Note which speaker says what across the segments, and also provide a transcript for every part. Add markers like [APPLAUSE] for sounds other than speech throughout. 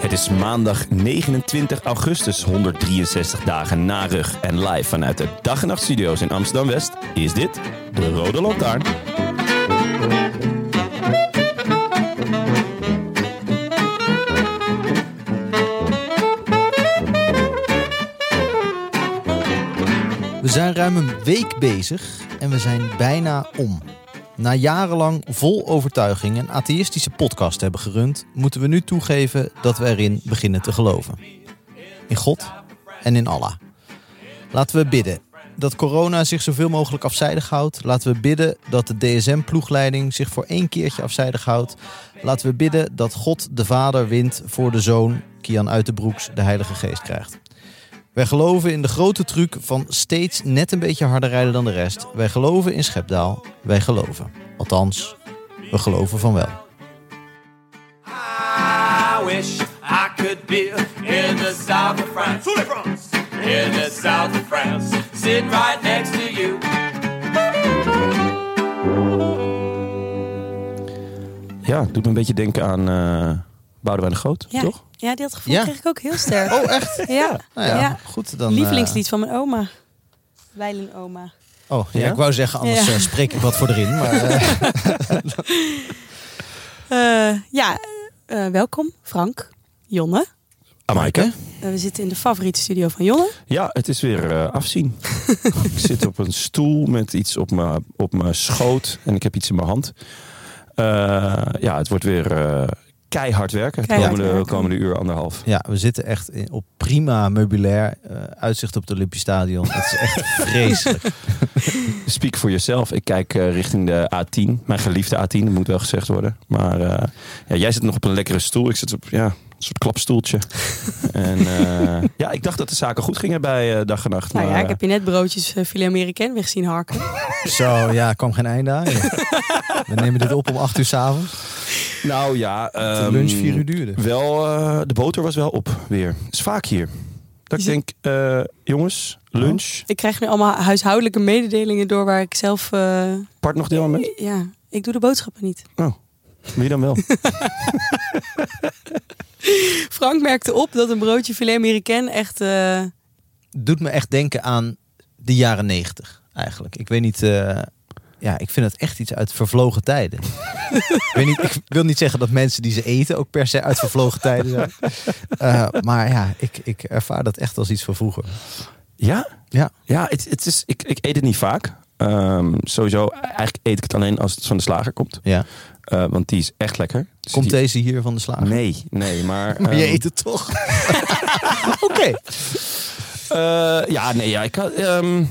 Speaker 1: Het is maandag 29 augustus, 163 dagen na rug. En live vanuit de Dag en Nacht Studio's in Amsterdam West is dit de Rode Lantaarn.
Speaker 2: We zijn ruim een week bezig en we zijn bijna om. Na jarenlang vol overtuiging een atheïstische podcast hebben gerund, moeten we nu toegeven dat we erin beginnen te geloven. In God en in Allah. Laten we bidden dat corona zich zoveel mogelijk afzijdig houdt. Laten we bidden dat de DSM-ploegleiding zich voor één keertje afzijdig houdt. Laten we bidden dat God de Vader wint voor de Zoon, Kian Uitenbroeks, de Heilige Geest krijgt. Wij geloven in de grote truc van steeds net een beetje harder rijden dan de rest. Wij geloven in Schepdaal. Wij geloven. Althans, we geloven van wel.
Speaker 3: I wish I could be in the south of France. In the south of France. Sitting right next to you.
Speaker 1: Ja, het doet me een beetje denken aan eh Boudewijn de Groot,
Speaker 4: Ja,
Speaker 1: toch?
Speaker 4: ja dat gevoel
Speaker 2: Ja.
Speaker 4: kreeg ik ook heel sterk.
Speaker 2: Oh, echt?
Speaker 4: ja.
Speaker 2: Nou ja,
Speaker 4: Ja.
Speaker 2: goed dan. eh,
Speaker 4: Lievelingslied van mijn oma. Wijlen oma.
Speaker 2: oh, ja,
Speaker 1: Ja?
Speaker 2: ik wou zeggen, anders
Speaker 4: Ja.
Speaker 2: eh, spreek ik wat voor erin. Maar,
Speaker 4: [LAUGHS]
Speaker 2: eh,
Speaker 4: Eh, ja, eh, welkom Frank, Jonne.
Speaker 1: Amaike?
Speaker 4: Eh, we zitten in de favoriete studio van Jonne. Nou
Speaker 1: Ja, het is weer eh, afzien. ik zit op een stoel met iets op mijn op mijn schoot en ik heb iets in mijn hand. Eh, ja, het wordt weer eh, keihard werken.
Speaker 4: Keihard
Speaker 1: komende,
Speaker 4: werken.
Speaker 1: komende uur, anderhalf.
Speaker 2: ja, we zitten echt in- op prima meubilair. eh, uitzicht op het Olympisch Stadion. Het is
Speaker 4: [LAUGHS]
Speaker 2: echt vreselijk.
Speaker 1: Speak for yourself. Ik kijk eh, richting de A10. Mijn geliefde A10, dat moet wel gezegd worden. Maar eh, ja, jij zit nog op een lekkere stoel. Ik zit op ja, een soort
Speaker 4: [LAUGHS]
Speaker 1: klapstoeltje. en eh, ja, ik dacht dat de zaken goed gingen bij eh, dag en nacht.
Speaker 4: Nou ja,
Speaker 1: maar,
Speaker 4: ik heb je net broodjes eh, filet Americain weg zien harken.
Speaker 2: Zo, ja, kwam geen einde
Speaker 4: [LAUGHS]
Speaker 2: aan. ja. We nemen dit op om 8 uur s'avonds.
Speaker 1: eh, nou ja,
Speaker 2: De
Speaker 1: ehm,
Speaker 2: lunch 4 uur duurde.
Speaker 1: Wel, eh, de boter was wel op weer. Is vaak hier. Dat ik
Speaker 4: Is Oh.
Speaker 1: denk, eh, jongens, lunch,
Speaker 4: Ik krijg nu allemaal huishoudelijke mededelingen door waar ik zelf... eh,
Speaker 1: part nog deel mee?
Speaker 4: ja, ik doe de boodschappen niet.
Speaker 1: Oh, wie dan
Speaker 4: [LAUGHS]
Speaker 1: wel?
Speaker 4: Frank merkte op dat een broodje filet Americain echt... eh,
Speaker 2: doet me echt denken aan de jaren negentig eigenlijk. Ik weet niet, eh, ja, ik vind het echt iets uit vervlogen tijden. [LAUGHS] ik, weet niet, ik wil niet zeggen dat mensen die ze eten ook per se uit vervlogen tijden zijn. [LAUGHS] Eh, maar ja, ik, ik ervaar dat echt als iets van vroeger.
Speaker 1: Ja?
Speaker 2: Ja.
Speaker 1: Ja, het, het is, ik, ik eet het niet vaak. Ehm, sowieso, eigenlijk eet ik het alleen als het van de slager komt.
Speaker 2: Ja.
Speaker 1: Eh, want die is echt lekker. Dus
Speaker 2: Komt
Speaker 1: die-
Speaker 2: deze hier van de slager?
Speaker 1: Nee, nee, maar...
Speaker 2: [LAUGHS] Maar je
Speaker 1: ehm,
Speaker 2: eet het toch? Oké.
Speaker 1: eh, ja, nee, ja, ik had... ehm,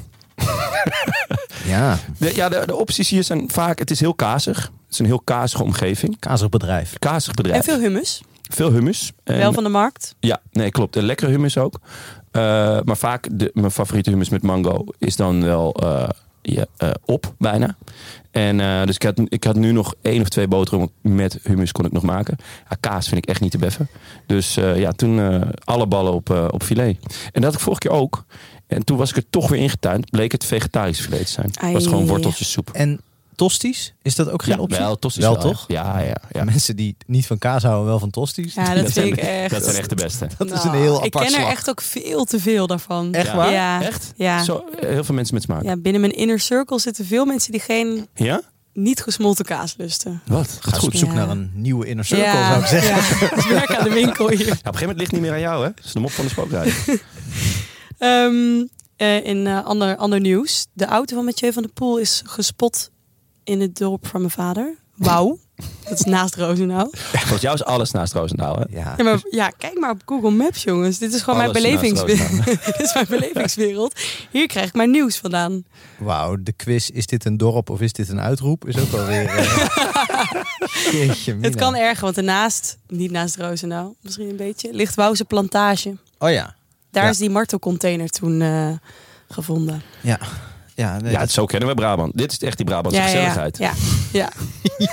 Speaker 2: Ja,
Speaker 1: de, ja, de, de opties hier zijn vaak... Het is heel kazig. Het is een heel kazige omgeving.
Speaker 2: kazig bedrijf.
Speaker 1: Kazig
Speaker 4: en
Speaker 1: bedrijf.
Speaker 4: veel hummus.
Speaker 1: Veel hummus. En-
Speaker 4: Wel van de markt.
Speaker 1: Ja, nee, klopt. Een lekkere hummus ook. Eh, maar vaak, de, mijn favoriete hummus met mango is dan wel eh, ja, eh, op, bijna. En, eh, dus ik had, ik had nu nog één of twee boterhammen met hummus kon ik nog maken. Ja, kaas vind ik echt niet te beffen. Dus eh, ja, toen eh, alle ballen op, eh, op filet. En dat had ik vorige keer ook. En toen was ik er toch weer ingetuind. Bleek het vegetarisch filet te zijn. Het was
Speaker 4: Ai.
Speaker 1: gewoon worteltjessoep.
Speaker 2: En tosties? Is dat ook geen optie?
Speaker 1: wel, tosti's
Speaker 2: Wel,
Speaker 1: hè?
Speaker 2: toch?
Speaker 1: Ja, ja, ja.
Speaker 2: Mensen die niet van kaas houden, wel van tosties.
Speaker 4: Ja, dat, vind ik echt...
Speaker 1: Dat zijn echt de beste.
Speaker 2: Dat is een heel apart
Speaker 4: Nou, Ik ken er
Speaker 2: slag.
Speaker 4: echt ook veel te veel daarvan.
Speaker 2: Echt waar?
Speaker 4: Ja.
Speaker 1: Echt?
Speaker 4: Ja.
Speaker 1: Zo, eh, heel veel mensen met smaak.
Speaker 4: Ja, binnen mijn inner circle zitten veel mensen die geen
Speaker 1: ja?
Speaker 4: niet gesmolten kaas lusten.
Speaker 1: Wat? Gaat goed.
Speaker 2: Op zoek
Speaker 4: Ja.
Speaker 2: naar een nieuwe inner circle, zou ik zeggen.
Speaker 4: Ja, [LAUGHS] het werk aan de winkel hier.
Speaker 1: Ja, op een gegeven moment ligt het niet meer aan jou, hè? Dat is de mop van de spookrijder.
Speaker 4: Ehm, eh, in eh, ander, ander
Speaker 2: [LAUGHS]
Speaker 4: nieuws. De auto van Mathieu van der Poel is gespot in het dorp van mijn vader. Wauw. Dat is naast Rozenau.
Speaker 1: [LAUGHS] Volgens jou is alles naast Roosendaal, hè?
Speaker 2: Ja.
Speaker 4: Ja, maar, ja, kijk maar op Google Maps, jongens. Dit is gewoon
Speaker 1: Alles
Speaker 4: mijn,
Speaker 1: naast
Speaker 4: belevingswereld. [LAUGHS] Dit is mijn belevingswereld. Hier krijg ik mijn nieuws vandaan.
Speaker 2: Wauw, de quiz is dit een dorp of is dit een uitroep? Is ook alweer...
Speaker 4: [LAUGHS]
Speaker 2: eh, Jeetje mina.
Speaker 4: Het kan erger, want daarnaast, niet naast Roosendaal, misschien een beetje, ligt Wouwse Plantage.
Speaker 2: Oh ja.
Speaker 4: Daar
Speaker 2: Ja.
Speaker 4: is die martelcontainer toen eh, gevonden.
Speaker 2: Ja. Ja, nee,
Speaker 1: Ja,
Speaker 2: dat
Speaker 1: het- zo kennen we Brabant. Dit is echt die Brabantse
Speaker 4: ja, ja,
Speaker 1: gezelligheid.
Speaker 4: ja, ja.
Speaker 2: is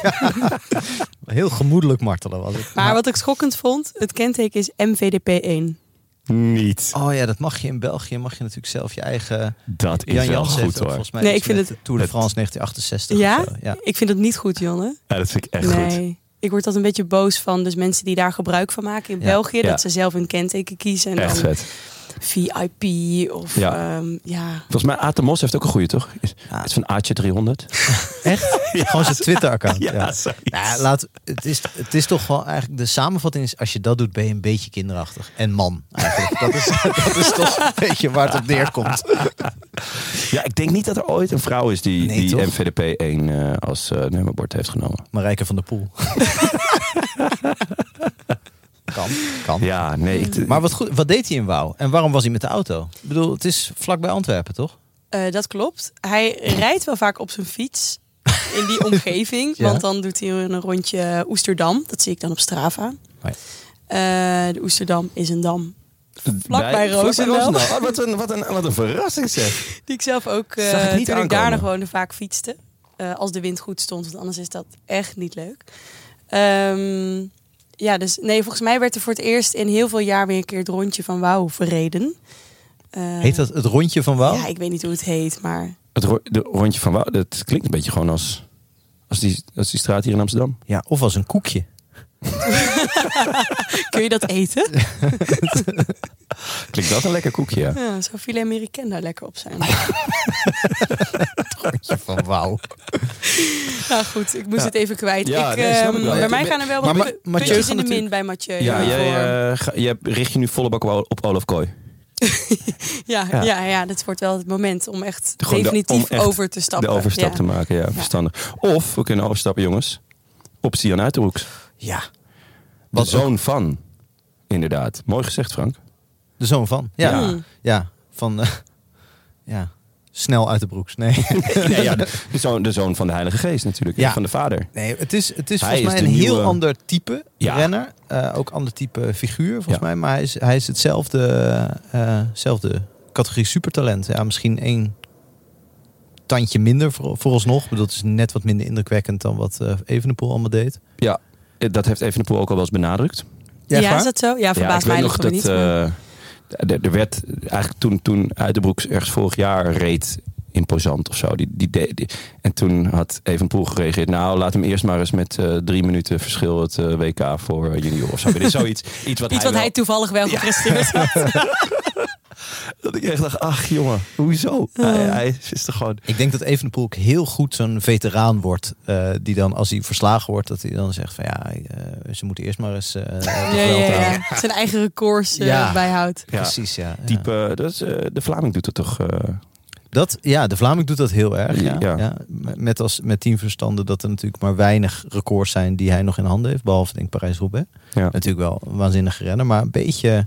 Speaker 2: heel gemoedelijk martelen was het.
Speaker 4: Maar wat ik schokkend vond, het kenteken is MVDP1.
Speaker 1: Niet.
Speaker 2: Oh ja, dat mag je in België. Mag je natuurlijk zelf je eigen...
Speaker 1: Dat is
Speaker 2: Jan
Speaker 1: wel
Speaker 2: Jans heeft
Speaker 1: goed
Speaker 2: ook
Speaker 1: hoor.
Speaker 2: volgens mij
Speaker 4: Nee,
Speaker 2: iets
Speaker 4: ik vind
Speaker 2: met
Speaker 4: het-
Speaker 2: de Tour de
Speaker 1: het-
Speaker 2: France 1968
Speaker 4: Ja?
Speaker 2: of zo. Ja.
Speaker 4: Ik vind dat niet goed, Jonne.
Speaker 1: Ja, dat vind ik echt goed.
Speaker 4: nee. Ik word dat een beetje boos van. Dus mensen die daar gebruik van maken in
Speaker 2: Ja.
Speaker 4: België,
Speaker 1: Ja.
Speaker 4: dat ze zelf een kenteken kiezen. En
Speaker 1: Echt
Speaker 4: dan
Speaker 1: vet.
Speaker 4: VIP of
Speaker 1: Ja.
Speaker 4: ja. ja.
Speaker 1: Volgens mij Aad de Mos heeft ook een goede, toch? Is,
Speaker 2: Ja.
Speaker 1: Het is van Aatje [LAUGHS] 300.
Speaker 2: Echt? Gewoon zijn Twitter-account. Ja,
Speaker 1: zoiets.
Speaker 2: Nou, laat, het, is, het is toch wel eigenlijk... De samenvatting is, als je dat doet, ben je een beetje kinderachtig. En man, eigenlijk. Dat is, [LAUGHS] dat is toch een beetje waar het op neerkomt.
Speaker 1: Ja, ik denk niet dat er ooit een vrouw is die,
Speaker 2: Nee,
Speaker 1: die
Speaker 2: toch?
Speaker 1: MVDP 1 eh, als eh, nummerbord heeft genomen.
Speaker 2: Marijke van der Poel. kan, kan.
Speaker 1: Ja, nee. Ik,
Speaker 2: Maar wat, goed, wat deed hij in Wouw? En waarom was hij met de auto? Ik bedoel, het is vlakbij Antwerpen, toch?
Speaker 4: Eh, dat klopt. Hij rijdt wel vaak op zijn fiets in die omgeving.
Speaker 2: Ja.
Speaker 4: Want dan doet hij een rondje Oesterdam. Dat zie ik dan op Strava.
Speaker 2: Oh ja.
Speaker 4: Eh, de Oesterdam is een dam vlakbij
Speaker 1: bij- vlakbij
Speaker 4: Roosendaal.
Speaker 1: Roosendaal. Oh, wat, een, wat, een, wat een verrassing zeg.
Speaker 4: Die ik zelf ook, eh,
Speaker 1: Zag ik niet
Speaker 4: toen ik
Speaker 1: aankomen.
Speaker 4: daar nog woonde, vaak fietste. Eh, als de wind goed stond, want anders is dat echt niet leuk. Ehm, ja, dus nee, volgens mij werd er voor het eerst in heel veel jaar weer een keer het rondje van Wauw verreden. Eh,
Speaker 2: Heet dat het rondje van Wouw?
Speaker 4: Ja, ik weet niet hoe het heet, maar
Speaker 1: Het ro- de rondje van Wou, dat klinkt een beetje gewoon als, als, die, als die straat hier in Amsterdam.
Speaker 2: Ja, of als een koekje.
Speaker 4: kun je dat eten?
Speaker 1: Klinkt dat een lekker koekje, ja.
Speaker 4: Ja, zou filet américain daar lekker op zijn?
Speaker 2: Rondje van Wauw.
Speaker 4: nou goed, ik moest het even kwijt.
Speaker 1: Ja,
Speaker 4: ik,
Speaker 1: nee, snap ik
Speaker 4: ehm,
Speaker 1: wel.
Speaker 4: bij
Speaker 1: Ja,
Speaker 4: mij
Speaker 1: maar-
Speaker 4: gaan er wel
Speaker 2: maar Ma-
Speaker 4: wat pu-
Speaker 2: Mathieu
Speaker 4: puntjes
Speaker 2: gaat
Speaker 4: in de min
Speaker 2: natuurlijk-
Speaker 4: bij Mathieu.
Speaker 1: Ja,
Speaker 4: voor-
Speaker 1: jij eh, ga- jij richt je nu volle bak wel op Olaf Kooi.
Speaker 4: ja,
Speaker 1: ja.
Speaker 4: ja. ja, dat wordt wel het moment om echt
Speaker 1: Gewoon de-
Speaker 4: definitief
Speaker 1: om echt
Speaker 4: over te stappen.
Speaker 1: De overstap
Speaker 4: Ja.
Speaker 1: te maken, ja, verstandig. Of, we kunnen overstappen, jongens, op Sian Uiterhoeks.
Speaker 2: Ja.
Speaker 1: De
Speaker 2: Wat
Speaker 1: zoon van, inderdaad. Mooi gezegd, Frank.
Speaker 2: De zoon van. Ja.
Speaker 1: Ja.
Speaker 2: Ja, van... eh, ja. Snel uit de broeks. Nee.
Speaker 1: Nee,
Speaker 2: [LAUGHS]
Speaker 1: ja, [LAUGHS] de, de zoon, de zoon van de Heilige Geest natuurlijk,
Speaker 2: Ja.
Speaker 1: van de vader.
Speaker 2: Nee, het is, het is
Speaker 1: Hij
Speaker 2: volgens
Speaker 1: is
Speaker 2: mij
Speaker 1: de
Speaker 2: een heel
Speaker 1: nieuwe-
Speaker 2: ander type
Speaker 1: Ja.
Speaker 2: renner. Eh, ook ander type figuur, volgens
Speaker 1: Ja.
Speaker 2: mij. Maar hij is, hij is hetzelfde eh, zelfde categorie supertalent. Ja, misschien één tandje minder voor, vooralsnog. Ik bedoel, het is net wat minder indrukwekkend dan wat eh, Evenepoel allemaal deed.
Speaker 1: Ja, eh, dat heeft Evenepoel ook al wel eens benadrukt.
Speaker 4: Ja, is dat zo? Ja, verbaast
Speaker 1: ik weet
Speaker 4: mij
Speaker 1: nog
Speaker 4: nog
Speaker 1: dat...
Speaker 4: niet. maar-
Speaker 1: eh, d- er werd eigenlijk toen, toen Uiterbroeks ergens vorig jaar reed imposant of zo. Die, die, deed- die- en toen had Evenpoel gereageerd. Nou, laat hem eerst maar eens met eh, drie minuten verschil het eh, WK voor eh, junior of zo. Dit is zoiets. Iets wat
Speaker 4: Iets
Speaker 1: hij,
Speaker 4: wat
Speaker 1: wel-
Speaker 4: hij toevallig wel
Speaker 1: [LAUGHS]
Speaker 4: gepresteerd had.
Speaker 1: Dat ik echt dacht, ach jongen, hoezo? Hij, hij is toch gewoon...
Speaker 2: Ik denk dat Evenepoel ook heel goed zo'n veteraan wordt. eh, die dan, als hij verslagen wordt, dat hij dan zegt van... Ja, eh, ze moeten eerst maar
Speaker 4: [LAUGHS]
Speaker 2: eens... eh, de
Speaker 4: Ja,
Speaker 2: Vuelta
Speaker 4: ja,
Speaker 2: halen.
Speaker 4: ja. Zijn eigen records eh,
Speaker 2: Ja.
Speaker 4: bijhoudt.
Speaker 1: Ja.
Speaker 2: Precies, ja. ja.
Speaker 1: Type, dat is, eh, de Vlaming doet het toch? eh,
Speaker 2: Dat, ja, de Vlaming doet dat heel erg. Ja.
Speaker 1: Ja.
Speaker 2: Ja. Met, als, met teamverstanden dat er natuurlijk maar weinig records zijn die hij nog in handen heeft. Behalve denk ik Parijs-Roubaix.
Speaker 1: ja.
Speaker 2: Natuurlijk wel een waanzinnige renner. Maar een beetje,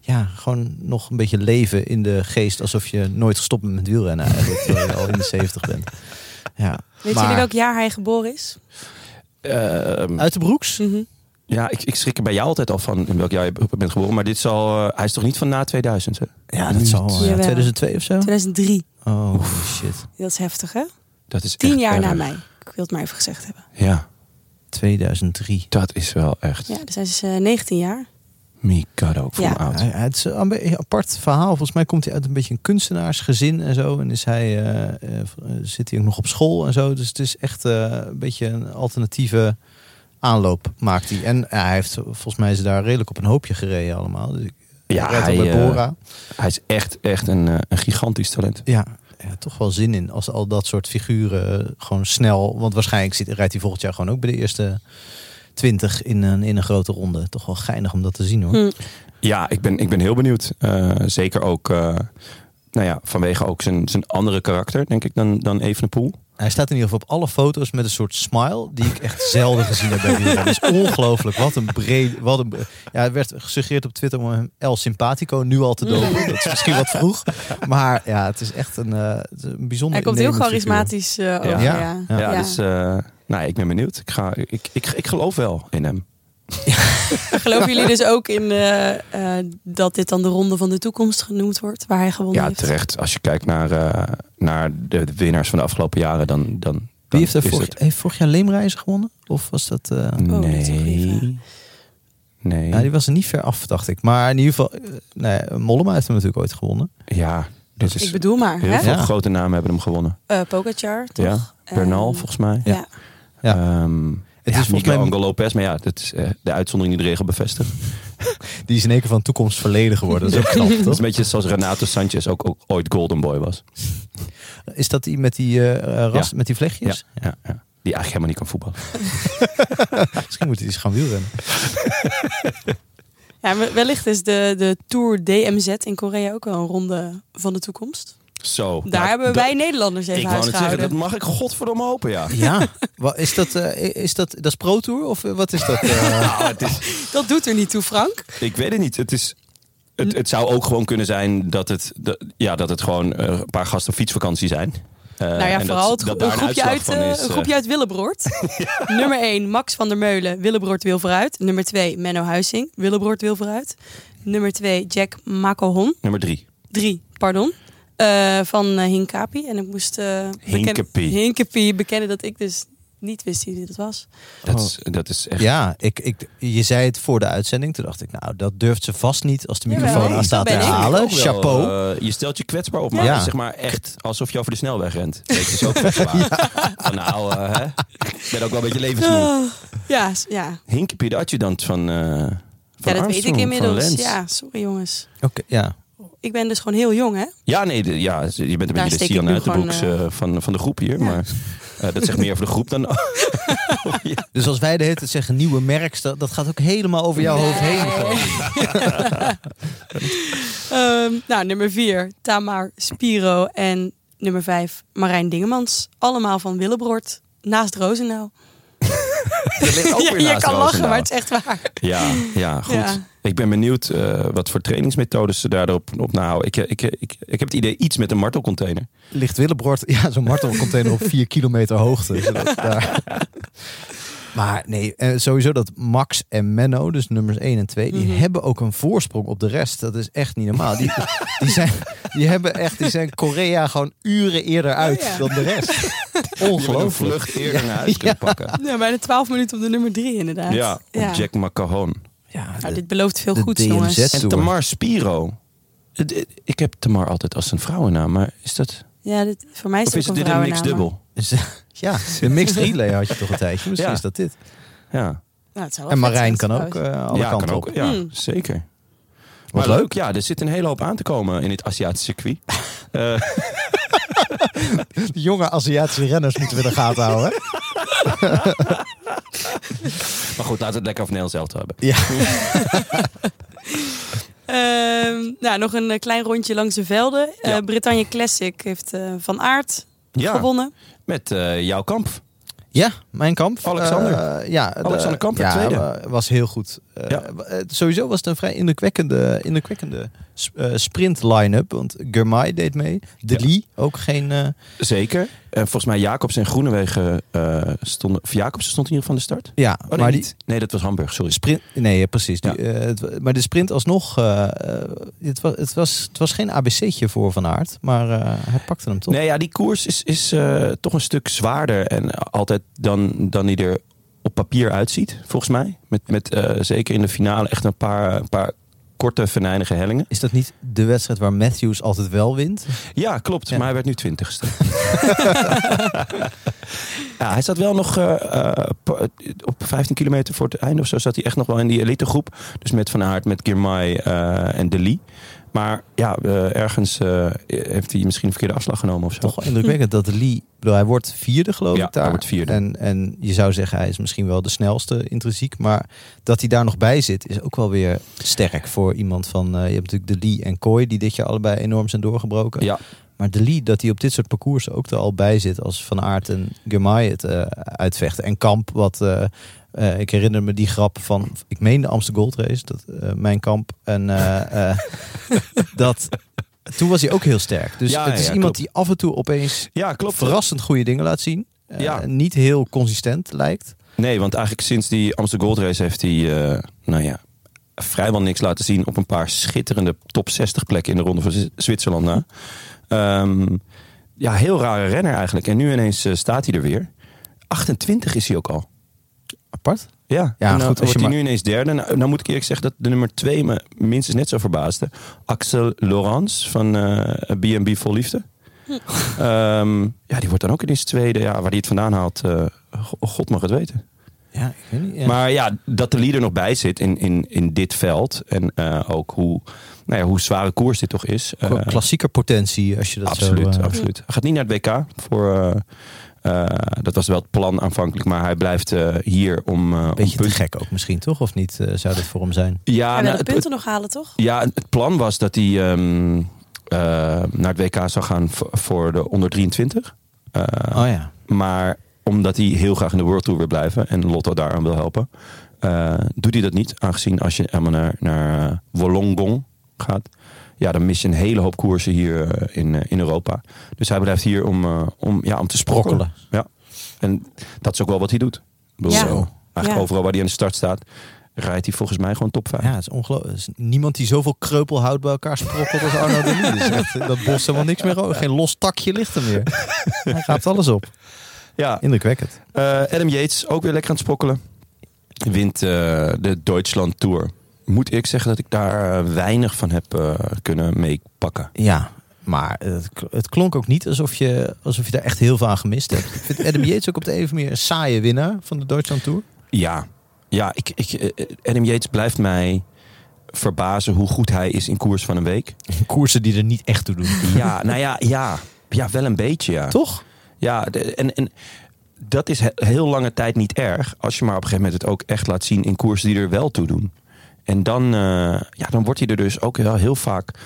Speaker 2: ja, gewoon nog een beetje leven in de geest. Alsof je nooit gestopt bent met wielrennen eigenlijk. Terwijl je al
Speaker 1: [LAUGHS]
Speaker 2: in de 70 bent. Ja.
Speaker 4: Weet
Speaker 2: maar,
Speaker 4: jullie welk jaar hij geboren is?
Speaker 1: Ehm,
Speaker 2: Uit de broeks?
Speaker 1: ja, ik, ik schrik er bij jou altijd al van in welk jaar je bent geboren. Maar dit zal, eh, hij is toch niet van na 2000? Hè?
Speaker 2: Ja, dat zal eh, wel, ja,
Speaker 4: Jawel.
Speaker 2: 2002 of zo.
Speaker 4: 2003.
Speaker 2: Oh, shit.
Speaker 4: Dat is heftig, hè?
Speaker 1: Dat is
Speaker 4: Tien
Speaker 1: echt
Speaker 4: jaar
Speaker 1: erg.
Speaker 4: na mij. Ik wil het maar even gezegd hebben.
Speaker 1: Ja,
Speaker 2: 2003.
Speaker 1: dat is wel echt.
Speaker 4: Ja, dus hij is eh, 19 jaar.
Speaker 1: Mikado, ik voel
Speaker 4: Ja.
Speaker 1: me oud.
Speaker 2: Ja, ja, het is een be- apart verhaal. Volgens mij komt hij uit een beetje een kunstenaarsgezin en zo. En is hij, eh, eh, v- eh, zit hij ook nog op school en zo. Dus het is echt eh, een beetje een alternatieve aanloop maakt hij. En ja, hij heeft, volgens mij is hij daar redelijk op een hoopje gereden allemaal. Dus ik
Speaker 1: Ja,
Speaker 2: rijd
Speaker 1: hij,
Speaker 2: al bij
Speaker 1: eh,
Speaker 2: Bora.
Speaker 1: Hij is echt, echt een, eh, een gigantisch talent.
Speaker 2: ja, ja, toch wel zin in als al dat soort figuren eh, gewoon snel... Want waarschijnlijk zit, rijdt hij volgend jaar gewoon ook bij de eerste... 20 in een, in een grote ronde. Toch wel geinig om dat te zien hoor.
Speaker 1: Ja, ik ben, ik ben heel benieuwd. Eh, zeker ook eh, nou ja, vanwege ook zijn, zijn andere karakter, denk ik, dan, dan Evenepoel.
Speaker 2: Hij staat in ieder geval op alle foto's met een soort smile die ik echt zelden gezien heb bij wielrennen. Dat is ongelooflijk. Wat een breed... Wat een, bre- ja, er werd gesuggereerd op Twitter om hem El Simpatico nu al te dopen. Dat is misschien wat vroeg. Maar ja, het is echt een, eh het is een bijzonder
Speaker 4: Hij komt heel
Speaker 2: innemend figuur.
Speaker 4: charismatisch eh, over. Ja.
Speaker 1: Ja.
Speaker 4: Ja.
Speaker 1: Ja, dus eh, nou, ik ben benieuwd. Ik, ga, ik, ik, ik geloof wel in hem.
Speaker 4: Geloven
Speaker 1: [LAUGHS]
Speaker 4: jullie dus ook in eh, eh, dat dit dan de ronde van de toekomst genoemd wordt, waar hij gewonnen
Speaker 1: Ja,
Speaker 4: heeft?
Speaker 1: terecht. Als je kijkt naar, eh, naar de de winnaars van de afgelopen jaren, dan. dan, dan
Speaker 2: Wie heeft er
Speaker 1: is
Speaker 2: vorig,
Speaker 1: het-
Speaker 2: heeft vorig jaar Leemreizen gewonnen? Of was dat... eh,
Speaker 4: Oh, dat is een goede vraag.
Speaker 1: Nee. Nee.
Speaker 2: Ja, die was er niet ver af, dacht ik. Maar in ieder geval... eh, nee, Mollema heeft hem natuurlijk ooit gewonnen.
Speaker 1: Ja, dit
Speaker 4: Ik
Speaker 1: is.
Speaker 4: bedoel maar,
Speaker 1: Heel
Speaker 4: hè?
Speaker 1: veel
Speaker 2: Ja.
Speaker 1: grote namen hebben hem gewonnen.
Speaker 4: Eh, Pogacar, toch? Ehm,
Speaker 1: Ja.
Speaker 4: En-
Speaker 1: Bernal, volgens mij.
Speaker 4: Ja.
Speaker 2: Ja. Ja.
Speaker 1: Ehm,
Speaker 2: Het
Speaker 1: ja,
Speaker 2: is volgens
Speaker 1: Miguel
Speaker 2: mij-
Speaker 1: Angel Lopez, maar ja, dat is eh, de uitzondering die de regel bevestigt.
Speaker 2: Die is in één keer van toekomst verleden geworden.
Speaker 1: [LAUGHS]
Speaker 2: Dat is ook knap,
Speaker 1: Dat is
Speaker 2: toch?
Speaker 1: een beetje zoals Renato Sanchez ook, ook ooit Golden Boy was.
Speaker 2: Is dat die met die, eh eh, ras,
Speaker 1: Ja.
Speaker 2: met die
Speaker 1: Ja,
Speaker 2: vlechtjes?
Speaker 1: ja, ja. Die eigenlijk helemaal niet kan voetballen.
Speaker 2: Misschien moet hij eens gaan wielrennen.
Speaker 4: Ja, maar wellicht is de, de Tour DMZ in Korea ook wel een ronde van de toekomst.
Speaker 1: Zo. nou,
Speaker 4: Daar hebben wij Nederlanders
Speaker 1: Ik
Speaker 4: even
Speaker 1: wou net zeggen,
Speaker 4: huisgehouden.
Speaker 1: dat mag ik godverdomme hopen, ja.
Speaker 2: Ja, Wa- is dat, eh, is dat, dat is Pro Tour of eh, wat is dat? eh?
Speaker 1: Nou, het is,
Speaker 4: dat... doet er niet toe, Frank.
Speaker 1: ik weet het niet. Het, is, het, het zou ook gewoon kunnen zijn dat het, dat, ja, dat het gewoon eh, een paar gasten op fietsvakantie zijn. Eh,
Speaker 4: nou ja,
Speaker 1: en
Speaker 4: vooral
Speaker 1: dat,
Speaker 4: het,
Speaker 1: dat
Speaker 4: een,
Speaker 1: daar
Speaker 4: groepje
Speaker 1: uitslag
Speaker 4: uit,
Speaker 1: van
Speaker 4: eh,
Speaker 1: is,
Speaker 4: een
Speaker 1: eh,
Speaker 4: groepje uit
Speaker 1: [LAUGHS]
Speaker 4: Willebroord. Nummer 1, Max van der Meulen. Willebroord wil vooruit. Nummer 2, Menno Huizing. Willebroord wil vooruit. Nummer 2, Jack Macohon.
Speaker 1: nummer drie.
Speaker 4: Drie, pardon. Eh, van eh, Hinkapi. En ik moest eh,
Speaker 1: Hinkepie.
Speaker 4: bekennen- Hinkepie bekennen dat ik dus niet wist wie dat was.
Speaker 1: Dat, is, dat is echt...
Speaker 2: Oh. ja, ik, ik, je zei het voor de uitzending. Toen dacht ik, nou, dat durft ze vast niet als de
Speaker 4: Jawel,
Speaker 2: microfoon
Speaker 4: nee,
Speaker 2: aan
Speaker 4: zo
Speaker 2: staat te
Speaker 4: ben ik.
Speaker 2: halen.
Speaker 1: Ook wel,
Speaker 2: Chapeau.
Speaker 1: eh, je stelt je kwetsbaar op, maar
Speaker 2: Ja.
Speaker 1: zeg maar echt alsof je over de snelweg rent. Dat is ook
Speaker 2: [LAUGHS]
Speaker 1: kwetsbaar. Van nou, eh, hè? ik ben ook wel een beetje levensmoe.
Speaker 4: Ah, ja, s- ja.
Speaker 1: Hinkepie, de adjudant van, eh van
Speaker 4: ja, dat weet ik
Speaker 1: Armstrong,
Speaker 4: inmiddels.
Speaker 1: van Lens.
Speaker 4: Ja, sorry jongens.
Speaker 2: Oké, ja.
Speaker 4: Ik ben dus gewoon heel jong, hè?
Speaker 1: Ja, nee, de- ja, je bent een
Speaker 4: Daar
Speaker 1: beetje de
Speaker 4: steek ik
Speaker 1: Sian
Speaker 4: nu
Speaker 1: uit de
Speaker 4: gewoon,
Speaker 1: boeks
Speaker 4: eh,
Speaker 1: eh, van, van de groep hier. Maar eh, dat zegt meer over de groep
Speaker 4: [LAUGHS]
Speaker 1: dan... [LAUGHS]
Speaker 2: Dus als wij de hele tijd zeggen nieuwe merks, dat, dat gaat ook helemaal over jouw hoofd heen.
Speaker 4: [LAUGHS] Ehm, nou, nummer 4, Tamar Spiro. En nummer 5, Marijn Dingemans. Allemaal van Willebroord. Naast Rozenau.
Speaker 1: Dat ligt ook
Speaker 4: Ja,
Speaker 1: weer
Speaker 4: [LAUGHS] je
Speaker 1: naast
Speaker 4: kan
Speaker 1: Roosendaal.
Speaker 4: lachen, maar het is echt waar.
Speaker 1: Ja, ja, goed.
Speaker 4: Ja.
Speaker 1: Ik ben benieuwd eh, wat voor trainingsmethodes ze daarop op nahouden. Ik, eh, ik, ik, ik heb het idee iets met een martelcontainer.
Speaker 2: Ligt Willebroord, [LAUGHS] ja, zo'n martelcontainer op vier kilometer hoogte. Zodat daar- [LAUGHS] Maar nee, eh, sowieso dat Max en Menno, dus nummers 1 en 2, die hebben ook een voorsprong op de rest. Dat is echt niet normaal. [LAUGHS] Die, die, zijn, die hebben echt, die zijn Korea gewoon uren eerder uit
Speaker 4: Oh ja.
Speaker 2: dan de [LAUGHS] rest.
Speaker 1: Je hebt een
Speaker 2: Ongelooflijk.
Speaker 1: vlucht eerder naar
Speaker 2: [LAUGHS]
Speaker 1: huis kunnen pakken.
Speaker 4: Ja, bijna 12 minuten op de nummer 3, inderdaad.
Speaker 1: Ja, op
Speaker 4: Ja.
Speaker 1: Jack McCahon.
Speaker 2: Ja,
Speaker 4: Nou,
Speaker 2: de-
Speaker 4: dit belooft veel
Speaker 2: de
Speaker 4: goeds,
Speaker 2: DMZ.
Speaker 4: jongens.
Speaker 1: En
Speaker 2: Stoer.
Speaker 1: Tamar Spiro. Het- het- Ik heb Tamar altijd als een vrouwennaam, maar is dat...
Speaker 4: Ja, dit, voor mij is
Speaker 1: Of
Speaker 4: het
Speaker 1: is
Speaker 4: ook
Speaker 1: het
Speaker 4: een
Speaker 1: dit een niks
Speaker 4: vrouwennaam.
Speaker 1: dubbel?
Speaker 2: is- dus, eh, ja, [LAUGHS] de mixed relay had je toch een tijdje. Misschien
Speaker 1: Ja.
Speaker 2: is dat dit.
Speaker 1: Ja,
Speaker 4: Nou, het zou wel
Speaker 2: En
Speaker 4: vet
Speaker 2: Marijn
Speaker 4: zijn,
Speaker 2: kan ook
Speaker 4: trouwens.
Speaker 2: eh, alle
Speaker 1: ja
Speaker 2: kanten
Speaker 1: kan
Speaker 2: op.
Speaker 1: ook. Ja,
Speaker 4: Hmm.
Speaker 1: zeker.
Speaker 2: Wat
Speaker 1: maar
Speaker 2: leuk.
Speaker 1: leuk, ja, er zit een hele hoop aan te komen in dit Aziatische circuit.
Speaker 4: [LAUGHS]
Speaker 2: De jonge Aziatische renners moeten we in de gaten houden.
Speaker 1: Maar goed, laten we het lekker over Nederland zelf te hebben.
Speaker 4: Ehm, nou, nog een eh, klein rondje langs de velden. Eh
Speaker 1: Ja.
Speaker 4: Bretagne Classic heeft eh, Van Aert
Speaker 1: Ja,
Speaker 4: gewonnen.
Speaker 1: met eh, jouw kamp.
Speaker 2: Ja, mijn kamp.
Speaker 1: Alexander.
Speaker 2: Eh, ja,
Speaker 1: Alexander Kamp werd
Speaker 2: ja,
Speaker 1: tweede.
Speaker 2: wa- was heel goed. Eh,
Speaker 1: Ja.
Speaker 2: wa- eh, Sowieso was het een vrij indrukwekkende, indrukwekkende s- eh, sprint line-up. Want Germay deed mee. De Lee ook geen... eh,
Speaker 1: Zeker. En volgens mij Jacobs en Groenewegen eh, stonden... Of Jacobs stond in ieder geval aan de start.
Speaker 2: ja,
Speaker 1: Oh, nee,
Speaker 2: maar die
Speaker 1: niet. nee, dat was Hamburg, sorry.
Speaker 2: sprint... Nee, ja, precies.
Speaker 1: Ja.
Speaker 2: Die, eh, het wa- maar de sprint alsnog... eh, eh, het, was, het, was, het was geen ABC'tje voor Van Aert. Maar eh, hij pakte hem toch.
Speaker 1: Nee, ja, die koers is, is eh, toch een stuk zwaarder en altijd dan, dan die er op papier uitziet, volgens mij. Met, met eh, zeker in de finale echt een paar, een paar korte, venijnige hellingen.
Speaker 2: Is dat niet de wedstrijd waar Matthews altijd wel wint?
Speaker 1: Ja, klopt.
Speaker 2: Ja.
Speaker 1: Maar hij werd nu twintigste. [LAUGHS] ja, hij zat wel nog eh, eh, pa- op 15 kilometer voor het einde of zo. Zat hij echt nog wel in die elitegroep. Dus met Van Aert, met Girmay eh, en De Lee. Maar ja, eh, ergens eh, heeft hij misschien een verkeerde afslag genomen of zo.
Speaker 2: Toch wel indrukwekkend dat Lee, ik bedoel, hij wordt vierde geloof
Speaker 1: Ja,
Speaker 2: ik daar.
Speaker 1: hij wordt vierde.
Speaker 2: En, en je zou zeggen hij is misschien wel de snelste intrinsiek, maar dat hij daar nog bij zit is ook wel weer sterk voor iemand van, eh, je hebt natuurlijk de Lee en Kooi die dit jaar allebei enorm zijn doorgebroken.
Speaker 1: Ja,
Speaker 2: Maar de Lee, dat hij op dit soort parcours ook er al bij zit als Van Aert en Girmay het eh, uitvechten. En Kamp, wat eh, eh, ik herinner me die grap van, ik meen de Amsterdam Gold Race, dat, eh, mijn kamp. En eh, [LAUGHS] eh, dat, toen was hij ook heel sterk. Dus
Speaker 1: Ja,
Speaker 2: het is
Speaker 1: ja,
Speaker 2: iemand
Speaker 1: klopt.
Speaker 2: die af en toe opeens
Speaker 1: ja klopt.
Speaker 2: verrassend goede dingen laat zien. Eh,
Speaker 1: Ja.
Speaker 2: Niet heel consistent lijkt.
Speaker 1: Nee, want eigenlijk sinds die Amsterdam Gold Race heeft hij, eh, nou ja, vrijwel niks laten zien op een paar schitterende top 60 plekken in de ronde van Z- Zwitserland. Na. Ehm, ja, heel rare renner eigenlijk. En nu ineens eh, staat hij er weer. 28 is hij ook al.
Speaker 2: Apart.
Speaker 1: Ja,
Speaker 2: Ja,
Speaker 1: en
Speaker 2: goed,
Speaker 1: dan
Speaker 2: als je
Speaker 1: wordt hij
Speaker 2: maar-
Speaker 1: nu ineens derde. Nou, nou moet ik eerlijk zeggen dat de nummer twee me minstens net zo verbaasde. Axel Laurens van eh, B&B Vol Liefde. Ehm, ja, die wordt dan ook ineens tweede. Ja, waar hij het vandaan haalt, eh, go- god mag het weten.
Speaker 2: Ja, ik weet niet.
Speaker 1: Maar ja, dat de leader nog bij zit in, in, in dit veld. En eh, ook hoe, nou ja, hoe zware koers dit toch is. Eh,
Speaker 2: klassieker potentie als je dat
Speaker 1: absoluut,
Speaker 2: zo... eh,
Speaker 1: absoluut. Hij gaat niet naar het WK. Voor, eh, eh, dat was wel het plan aanvankelijk. Maar hij blijft eh, hier om... eh, om
Speaker 2: Beetje te
Speaker 1: punten-
Speaker 2: gek ook misschien, toch? Of niet eh, zou dat voor hem zijn?
Speaker 1: Ja,
Speaker 4: Hij
Speaker 1: nou,
Speaker 4: wil de
Speaker 1: het,
Speaker 4: punten nog halen,
Speaker 1: [LAUGHS]
Speaker 4: toch?
Speaker 1: het- ja, het plan was dat hij ehm, eh, naar het WK zou gaan voor, voor de onder 23. Eh,
Speaker 2: Oh ja.
Speaker 1: Maar omdat hij heel graag in de World Tour wil blijven en Lotto daaraan wil helpen, eh, doet hij dat niet. Aangezien als je helemaal naar, naar eh, Wollongong gaat, ja, dan mis je een hele hoop koersen hier eh, in, eh, in Europa. Dus hij blijft hier om, eh, om, ja, om te sprokkelen. Ja. En dat is ook wel wat hij doet. Ik bedoel,
Speaker 4: Ja.
Speaker 1: eh, Eigenlijk
Speaker 4: Ja.
Speaker 1: overal waar hij aan de start staat, rijdt hij volgens mij gewoon top 5.
Speaker 2: Ja, het is ongelooflijk. Er is niemand die zoveel kreupel houdt bij elkaar sprokkelt als Arno de Lee. Dus [LAUGHS] echt, dat bos helemaal niks meer over. Geen los takje ligt er [LAUGHS] meer. Hij gaat alles op.
Speaker 1: Ja,
Speaker 2: Indrukwekkend.
Speaker 1: Eh, Adam Yates, ook weer lekker aan het sprokkelen. Wint eh, de Duitsland Tour. Moet ik zeggen dat ik daar eh, weinig van heb eh, kunnen meepakken.
Speaker 2: Ja, maar het, kl- het klonk ook niet alsof je, alsof je daar echt heel veel aan gemist hebt. Ik vind Adam Yates ook op de een of andere manier een saaie winnaar van de Duitsland Tour.
Speaker 1: Ja, ja ik, ik, eh, Adam Yates blijft mij verbazen hoe goed hij is in koers van een week.
Speaker 2: Koersen die er niet echt toe doen.
Speaker 1: Ja, [LAUGHS] nou ja, ja. Ja, wel een beetje, ja.
Speaker 2: Toch?
Speaker 1: Ja, de- en, en dat is he- heel lange tijd niet erg. Als je maar op een gegeven moment het ook echt laat zien in koersen die er wel toe doen. En dan, eh, ja, dan wordt hij er dus ook wel heel vaak.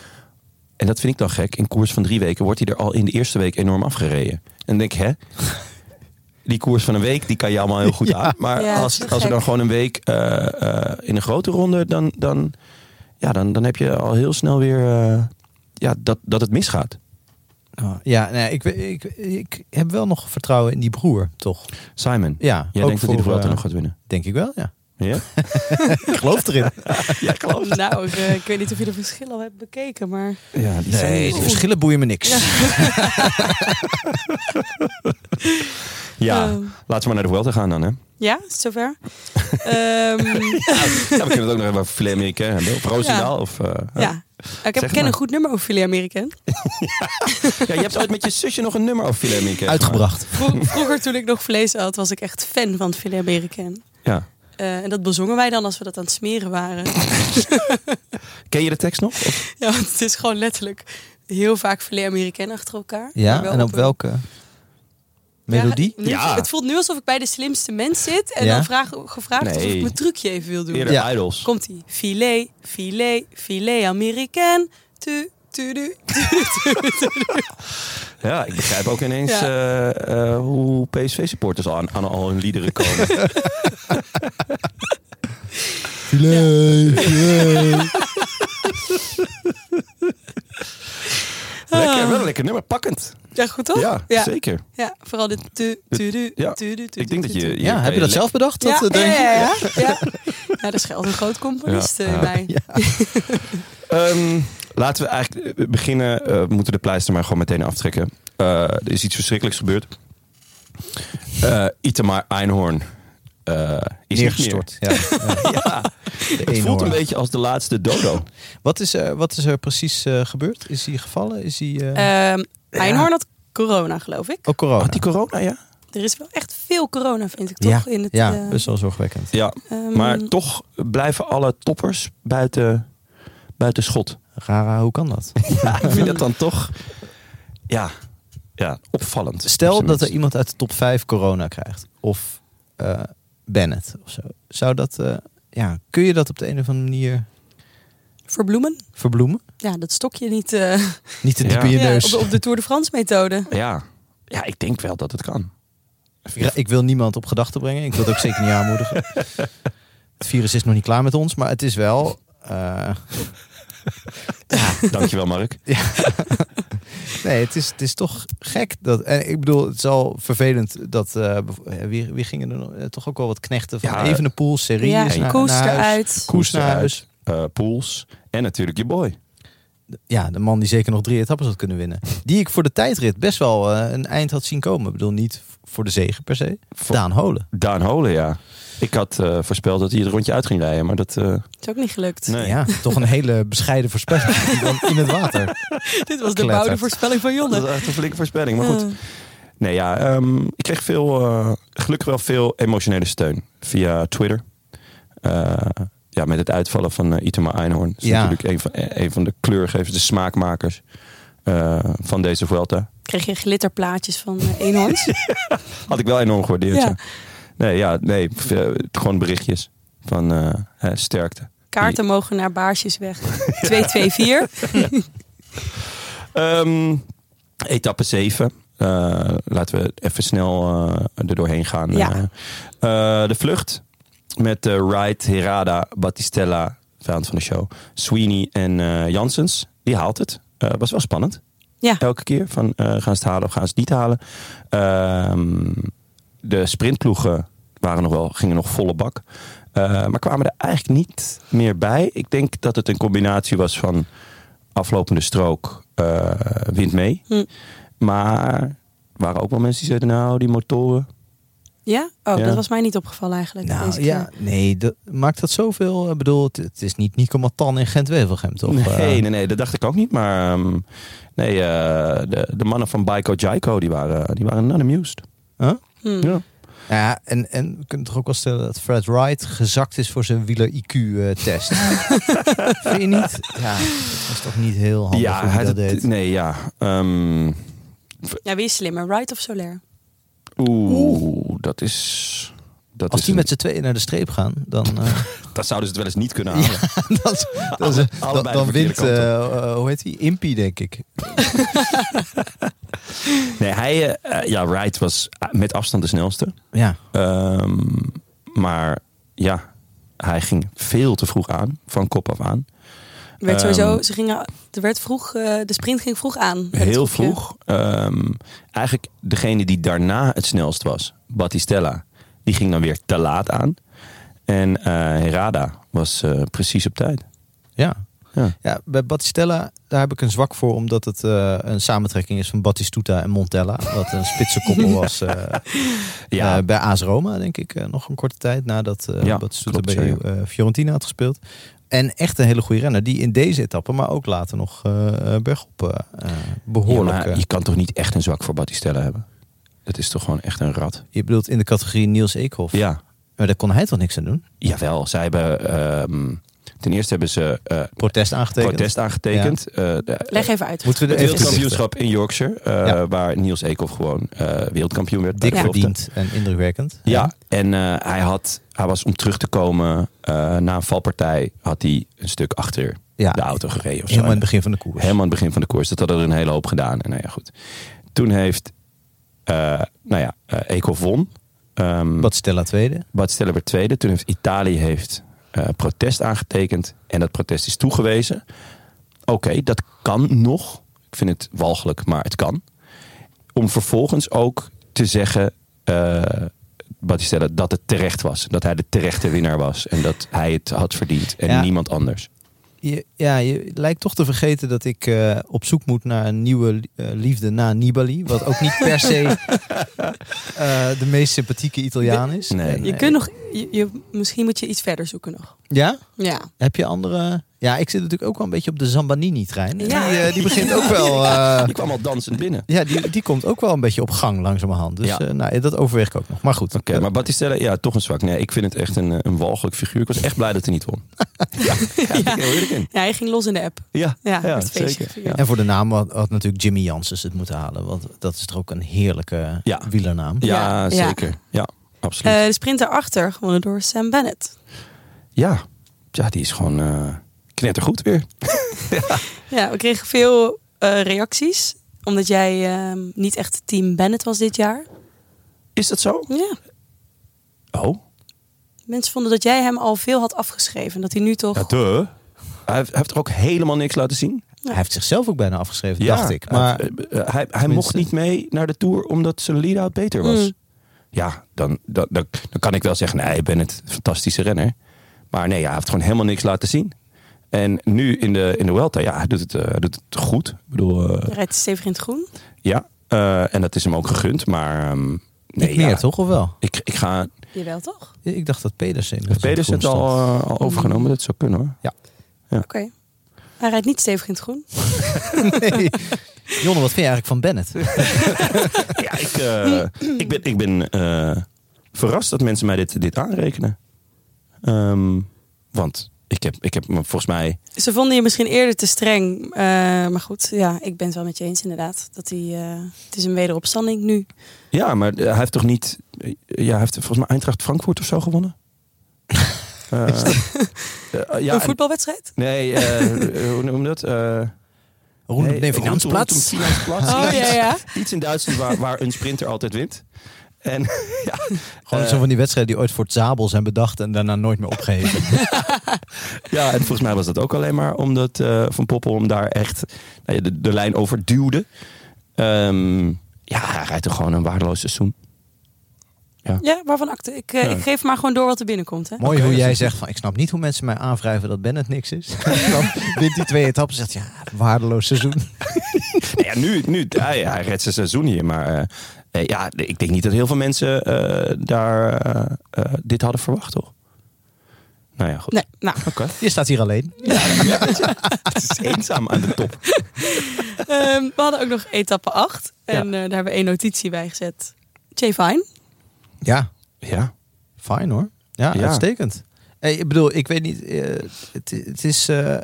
Speaker 1: En dat vind ik dan gek. In koers van drie weken wordt hij er al in de eerste week enorm afgereden. En dan denk ik, hè? Die koers van een week, die kan je allemaal heel goed aan. Maar
Speaker 4: Ja, dat
Speaker 1: als,
Speaker 4: is wel
Speaker 1: als er dan
Speaker 4: gek.
Speaker 1: gewoon een week eh, eh, in een grote ronde, dan, dan, ja, dan, dan heb je al heel snel weer eh, ja, dat, dat het misgaat.
Speaker 2: Nou, Ja, nee, ik, we- ik, ik heb wel nog vertrouwen in die broer, toch?
Speaker 1: Simon,
Speaker 2: Ja,
Speaker 1: jij
Speaker 2: ook
Speaker 1: denkt dat hij de
Speaker 2: voor,
Speaker 1: Vuelta
Speaker 2: eh,
Speaker 1: nog gaat winnen.
Speaker 2: Denk ik wel, ja.
Speaker 1: Ja?
Speaker 2: Ik geloof [LAUGHS] erin.
Speaker 4: [LAUGHS] Nou, ik, eh, ik weet niet of je de verschillen al hebt bekeken, maar...
Speaker 1: Ja,
Speaker 2: Nee, de verschillen boeien me niks.
Speaker 1: ja.
Speaker 4: Oh.
Speaker 1: laten we maar naar de Vuelta gaan dan, hè?
Speaker 4: Ja, is het
Speaker 1: [LAUGHS]
Speaker 4: zover? Ehm,
Speaker 1: Ja, we kunnen het ook nog even over filet Amerikaan hebben. Of Roosendaal. Of, eh,
Speaker 4: ja. Nou, Ik
Speaker 1: Zeg
Speaker 4: heb,
Speaker 1: het
Speaker 4: ken
Speaker 1: maar.
Speaker 4: een goed nummer over Filet American.
Speaker 1: ja, je hebt ooit met je zusje nog een nummer over filet Amerikaan
Speaker 2: Uitgebracht.
Speaker 4: Vro-
Speaker 1: [LAUGHS]
Speaker 4: vroeger toen ik nog vlees at, was ik echt fan van Filet American.
Speaker 1: Ja.
Speaker 4: Eh, en dat bezongen wij dan als we dat aan het smeren waren.
Speaker 1: Ken je de tekst nog? Of-
Speaker 4: [LAUGHS] ja, want het is gewoon letterlijk heel vaak Filet American achter elkaar.
Speaker 2: Ja,
Speaker 4: Maar wel
Speaker 2: en op
Speaker 4: een-
Speaker 2: welke melodie?
Speaker 4: Ja, nu-
Speaker 1: Ja.
Speaker 4: Het voelt nu alsof ik bij de slimste mens zit en
Speaker 2: Ja?
Speaker 4: dan vraag, gevraagd wordt of
Speaker 1: Nee.
Speaker 4: ik mijn trucje even wil doen.
Speaker 1: Eerder
Speaker 2: Ja.
Speaker 1: Idols.
Speaker 4: Komt ie. Filet, filet, filet American. Tu, tu, du, tu, tu, tu.
Speaker 1: Ja, ik begrijp ook ineens
Speaker 4: Ja.
Speaker 1: eh, eh, hoe PSV-supporters aan, aan al hun liederen
Speaker 4: [LAUGHS]
Speaker 1: komen.
Speaker 2: Filet, filet.
Speaker 1: lekker, wel een lekker nummer. Pakkend.
Speaker 4: Ah. Oh, Ja, goed toch?
Speaker 1: Ja, zeker.
Speaker 4: Ja, vooral dit tu, tu, du,
Speaker 1: Ja.
Speaker 4: tu, du, tu,
Speaker 1: Ik denk dat
Speaker 4: tu, tu.
Speaker 1: je...
Speaker 2: Ja, heb je dat zelf bedacht? Dat,
Speaker 4: Ja,
Speaker 2: eh, denk
Speaker 4: ja,
Speaker 2: je?
Speaker 4: ja, ja. ja. Ja, er schuilt een groot componist
Speaker 1: Ja,
Speaker 4: eh,
Speaker 1: ja.
Speaker 4: bij.
Speaker 1: Ehm, laten we eigenlijk eh, beginnen. Eh, we moeten de pleister maar gewoon meteen aftrekken. Eh, er is iets verschrikkelijks gebeurd. Eh Itamar Einhorn eh is
Speaker 2: Neergestort. [LAUGHS] Ja.
Speaker 1: Niet meer. ja, het voelt
Speaker 2: eenhoorn.
Speaker 1: een beetje als de laatste dodo.
Speaker 2: Wat, is er, wat is er precies eh, gebeurd? Is hij gevallen? Is hij... eh,
Speaker 4: Ehm, Einhorn had corona, geloof ik.
Speaker 2: ook corona?
Speaker 1: Had die corona, ja?
Speaker 4: Er is wel echt veel corona, vind ik, toch?
Speaker 2: ja,
Speaker 4: in het,
Speaker 2: ja dus-
Speaker 4: eh,
Speaker 2: best wel zorgwekkend.
Speaker 1: Ja,
Speaker 4: ehm,
Speaker 1: maar toch blijven alle toppers buiten, buiten schot.
Speaker 2: Rara, hoe kan dat?
Speaker 1: Ja, ik vind dat dan toch ja, ja, opvallend. Op
Speaker 2: Stel
Speaker 1: zijn
Speaker 2: dat er
Speaker 1: minst.
Speaker 2: iemand uit de top 5 corona krijgt. Of eh, Bennett of zo. Zou dat, eh, ja, kun je dat op de een of andere manier
Speaker 4: Verbloemen?
Speaker 2: verbloemen?
Speaker 4: Ja, dat stokje niet eh,
Speaker 2: Niet te diep
Speaker 1: Ja.
Speaker 2: in je
Speaker 4: ja,
Speaker 2: neus.
Speaker 4: op, op de Tour de France methode.
Speaker 1: Ja. ja, ik denk wel dat het kan.
Speaker 2: Ik, ik wil niemand op gedachten brengen. Ik wil het ook zeker niet aanmoedigen.
Speaker 1: [LAUGHS]
Speaker 2: Het virus is nog niet klaar met ons, maar het is wel. eh,
Speaker 1: Dankjewel, Mark.
Speaker 2: nee, het is, het is toch gek. Dat, en ik bedoel, het is al vervelend dat. eh, bev- eh, wie, wie gingen er nog? eh, toch ook wel wat knechten van
Speaker 1: Ja,
Speaker 2: Evenepoel, Serie.
Speaker 4: Ja,
Speaker 2: naar,
Speaker 4: Koes
Speaker 2: naar huis.
Speaker 4: eruit.
Speaker 2: Koes naar
Speaker 1: eruit.
Speaker 2: huis.
Speaker 1: Eh, pools en natuurlijk je boy.
Speaker 2: Ja, de man die zeker nog drie etappes had kunnen
Speaker 1: [LAUGHS]
Speaker 2: winnen. Die ik voor de tijdrit best wel eh, een eind had zien komen. Ik bedoel, niet voor de zege per se.
Speaker 1: Voor-
Speaker 2: Daan Holen.
Speaker 1: Daan Holen, ja. Ik had eh, voorspeld dat hij het rondje uit ging rijden, maar dat... eh,
Speaker 4: Is ook niet gelukt.
Speaker 1: nee.
Speaker 2: Ja, toch een
Speaker 1: [LAUGHS]
Speaker 2: hele bescheiden voorspelling. Die dan in het water.
Speaker 4: [LAUGHS] Dit was de
Speaker 2: Klettert.
Speaker 4: bouwde voorspelling van
Speaker 1: Dat [LAUGHS]
Speaker 4: Jonne.
Speaker 1: was echt een flinke voorspelling, maar goed. Nee, ja, ehm, ik kreeg veel, eh, gelukkig wel veel emotionele steun via Twitter. Eh, ja, met het uitvallen van eh, Itema Einhorn. Dat is
Speaker 2: Ja.
Speaker 1: natuurlijk een van, eh, een van de kleurgevers, de smaakmakers eh, van deze Vuelta.
Speaker 4: Kreeg je glitterplaatjes van eh, eenhoorns?
Speaker 1: Had ik wel enorm gewaardeerd.
Speaker 4: Ja.
Speaker 1: ja. Nee, ja, nee, v- eh, gewoon berichtjes van eh, eh, sterkte.
Speaker 4: Kaarten mogen naar baarsjes weg. 224.
Speaker 1: Ehm, etappe 7. laten we even snel eh, er doorheen gaan.
Speaker 4: Ja.
Speaker 1: Eh, eh, de vlucht met eh Wright, Herada, Battistella, vijand van de show, Sweeney en eh Janssens. Die haalt het. Eh, was wel spannend.
Speaker 4: Ja.
Speaker 1: Elke keer van eh, gaan ze het halen of gaan ze het niet halen. Ehm, de sprintploegen waren nog wel, gingen nog volle bak. Eh, maar kwamen er eigenlijk niet meer bij. Ik denk dat het een combinatie was van aflopende strook, eh wind mee.
Speaker 4: Hm.
Speaker 1: Maar er waren ook wel mensen die zeiden, nou, die motoren.
Speaker 4: Ja? Oh,
Speaker 1: Ja.
Speaker 4: dat was mij niet opgevallen eigenlijk. deze
Speaker 2: Nou
Speaker 4: keer.
Speaker 2: ja, nee, dat, maakt dat zoveel? Ik bedoel, het, het is niet Nico Matan in Gent-Wevelgem, toch? Eh,
Speaker 1: nee, nee, nee, dat dacht ik ook niet. Maar ehm, nee, eh, de, de mannen van Baiko Jaiko, die waren, die waren not amused.
Speaker 2: Huh?
Speaker 4: Hm.
Speaker 1: Ja.
Speaker 2: Nou ja, en, en we kunnen toch ook wel stellen dat Fred Wright gezakt is voor zijn wieler-IQ-test. eh,
Speaker 1: [LAUGHS]
Speaker 2: Vind je niet? Ja, dat was toch niet heel handig hoe hij
Speaker 1: het-
Speaker 2: dat deed.
Speaker 1: nee, ja. Ehm,
Speaker 4: Ja, wie is slimmer? Wright of Soler?
Speaker 1: oeh, dat is... Dat,
Speaker 2: Als
Speaker 1: is
Speaker 2: die
Speaker 1: een-
Speaker 2: met z'n tweeën naar de streep gaan, dan, eh,
Speaker 1: dat zouden ze het wel eens niet kunnen halen.
Speaker 2: [LAUGHS] dan, is- dan, is-
Speaker 1: Allebei de
Speaker 2: dan, dan
Speaker 1: verkeerde
Speaker 2: wint,
Speaker 1: kant op.
Speaker 2: eh, eh, hoe heet die? Impy, denk ik.
Speaker 1: [LAUGHS] Nee, hij... eh, eh, ja, Wright was eh, met afstand de snelste.
Speaker 2: Ja,
Speaker 1: Ehm, maar ja, hij ging veel te vroeg aan, van kop af aan.
Speaker 4: Er werd
Speaker 1: Ehm.
Speaker 4: sowieso, ze gingen, er werd vroeg, eh, de sprint ging vroeg aan. Het
Speaker 1: Heel
Speaker 4: groepje.
Speaker 1: vroeg. Ehm, eigenlijk degene die daarna het snelst was, Battistella, die ging dan weer te laat aan. En eh, Herada was eh, precies op tijd.
Speaker 2: ja.
Speaker 1: Ja.
Speaker 2: Ja, bij Battistella, daar heb ik een zwak voor, omdat het eh, een samentrekking is van Battistuta en Montella. Wat een spitse
Speaker 1: [LAUGHS]
Speaker 2: koppel was eh,
Speaker 1: Ja.
Speaker 2: eh, bij AS Roma, denk ik, eh, nog een korte tijd nadat eh
Speaker 1: Ja,
Speaker 2: Battistuta
Speaker 1: klopt,
Speaker 2: bij
Speaker 1: zeker.
Speaker 2: eh, Fiorentina had gespeeld. En echt een hele goede renner, die in deze etappe, maar ook later nog eh eh, bergop eh, eh, behoorlijk...
Speaker 1: Ja, maar
Speaker 2: eh,
Speaker 1: je kan toch niet echt een zwak voor Battistella hebben? Dat is toch gewoon echt een rat?
Speaker 2: je bedoelt in de categorie Niels Eekhoff.
Speaker 1: Ja,
Speaker 2: Maar daar kon hij toch niks aan doen?
Speaker 1: jawel. Zij hebben... ehm, ten eerste hebben ze eh,
Speaker 2: Protest aangetekend.
Speaker 1: protest aangetekend. Eh, de-
Speaker 4: Leg even uit.
Speaker 2: Moeten we er
Speaker 1: Het
Speaker 2: even
Speaker 1: wereldkampioenschap in Yorkshire, eh,
Speaker 2: Ja.
Speaker 1: waar Niels Eekhoff gewoon eh, wereldkampioen werd. bij
Speaker 2: Dik
Speaker 1: de belofte.
Speaker 2: verdiend en indrukwekkend.
Speaker 1: Ja, en eh, hij, had, hij was om terug te komen eh, na een valpartij, had hij een stuk achter
Speaker 2: Ja.
Speaker 1: de auto gereden. Of zo.
Speaker 2: Helemaal in het begin van de koers.
Speaker 1: Helemaal aan het begin van de koers. Dat hadden er een hele hoop gedaan. En nou ja, goed. Toen heeft, eh, nou ja, eh, Eekhoff won. Ehm,
Speaker 2: Wat Stella tweede.
Speaker 1: Bad Stiller werd tweede. Toen heeft Italië heeft, eh, protest aangetekend. En dat protest is toegewezen. Oké, dat kan nog. Ik vind het walgelijk, maar het kan. Om vervolgens ook te zeggen... eh Battistella, dat het terecht was. Dat hij de terechte winnaar was. En dat hij het had verdiend. En
Speaker 2: Ja.
Speaker 1: niemand anders.
Speaker 2: Je, ja, je lijkt toch te vergeten dat ik eh, op zoek moet naar een nieuwe eh, liefde na Nibali. Wat ook niet per
Speaker 1: [LAUGHS]
Speaker 2: se eh, de meest sympathieke Italiaan is.
Speaker 1: Nee.
Speaker 4: Je kunt nog, je, je- misschien moet je iets verder zoeken nog.
Speaker 2: Ja?
Speaker 4: Ja.
Speaker 2: Heb je andere... Ja, ik zit natuurlijk ook wel een beetje op de Zambanini-trein.
Speaker 4: Ja.
Speaker 2: Die, eh, die begint ook wel... eh,
Speaker 1: Die kwam al dansend binnen.
Speaker 2: ja, die, die komt ook wel een beetje op gang langzamerhand. Dus
Speaker 1: Ja.
Speaker 2: eh, nou, dat overweeg ik ook nog. Maar goed.
Speaker 1: Oké, maar Battistella, ja, toch een zwak. Nee, ik vind het echt een, eh, een walgelijk figuur. Ik was echt blij dat hij niet won. Ja, ja, daar ben ik heel eerlijk in.
Speaker 4: ja, hij ging los in de app.
Speaker 1: Ja,
Speaker 4: Ja,
Speaker 1: ja,
Speaker 4: het feestje
Speaker 1: zeker.
Speaker 4: gevierd.
Speaker 2: En voor de naam had, had natuurlijk Jimmy Janssens het moeten halen. Want dat is toch ook een heerlijke
Speaker 1: Ja.
Speaker 2: wielernaam.
Speaker 1: Ja,
Speaker 4: Ja, ja.
Speaker 1: zeker. Ja, absoluut.
Speaker 4: Eh, de sprint daarachter, gewonnen door Sam Bennett.
Speaker 1: ja. ja, die is gewoon eh, knettergoed weer.
Speaker 4: Ja, we kregen veel eh, reacties. Omdat jij ehm, niet echt team Bennett was dit jaar.
Speaker 1: Is dat zo?
Speaker 4: Ja,
Speaker 1: Oh.
Speaker 4: mensen vonden dat jij hem al veel had afgeschreven. Dat hij nu toch...
Speaker 1: Ja, duh. Hij heeft, hij heeft er ook helemaal niks laten zien.
Speaker 2: Hij heeft zichzelf ook bijna afgeschreven,
Speaker 1: Ja,
Speaker 2: dacht ik.
Speaker 1: hij-
Speaker 2: Maar
Speaker 1: eh, eh, hij, hij mocht
Speaker 2: tenminste-
Speaker 1: niet mee naar de Tour omdat zijn lead-out beter was.
Speaker 4: Mm.
Speaker 1: Ja, dan, dan, dan, dan kan ik wel zeggen, nee, ik ben het fantastische renner. Maar nee, ja, hij heeft gewoon helemaal niks laten zien. En nu in de, in de Welta, ja, hij doet het, eh, hij doet het goed. Ik bedoel, eh,
Speaker 4: Hij rijdt stevig in het groen.
Speaker 1: ja, eh, en dat is hem ook gegund. Maar ehm, nee,
Speaker 2: niet meer,
Speaker 1: ja,
Speaker 2: toch? Of wel?
Speaker 1: Ik, ik ga...
Speaker 4: Jawel toch?
Speaker 2: Ik dacht dat Pedersen... inmiddels in
Speaker 1: Pedersen het
Speaker 2: groen
Speaker 1: al,
Speaker 2: stond.
Speaker 1: eh, al overgenomen, dat zou kunnen hoor.
Speaker 4: Oké. Hij rijdt niet stevig in het groen.
Speaker 1: eh.
Speaker 2: [LAUGHS] Nee. Jonne, wat vind je eigenlijk van Bennett?
Speaker 1: Ja, ik, eh, ik ben, ik ben eh, verrast dat mensen mij dit, dit aanrekenen. Ehm, want ik heb, ik heb me volgens mij.
Speaker 4: Ze vonden je misschien eerder te streng. eh, maar goed, ja, ik ben het wel met je eens inderdaad. Dat hij, eh, het is een wederopstanding nu.
Speaker 1: Ja, maar hij heeft toch niet. Ja, hij heeft volgens mij Eintracht Frankfurt of zo [LAUGHS] gewonnen? Eh, eh, ja, en-
Speaker 4: een voetbalwedstrijd?
Speaker 1: Nee, eh, hoe noem je dat? Eh,
Speaker 2: Roen op
Speaker 1: nee,
Speaker 2: de
Speaker 1: rondom
Speaker 2: Finansplatz.
Speaker 1: Finansplatz.
Speaker 4: Oh ja, ja.
Speaker 1: Iets in Duitsland waar, waar een sprinter altijd wint. En ja,
Speaker 2: Gewoon
Speaker 1: eh,
Speaker 2: zo van die wedstrijden die ooit voor het Zabel zijn bedacht en daarna nooit meer
Speaker 1: [LAUGHS]
Speaker 2: opgeheven.
Speaker 1: Ja, en volgens mij was dat ook alleen maar omdat eh, Van Poppel hem daar echt nou ja, de, de lijn over duwde. Ehm, ja, hij rijdt toch gewoon een waardeloos seizoen. [LAUGHS]
Speaker 4: Ja, waarvan acte? Ik, eh,
Speaker 1: Ja.
Speaker 4: ik geef maar gewoon door wat er binnenkomt. Hè?
Speaker 2: Mooi hoe jij zegt van ik snap niet hoe mensen mij aanwrijven dat Bennett niks is. [LAUGHS] Dan wint die twee etappen zegt ja, waardeloos seizoen.
Speaker 1: Nou ja, nu, nu hij, hij redt zijn seizoen hier. Maar eh, eh, ja, ik denk niet dat heel veel mensen eh, daar eh, eh, dit hadden verwacht, toch? Nou ja, goed.
Speaker 4: Nee, nou.
Speaker 1: Oké.
Speaker 2: Je staat hier alleen.
Speaker 1: Het is eenzaam aan de top.
Speaker 4: Ehm, we hadden ook nog etappe 8. En eh, daar hebben we één notitie bij gezet. Jay Fine.
Speaker 2: Ja,
Speaker 1: Ja.
Speaker 2: fijn hoor. Ja,
Speaker 1: Ja.
Speaker 2: uitstekend. Hey, ik bedoel, ik weet niet, eh, het, het, is, eh,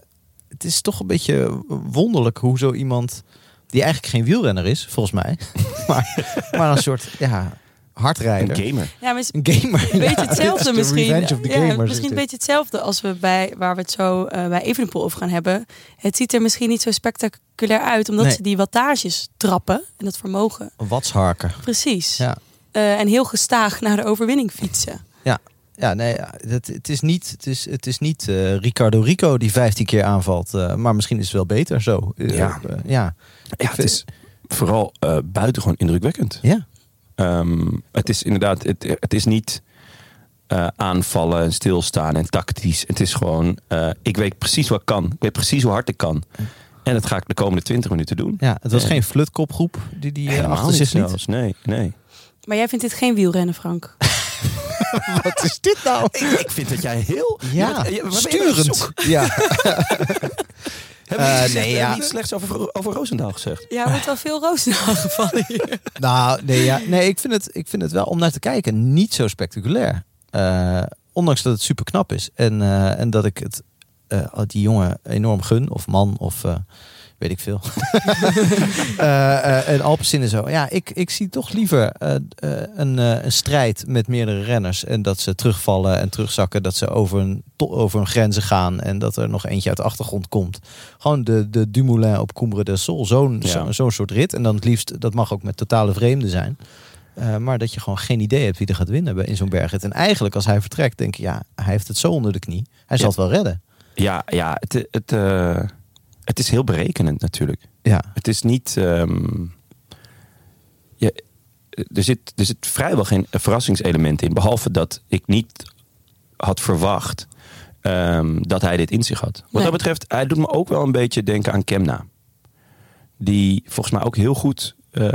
Speaker 2: het is toch een beetje wonderlijk hoe zo iemand, die eigenlijk geen wielrenner is, volgens mij, [LAUGHS] maar, maar een soort ja,
Speaker 1: Een
Speaker 2: hardrijder.
Speaker 1: gamer.
Speaker 4: Ja, maar is
Speaker 2: Een gamer.
Speaker 4: een beetje
Speaker 2: [LAUGHS] ja. Dit
Speaker 4: hetzelfde
Speaker 2: is de
Speaker 4: misschien.
Speaker 2: Revenge of the
Speaker 4: ja,
Speaker 2: gamers is
Speaker 4: misschien een
Speaker 2: dit.
Speaker 4: beetje hetzelfde als we bij, waar we het zo eh, bij Evenepoel over gaan hebben. Het ziet er misschien niet zo spectaculair uit, omdat
Speaker 2: Nee.
Speaker 4: ze die wattages trappen en dat vermogen.
Speaker 2: Watsharken.
Speaker 4: Precies.
Speaker 2: Ja.
Speaker 4: Eh, en heel gestaag naar de overwinning fietsen.
Speaker 2: Ja, nee, ja, het, het is niet, het is, het is niet eh, Ricardo Rico die 15 keer aanvalt. eh, maar misschien is het wel beter zo. Eh,
Speaker 1: Ja.
Speaker 2: eh, ja.
Speaker 1: Ja, het is vooral eh buitengewoon indrukwekkend.
Speaker 2: ja.
Speaker 1: Ehm, het is inderdaad, het, het is niet eh, aanvallen en stilstaan en tactisch. Het is gewoon, eh, ik weet precies wat ik kan. Ik weet precies hoe hard ik kan. En dat ga ik de komende 20 minuten doen.
Speaker 2: ja, het was
Speaker 1: Eh,
Speaker 2: geen flutkopgroep die die eh,
Speaker 1: helemaal
Speaker 2: achter
Speaker 1: niet
Speaker 2: zich liet.
Speaker 1: zelfs. Nee, nee.
Speaker 4: Maar jij vindt dit geen wielrennen, Frank?
Speaker 2: Wat is dit nou?
Speaker 1: [LAUGHS] Ik vind dat jij heel
Speaker 2: Ja, sturend. [LAUGHS] Ja. Eh, nee,
Speaker 1: nee,
Speaker 2: ja.
Speaker 1: ja. niet slechts over, over Roosendaal gezegd.
Speaker 4: Ja, er wordt wel veel roos [LAUGHS] aangevallen hier.
Speaker 2: nou, nee, ja. nee ik, vind het, ik vind het wel om naar te kijken niet zo spectaculair. Eh, ondanks dat het super knap is. En, eh, en dat ik het eh, die jongen enorm gun. Of man, of eh, weet ik veel. [LAUGHS] Eh, eh, en Alpecin en zo. Ja, ik, ik zie toch liever eh, eh, een, eh, een strijd met meerdere renners. En dat ze terugvallen en terugzakken. Dat ze over hun, to- over hun grenzen gaan. En dat er nog eentje uit de achtergrond komt. Gewoon de, de Dumoulin op Coumbre del Sol. Zo'n
Speaker 1: Ja.
Speaker 2: zo- zo'n soort rit. En dan het liefst, dat mag ook met totale vreemden zijn. Eh, maar dat je gewoon geen idee hebt wie er gaat winnen bij- in zo'n bergrit. En eigenlijk als hij vertrekt denk je, ja, hij heeft het zo onder de knie. Hij zal
Speaker 1: Ja.
Speaker 2: het wel redden.
Speaker 1: Ja, ja het, het, eh, het is heel berekenend natuurlijk.
Speaker 2: Ja,
Speaker 1: Het is niet. ehm, je, er, zit, er zit vrijwel geen verrassingselement in. Behalve dat ik niet had verwacht ehm, dat hij dit in zich had. Wat
Speaker 4: Nee.
Speaker 1: dat betreft, hij doet me ook wel een beetje denken aan Kemna. Die volgens mij ook heel goed eh,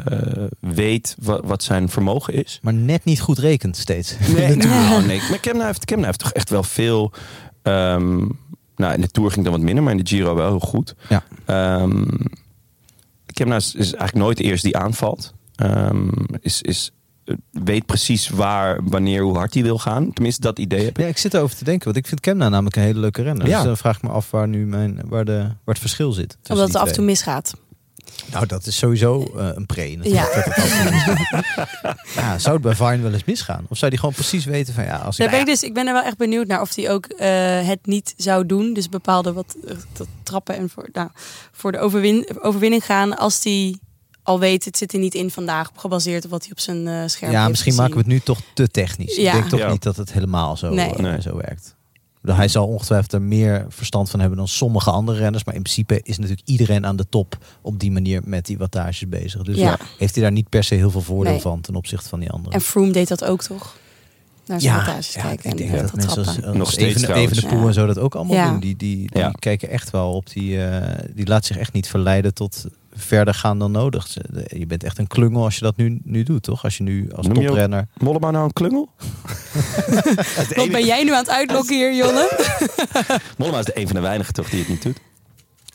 Speaker 1: weet wa- wat zijn vermogen is.
Speaker 2: maar net niet goed rekent steeds. [LAUGHS]
Speaker 1: Nee, nou, nee. Maar Kemna heeft, Kemna heeft toch echt wel veel. ehm, nou, in de Tour ging dan wat minder, maar in de Giro wel heel goed.
Speaker 2: Ja.
Speaker 1: Ehm nou Kemna is, is eigenlijk nooit de eerste die aanvalt. Ehm, is, is weet precies waar, wanneer, hoe hard hij wil gaan. Tenminste, dat idee heb ik.
Speaker 2: Ja, ik zit erover te denken, want ik vind Kemna namelijk een hele leuke renner.
Speaker 1: Ja.
Speaker 2: Dus dan vraag ik me af waar nu mijn, waar, de, waar het verschil zit. tussen
Speaker 4: Omdat het
Speaker 2: die
Speaker 4: af en toe
Speaker 2: twee.
Speaker 4: misgaat.
Speaker 2: Nou, dat is sowieso eh, een pre. natuurlijk,
Speaker 4: Ja.
Speaker 2: dat het af en toe misgaat. ja, zou het bij Vine wel eens misgaan? Of zou die gewoon precies weten van Nou ja, als ik.
Speaker 4: Daar ben ik, dus, ik ben er wel echt benieuwd naar of hij ook eh, het niet zou doen. Dus bepaalde wat eh, dat trappen en voor, nou, voor de overwin, overwinning gaan. Als hij al weet, het zit er niet in vandaag. Gebaseerd op wat hij op zijn eh, scherm
Speaker 2: ja,
Speaker 4: heeft
Speaker 2: misschien maken we het nu toch te technisch.
Speaker 4: Ja.
Speaker 2: Ik denk toch
Speaker 1: Ja.
Speaker 2: niet dat het helemaal zo,
Speaker 4: Nee.
Speaker 2: eh,
Speaker 1: Nee.
Speaker 2: zo werkt. Hij zal ongetwijfeld er meer verstand van hebben dan sommige andere renners. Maar in principe is natuurlijk iedereen aan de top op die manier met die wattages bezig. Dus
Speaker 4: Ja.
Speaker 2: ja, heeft hij daar niet per se heel veel voordeel
Speaker 4: Nee.
Speaker 2: van ten opzichte van die anderen.
Speaker 4: En Froome deed dat ook toch? Naar zijn wattages kijken
Speaker 2: ik denk
Speaker 4: en
Speaker 2: dat,
Speaker 4: dat,
Speaker 2: mensen als, eh,
Speaker 4: trappen.
Speaker 2: als
Speaker 1: Nog steeds
Speaker 2: even,
Speaker 1: trouwens.
Speaker 2: even de poel
Speaker 4: Ja.
Speaker 2: en zo dat ook allemaal
Speaker 4: Ja.
Speaker 2: doen. Die, die, die
Speaker 1: Ja.
Speaker 2: kijken echt wel op die, eh, die laat zich echt niet verleiden tot verder gaan dan nodig. Ze- de- Je bent echt een klungel als je dat nu, nu doet, toch? Als je nu als
Speaker 1: Noem je ook-
Speaker 2: toprenner.
Speaker 1: Mollema nou een klungel?
Speaker 4: Wat ben jij nu aan het uitlokken hier,
Speaker 2: [LAUGHS]
Speaker 4: Jonne?
Speaker 1: Mollema is de een van de weinigen toch die het niet doet.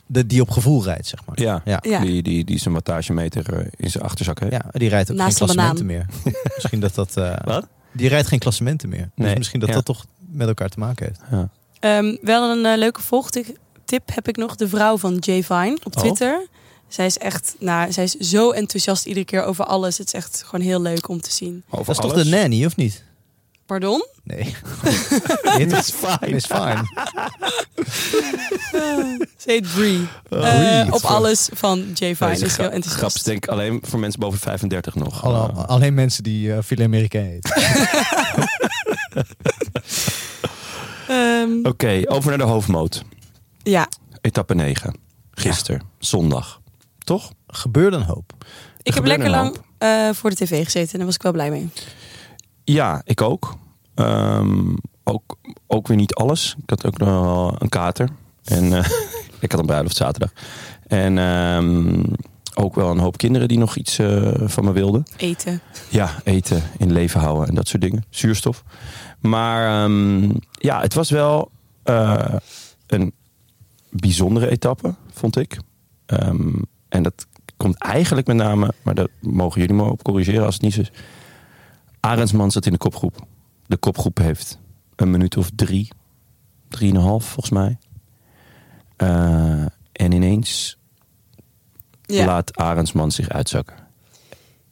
Speaker 2: De, die op gevoel rijdt, zeg maar.
Speaker 1: Ja,
Speaker 2: ja.
Speaker 4: Ja.
Speaker 1: Die, die, die zijn wattagemeter eh, in zijn achterzak heeft.
Speaker 2: Ja, die rijdt ook
Speaker 4: Naast
Speaker 2: geen
Speaker 4: de
Speaker 2: klassementen meer.
Speaker 1: [LAUGHS]
Speaker 2: misschien dat dat. eh,
Speaker 1: Wat?
Speaker 2: Die rijdt geen klassementen meer.
Speaker 1: Nee,
Speaker 2: Dus misschien dat
Speaker 1: ja.
Speaker 2: dat toch met elkaar te maken heeft.
Speaker 1: Ja.
Speaker 4: Ehm, wel een eh, leuke volgtip tip heb ik nog. De vrouw van Jay Vine op
Speaker 2: Oh.
Speaker 4: Twitter. Zij is echt, nou, zij is zo enthousiast iedere keer over alles. Het is echt gewoon heel leuk om te zien.
Speaker 1: Over
Speaker 2: dat is
Speaker 1: alles.
Speaker 2: toch de nanny, of niet?
Speaker 4: Pardon?
Speaker 1: [LAUGHS]
Speaker 2: Nee. Het is
Speaker 1: fijn.
Speaker 2: Is fine.
Speaker 4: Ze heet Bree. Eh, op alles van Jay Vine.
Speaker 1: Deze
Speaker 4: is
Speaker 1: grap,
Speaker 4: heel
Speaker 1: grap
Speaker 4: enthousiast.
Speaker 1: is denk ik alleen voor mensen boven de 35 nog.
Speaker 2: Alle-
Speaker 1: Eh,
Speaker 2: alleen mensen die eh filet Amerikaan eten.
Speaker 4: Ehm,
Speaker 1: Eh, Oké, over naar de hoofdmoot.
Speaker 4: ja,
Speaker 1: Etappe 9. Gisteren, zondag. Toch?
Speaker 2: Gebeurde een hoop.
Speaker 4: ik heb
Speaker 1: gebeurde
Speaker 4: lekker
Speaker 1: een
Speaker 4: lang eh, voor de tv gezeten en daar was ik wel blij mee.
Speaker 1: Ja, ik ook. Ehm, ook, ook weer niet alles. Ik had ook nog wel een kater. En eh, [LAUGHS] ik had een bruiloft zaterdag. En ehm, ook wel een hoop kinderen die nog iets eh, van me wilden.
Speaker 4: Eten.
Speaker 1: Ja, eten, in leven houden en dat soort dingen. Zuurstof. Maar ehm, ja, het was wel eh, een bijzondere etappe, vond ik. Ehm, en dat komt eigenlijk met name, maar dat mogen jullie me op corrigeren als het niet zo is. Arendsman zat in de kopgroep. De kopgroep heeft een minuut of drie, drieënhalf volgens mij. Eh, en ineens
Speaker 4: Ja.
Speaker 1: laat Arendsman zich uitzakken.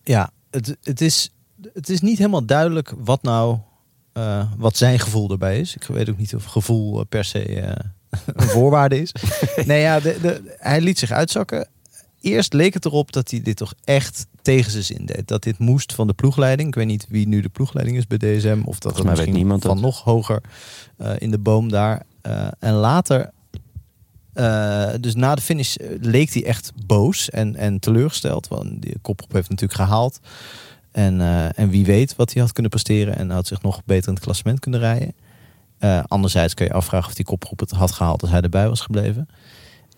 Speaker 2: Ja, het, het, is, het is niet helemaal duidelijk wat nou. eh, wat zijn gevoel erbij is. Ik weet ook niet of gevoel eh, per se eh, [LAUGHS] een voorwaarde is. nee, ja, de, de, hij liet zich uitzakken. Eerst leek het erop dat hij dit toch echt tegen zijn zin deed. Dat dit moest van de ploegleiding. Ik weet niet wie nu de ploegleiding is bij DSM. Of dat
Speaker 1: mij
Speaker 2: het
Speaker 1: weet
Speaker 2: misschien
Speaker 1: niemand
Speaker 2: van
Speaker 1: dat.
Speaker 2: nog hoger eh, in de boom daar. Eh, en later, eh, dus na de finish, eh, leek hij echt boos en, en teleurgesteld. Want die kopgroep heeft natuurlijk gehaald. En, eh, en wie weet wat hij had kunnen presteren. En had zich nog beter in het klassement kunnen rijden. Eh, anderzijds kun je afvragen of die kopgroep het had gehaald als hij erbij was gebleven.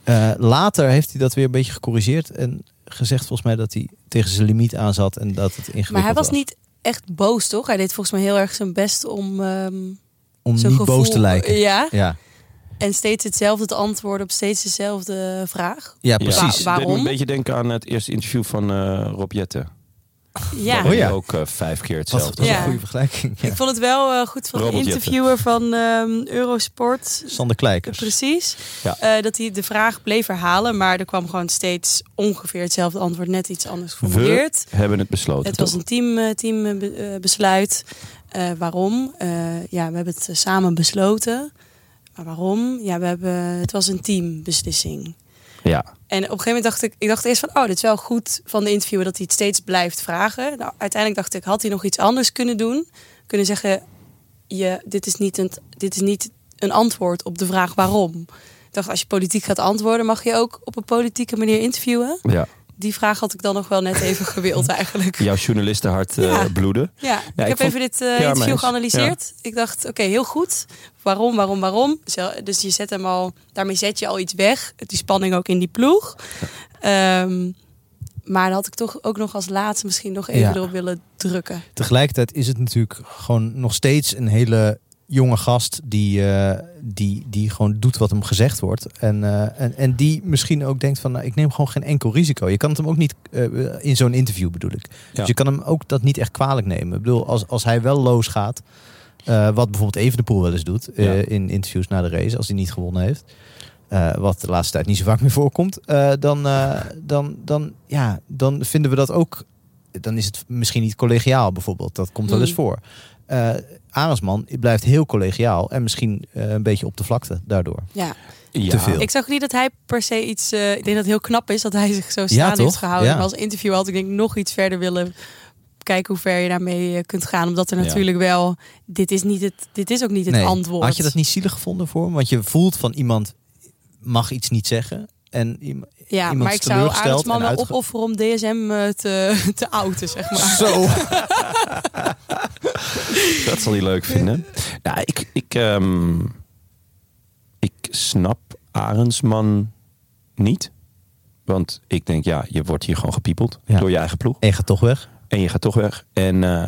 Speaker 2: Eh, later heeft hij dat weer een beetje gecorrigeerd en gezegd volgens mij dat hij tegen zijn limiet aan zat en dat het ingewikkeld
Speaker 4: Maar hij was
Speaker 2: was
Speaker 4: niet echt boos, toch? Hij deed volgens mij heel erg zijn best om ehm
Speaker 2: om niet
Speaker 4: zijn gevoel...
Speaker 2: boos te lijken.
Speaker 4: Ja,
Speaker 2: Ja,
Speaker 4: en steeds hetzelfde te antwoorden op steeds dezelfde vraag.
Speaker 2: ja
Speaker 1: Ja.
Speaker 2: precies.
Speaker 4: Wa-
Speaker 1: Deed me
Speaker 4: waarom?
Speaker 1: een beetje denken aan het eerste interview van eh Rob Jetten.
Speaker 4: Ja.
Speaker 2: Oh ja.
Speaker 1: Ook eh, vijf keer
Speaker 2: Wat,
Speaker 1: hetzelfde.
Speaker 2: dat is
Speaker 4: Ja.
Speaker 2: een goede vergelijking. Ja.
Speaker 4: Ik vond het wel eh, goed van de
Speaker 1: Robert
Speaker 4: interviewer van ehm, Eurosport. eh,
Speaker 2: Sander Kleikers.
Speaker 4: Precies.
Speaker 1: Ja.
Speaker 4: Eh, dat hij de vraag bleef herhalen, maar er kwam gewoon steeds ongeveer hetzelfde antwoord, net iets anders geformuleerd.
Speaker 1: We hebben het besloten.
Speaker 4: Het was
Speaker 1: toch?
Speaker 4: een teambesluit. Team, eh, be- eh, besluit. Eh, waarom? Eh, ja, we hebben het eh, samen besloten. Maar waarom? Ja, we hebben, het was een teambeslissing.
Speaker 1: Ja.
Speaker 4: En op een gegeven moment dacht ik, ik dacht eerst van, oh, dit is wel goed van de interviewer dat hij het steeds blijft vragen. Nou, uiteindelijk dacht ik, had hij nog iets anders kunnen doen? Kunnen zeggen, je, dit, is niet een, dit is niet een antwoord op de vraag waarom. Ik dacht, als je politiek gaat antwoorden, mag je ook op een politieke manier interviewen.
Speaker 1: ja.
Speaker 4: Die vraag had ik dan nog wel net even gewild eigenlijk.
Speaker 1: Jouw journalistenhart eh
Speaker 4: Ja.
Speaker 1: bloeden.
Speaker 4: Ja, ik,
Speaker 1: ik
Speaker 4: heb
Speaker 1: vond-
Speaker 4: even dit eh,
Speaker 1: Ja, maar
Speaker 4: interview
Speaker 1: eens.
Speaker 4: geanalyseerd. Ik dacht, oké, heel goed. Waarom, waarom, waarom? Zo- Dus je zet hem al, daarmee zet je al iets weg. Die spanning ook in die ploeg. Ehm, maar dan had ik toch ook nog als laatste misschien nog even
Speaker 2: Ja.
Speaker 4: erop willen drukken.
Speaker 2: Tegelijkertijd is het natuurlijk gewoon nog steeds een hele jonge gast die, eh, die, die gewoon doet wat hem gezegd wordt. En, eh, en, en die misschien ook denkt van, nou, ik neem gewoon geen enkel risico. Je kan het hem ook niet, eh, in zo'n interview bedoel ik. Dus je kan hem ook dat niet echt kwalijk nemen. Ik bedoel, als, als hij wel loos gaat, eh, wat bijvoorbeeld Evenepoel wel eens doet eh,
Speaker 1: Ja.
Speaker 2: in interviews na de race, als hij niet gewonnen heeft. eh, wat de laatste tijd niet zo vaak meer voorkomt, eh, dan, eh, dan, dan, ja, dan vinden we dat ook. Dan is het misschien niet collegiaal bijvoorbeeld. Dat komt wel eens
Speaker 4: Mm.
Speaker 2: voor. Eh Arendsman blijft heel collegiaal en misschien eh, een beetje op de vlakte daardoor.
Speaker 4: Ja.
Speaker 1: Ja.
Speaker 2: Te veel.
Speaker 4: Ik zag niet dat hij per se iets. eh, ik denk dat het heel knap is dat hij zich zo
Speaker 2: Ja,
Speaker 4: staan
Speaker 2: toch?
Speaker 4: heeft gehouden.
Speaker 2: Ja.
Speaker 4: Maar als interview had ik denk ik nog iets verder willen kijken hoe ver je daarmee eh, kunt gaan. Omdat er
Speaker 1: Ja.
Speaker 4: natuurlijk wel. Dit is, niet het, dit is ook niet het
Speaker 2: Nee.
Speaker 4: antwoord.
Speaker 2: Had je dat niet zielig gevonden voor hem? Want je voelt van iemand mag iets niet zeggen. En iem-
Speaker 4: Ja,
Speaker 2: iemand
Speaker 4: maar
Speaker 2: is
Speaker 4: ik zou
Speaker 2: teleurgesteld
Speaker 4: Arendsman
Speaker 2: en
Speaker 4: wel
Speaker 2: uitge-
Speaker 4: opofferen om DSM eh, te, [LAUGHS] te outen, zeg
Speaker 1: [LAUGHS]
Speaker 4: maar. [LAUGHS]
Speaker 2: zo.
Speaker 1: Dat zal hij leuk vinden. Ja, ik, ik, ehm, ik snap Arendsman niet. Want ik denk, ja, je wordt hier gewoon gepiepeld
Speaker 2: Ja.
Speaker 1: door je eigen ploeg.
Speaker 2: En je gaat toch weg.
Speaker 1: En je gaat toch weg. En eh,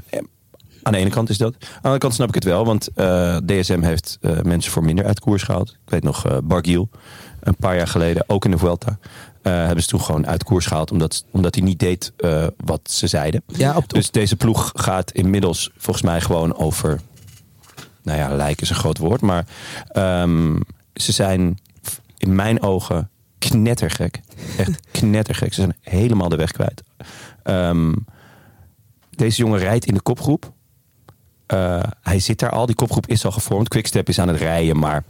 Speaker 1: aan de ene kant is dat. Aan de andere kant snap ik het wel. Want eh, DSM heeft eh, mensen voor minder uit koers gehaald. Ik weet nog, eh Bargiel, een paar jaar geleden, ook in de Vuelta. eh, hebben ze toen gewoon uit koers gehaald. Omdat, omdat hij niet deed eh, wat ze zeiden.
Speaker 2: Ja, op de-
Speaker 1: Dus deze ploeg gaat inmiddels volgens mij gewoon over. Nou ja, lijk is een groot woord. Maar ehm, ze zijn in mijn ogen knettergek. Echt knettergek. Ze zijn helemaal de weg kwijt. Ehm, deze jongen rijdt in de kopgroep. Eh, hij zit daar al. Die kopgroep is al gevormd. Quickstep is aan het rijden, maar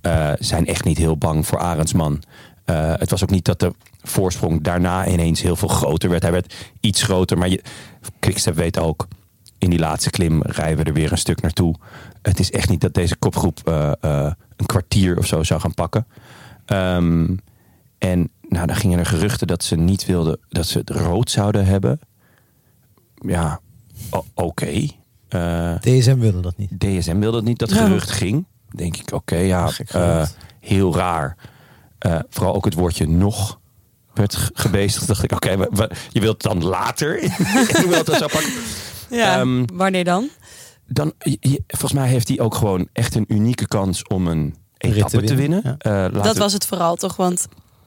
Speaker 1: eh, zijn echt niet heel bang voor Arendsman. Eh, het was ook niet dat de voorsprong daarna ineens heel veel groter werd. Hij werd iets groter, maar je, Quickstep weet ook... in die laatste klim rijden we er weer een stuk naartoe. Het is echt niet dat deze kopgroep eh, eh, een kwartier of zo zou gaan pakken. Ehm, en nou, dan gingen er geruchten dat ze niet wilden... dat ze het rood zouden hebben ja, o- oké. Eh,
Speaker 2: DSM wilde dat niet.
Speaker 1: DSM wilde het niet, dat
Speaker 4: Ja.
Speaker 1: gerucht ging. Denk ik, oké, ja,
Speaker 2: Gek
Speaker 1: eh,
Speaker 2: gerucht.
Speaker 1: heel raar. Eh, vooral ook het woordje nog werd g- gebezigd. dacht ik, oké, maar- maar je wilt het dan later. [LAUGHS] je wilt dat zo pakken.
Speaker 4: Ja,
Speaker 1: Ehm,
Speaker 4: wanneer dan?
Speaker 1: Dan, je- je- volgens mij heeft hij ook gewoon echt een unieke kans om een
Speaker 2: Rit te
Speaker 1: etappe te winnen.
Speaker 2: winnen,
Speaker 1: Eh, laten
Speaker 4: Dat
Speaker 1: we-
Speaker 4: was het vooral toch? Want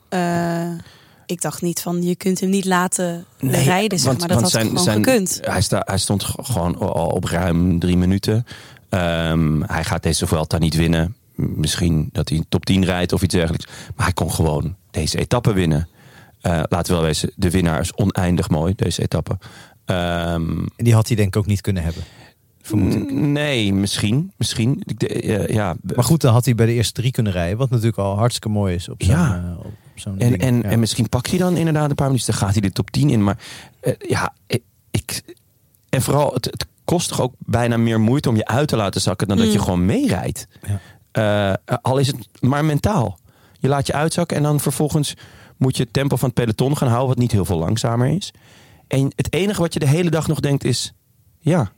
Speaker 4: eh, ik dacht niet van je kunt hem niet laten rijden, zeg maar. Dat had gewoon gekund.
Speaker 1: Hij, sta, hij stond g- gewoon al op ruim drie minuten. Ehm, hij gaat deze Vuelta niet winnen. Misschien dat hij een top 10 rijdt of iets dergelijks. Maar hij kon gewoon deze etappe winnen. Eh, laten we wel wezen, de winnaar is oneindig mooi, deze etappe. Ehm,
Speaker 2: En die had hij denk ik ook niet kunnen hebben. Vermoed ik.
Speaker 1: nee, misschien. misschien. Ik de- eh, ja,
Speaker 2: Maar goed, dan had hij bij de eerste drie kunnen rijden. Wat natuurlijk al hartstikke mooi is op zo'n
Speaker 1: Ja.
Speaker 2: eh, op zo'n
Speaker 1: En,
Speaker 2: ding.
Speaker 1: en,
Speaker 2: Ja.
Speaker 1: en misschien pakt hij dan inderdaad een paar minuten. Dan gaat hij de top 10 in. Maar eh, ja, eh, ik. En vooral, het, het kost toch ook bijna meer moeite om je uit te laten zakken. dan dat je gewoon meerijdt. Eh, al is het maar mentaal. Je laat je uitzakken en dan vervolgens moet je het tempo van het peloton gaan houden. wat niet heel veel langzamer is. En het enige wat je de hele dag nog denkt is. ja,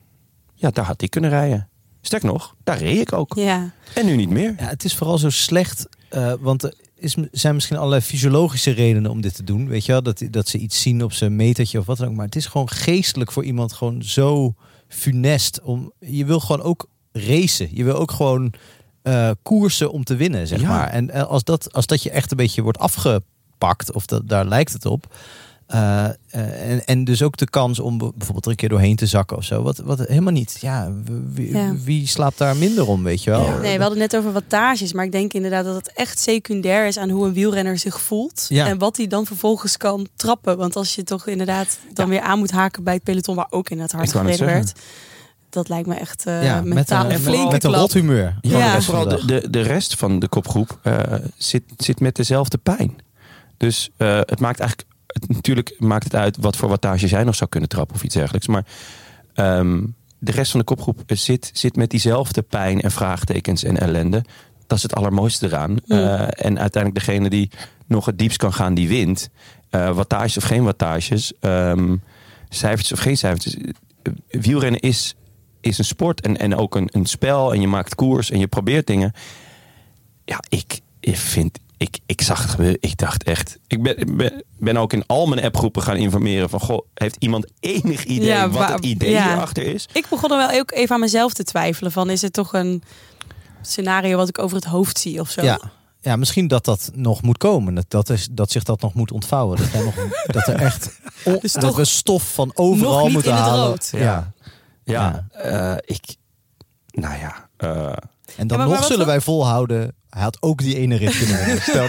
Speaker 1: ja daar had hij kunnen rijden. Sterk nog, daar reed ik ook.
Speaker 4: Ja.
Speaker 1: En nu niet meer.
Speaker 2: Ja, het is vooral zo slecht, eh, want er is, zijn misschien allerlei fysiologische redenen om dit te doen. Weet je wel, dat, dat ze iets zien op zijn metertje of wat dan ook. Maar het is gewoon geestelijk voor iemand gewoon zo funest. Om, je wil gewoon ook racen. Je wil ook gewoon eh, koersen om te winnen, zeg
Speaker 1: Ja.
Speaker 2: maar. En eh, als, dat, als dat je echt een beetje wordt afgepakt, of dat, daar lijkt het op... eh, eh, en, en dus ook de kans om bijvoorbeeld er een keer doorheen te zakken of zo. Wat, wat helemaal niet. Ja, wie,
Speaker 4: Ja.
Speaker 2: wie slaapt daar minder om, weet je wel?
Speaker 4: Nee, we hadden het net over wattages, maar ik denk inderdaad dat het echt secundair is aan hoe een wielrenner zich voelt
Speaker 2: Ja.
Speaker 4: en wat hij dan vervolgens kan trappen. Want als je toch inderdaad dan weer aan moet haken bij het peloton, waar ook in het hard
Speaker 1: Ik wou net
Speaker 4: gereden werd, dat lijkt me echt eh mentaal
Speaker 2: een-
Speaker 4: een flinke
Speaker 2: met een
Speaker 4: klap.
Speaker 2: rot humeur.
Speaker 1: Ja,
Speaker 4: Ja.
Speaker 1: en vooral de, de, de rest van de kopgroep eh, zit, zit met dezelfde pijn. Dus eh, het maakt eigenlijk. het- natuurlijk maakt het uit wat voor wattage zij nog zou kunnen trappen of iets dergelijks. Maar ehm, de rest van de kopgroep zit, zit met diezelfde pijn en vraagtekens en ellende. Dat is het allermooiste eraan. Eh, en uiteindelijk degene die nog het diepst kan gaan, die wint. Eh wattages of geen wattages. ehm, cijfertjes of geen cijfertjes. Eh, Wielrennen is, is een sport en, en ook een, een spel. En je maakt koers en je probeert dingen. Ja, ik, ik vind... Ik, ik zag het gebeuren. Ik dacht echt... Ik ben, ik ben, ben ook in al mijn appgroepen gaan informeren van... Goh, heeft iemand enig idee
Speaker 4: Ja,
Speaker 1: wat
Speaker 4: waar-
Speaker 1: het idee
Speaker 4: ja.
Speaker 1: hierachter is?
Speaker 4: Ik begon er wel ook even aan mezelf te twijfelen van is het toch een scenario wat ik over het hoofd zie of zo.
Speaker 2: Ja. ja, misschien dat dat nog moet komen. Dat, dat, is, dat zich dat nog moet ontvouwen. Dat, er nog,
Speaker 4: [LAUGHS]
Speaker 2: dat er echt on-
Speaker 4: Dus
Speaker 2: dat
Speaker 4: toch
Speaker 2: we stof van overal
Speaker 4: nog niet
Speaker 2: moeten
Speaker 4: in het
Speaker 2: halen.
Speaker 4: rood.
Speaker 2: Ja.
Speaker 1: Ja. Ja, eh, ik... Nou ja, eh,
Speaker 2: En dan
Speaker 4: maar
Speaker 2: nog
Speaker 4: wat
Speaker 2: zullen
Speaker 4: dan?
Speaker 2: wij volhouden. Hij had ook die ene rit kunnen
Speaker 4: [LAUGHS]
Speaker 2: winnen. Stel-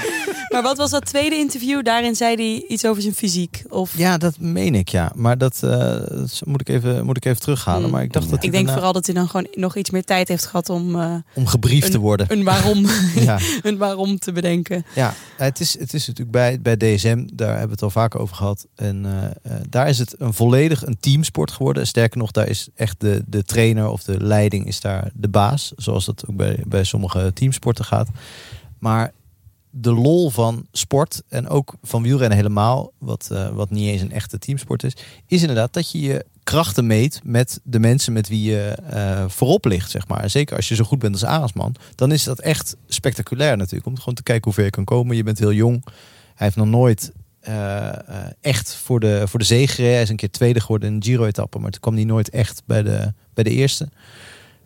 Speaker 4: Maar wat was dat tweede interview? Daarin zei hij iets over zijn fysiek. Of
Speaker 2: Ja, dat meen ik, ja. Maar dat, eh, dat moet, ik even, moet ik even terughalen.
Speaker 4: Hmm.
Speaker 2: Maar ik dacht dat
Speaker 4: ik
Speaker 2: hij
Speaker 4: denk
Speaker 2: daarna-
Speaker 4: vooral dat hij dan gewoon nog iets meer tijd heeft gehad om eh,
Speaker 2: om gebriefd te worden.
Speaker 4: een waarom, [LAUGHS]
Speaker 2: Ja,
Speaker 4: een waarom te bedenken.
Speaker 2: ja. Het, is, het is natuurlijk bij, bij DSM, daar hebben we het al vaker over gehad. En eh, eh, daar is het een volledig een teamsport geworden. Sterker nog, daar is echt de, de trainer of de leiding is daar de baas. Zoals dat ook bij, bij sommige teamsporten gaat. Maar de lol van sport en ook van wielrennen helemaal, wat, eh, wat niet eens een echte teamsport is, is inderdaad dat je je krachten meet met de mensen met wie je eh, voorop ligt, zeg maar. En Zeker als je zo goed bent als Arendsman, dan is dat echt spectaculair natuurlijk. Om gewoon te kijken hoe ver je kan komen. Je bent heel jong. Hij heeft nog nooit eh, eh, echt voor de, voor de zege gereden. Hij is een keer tweede geworden in een Giro-etappe, maar toen kwam hij nooit echt bij de, bij de eerste.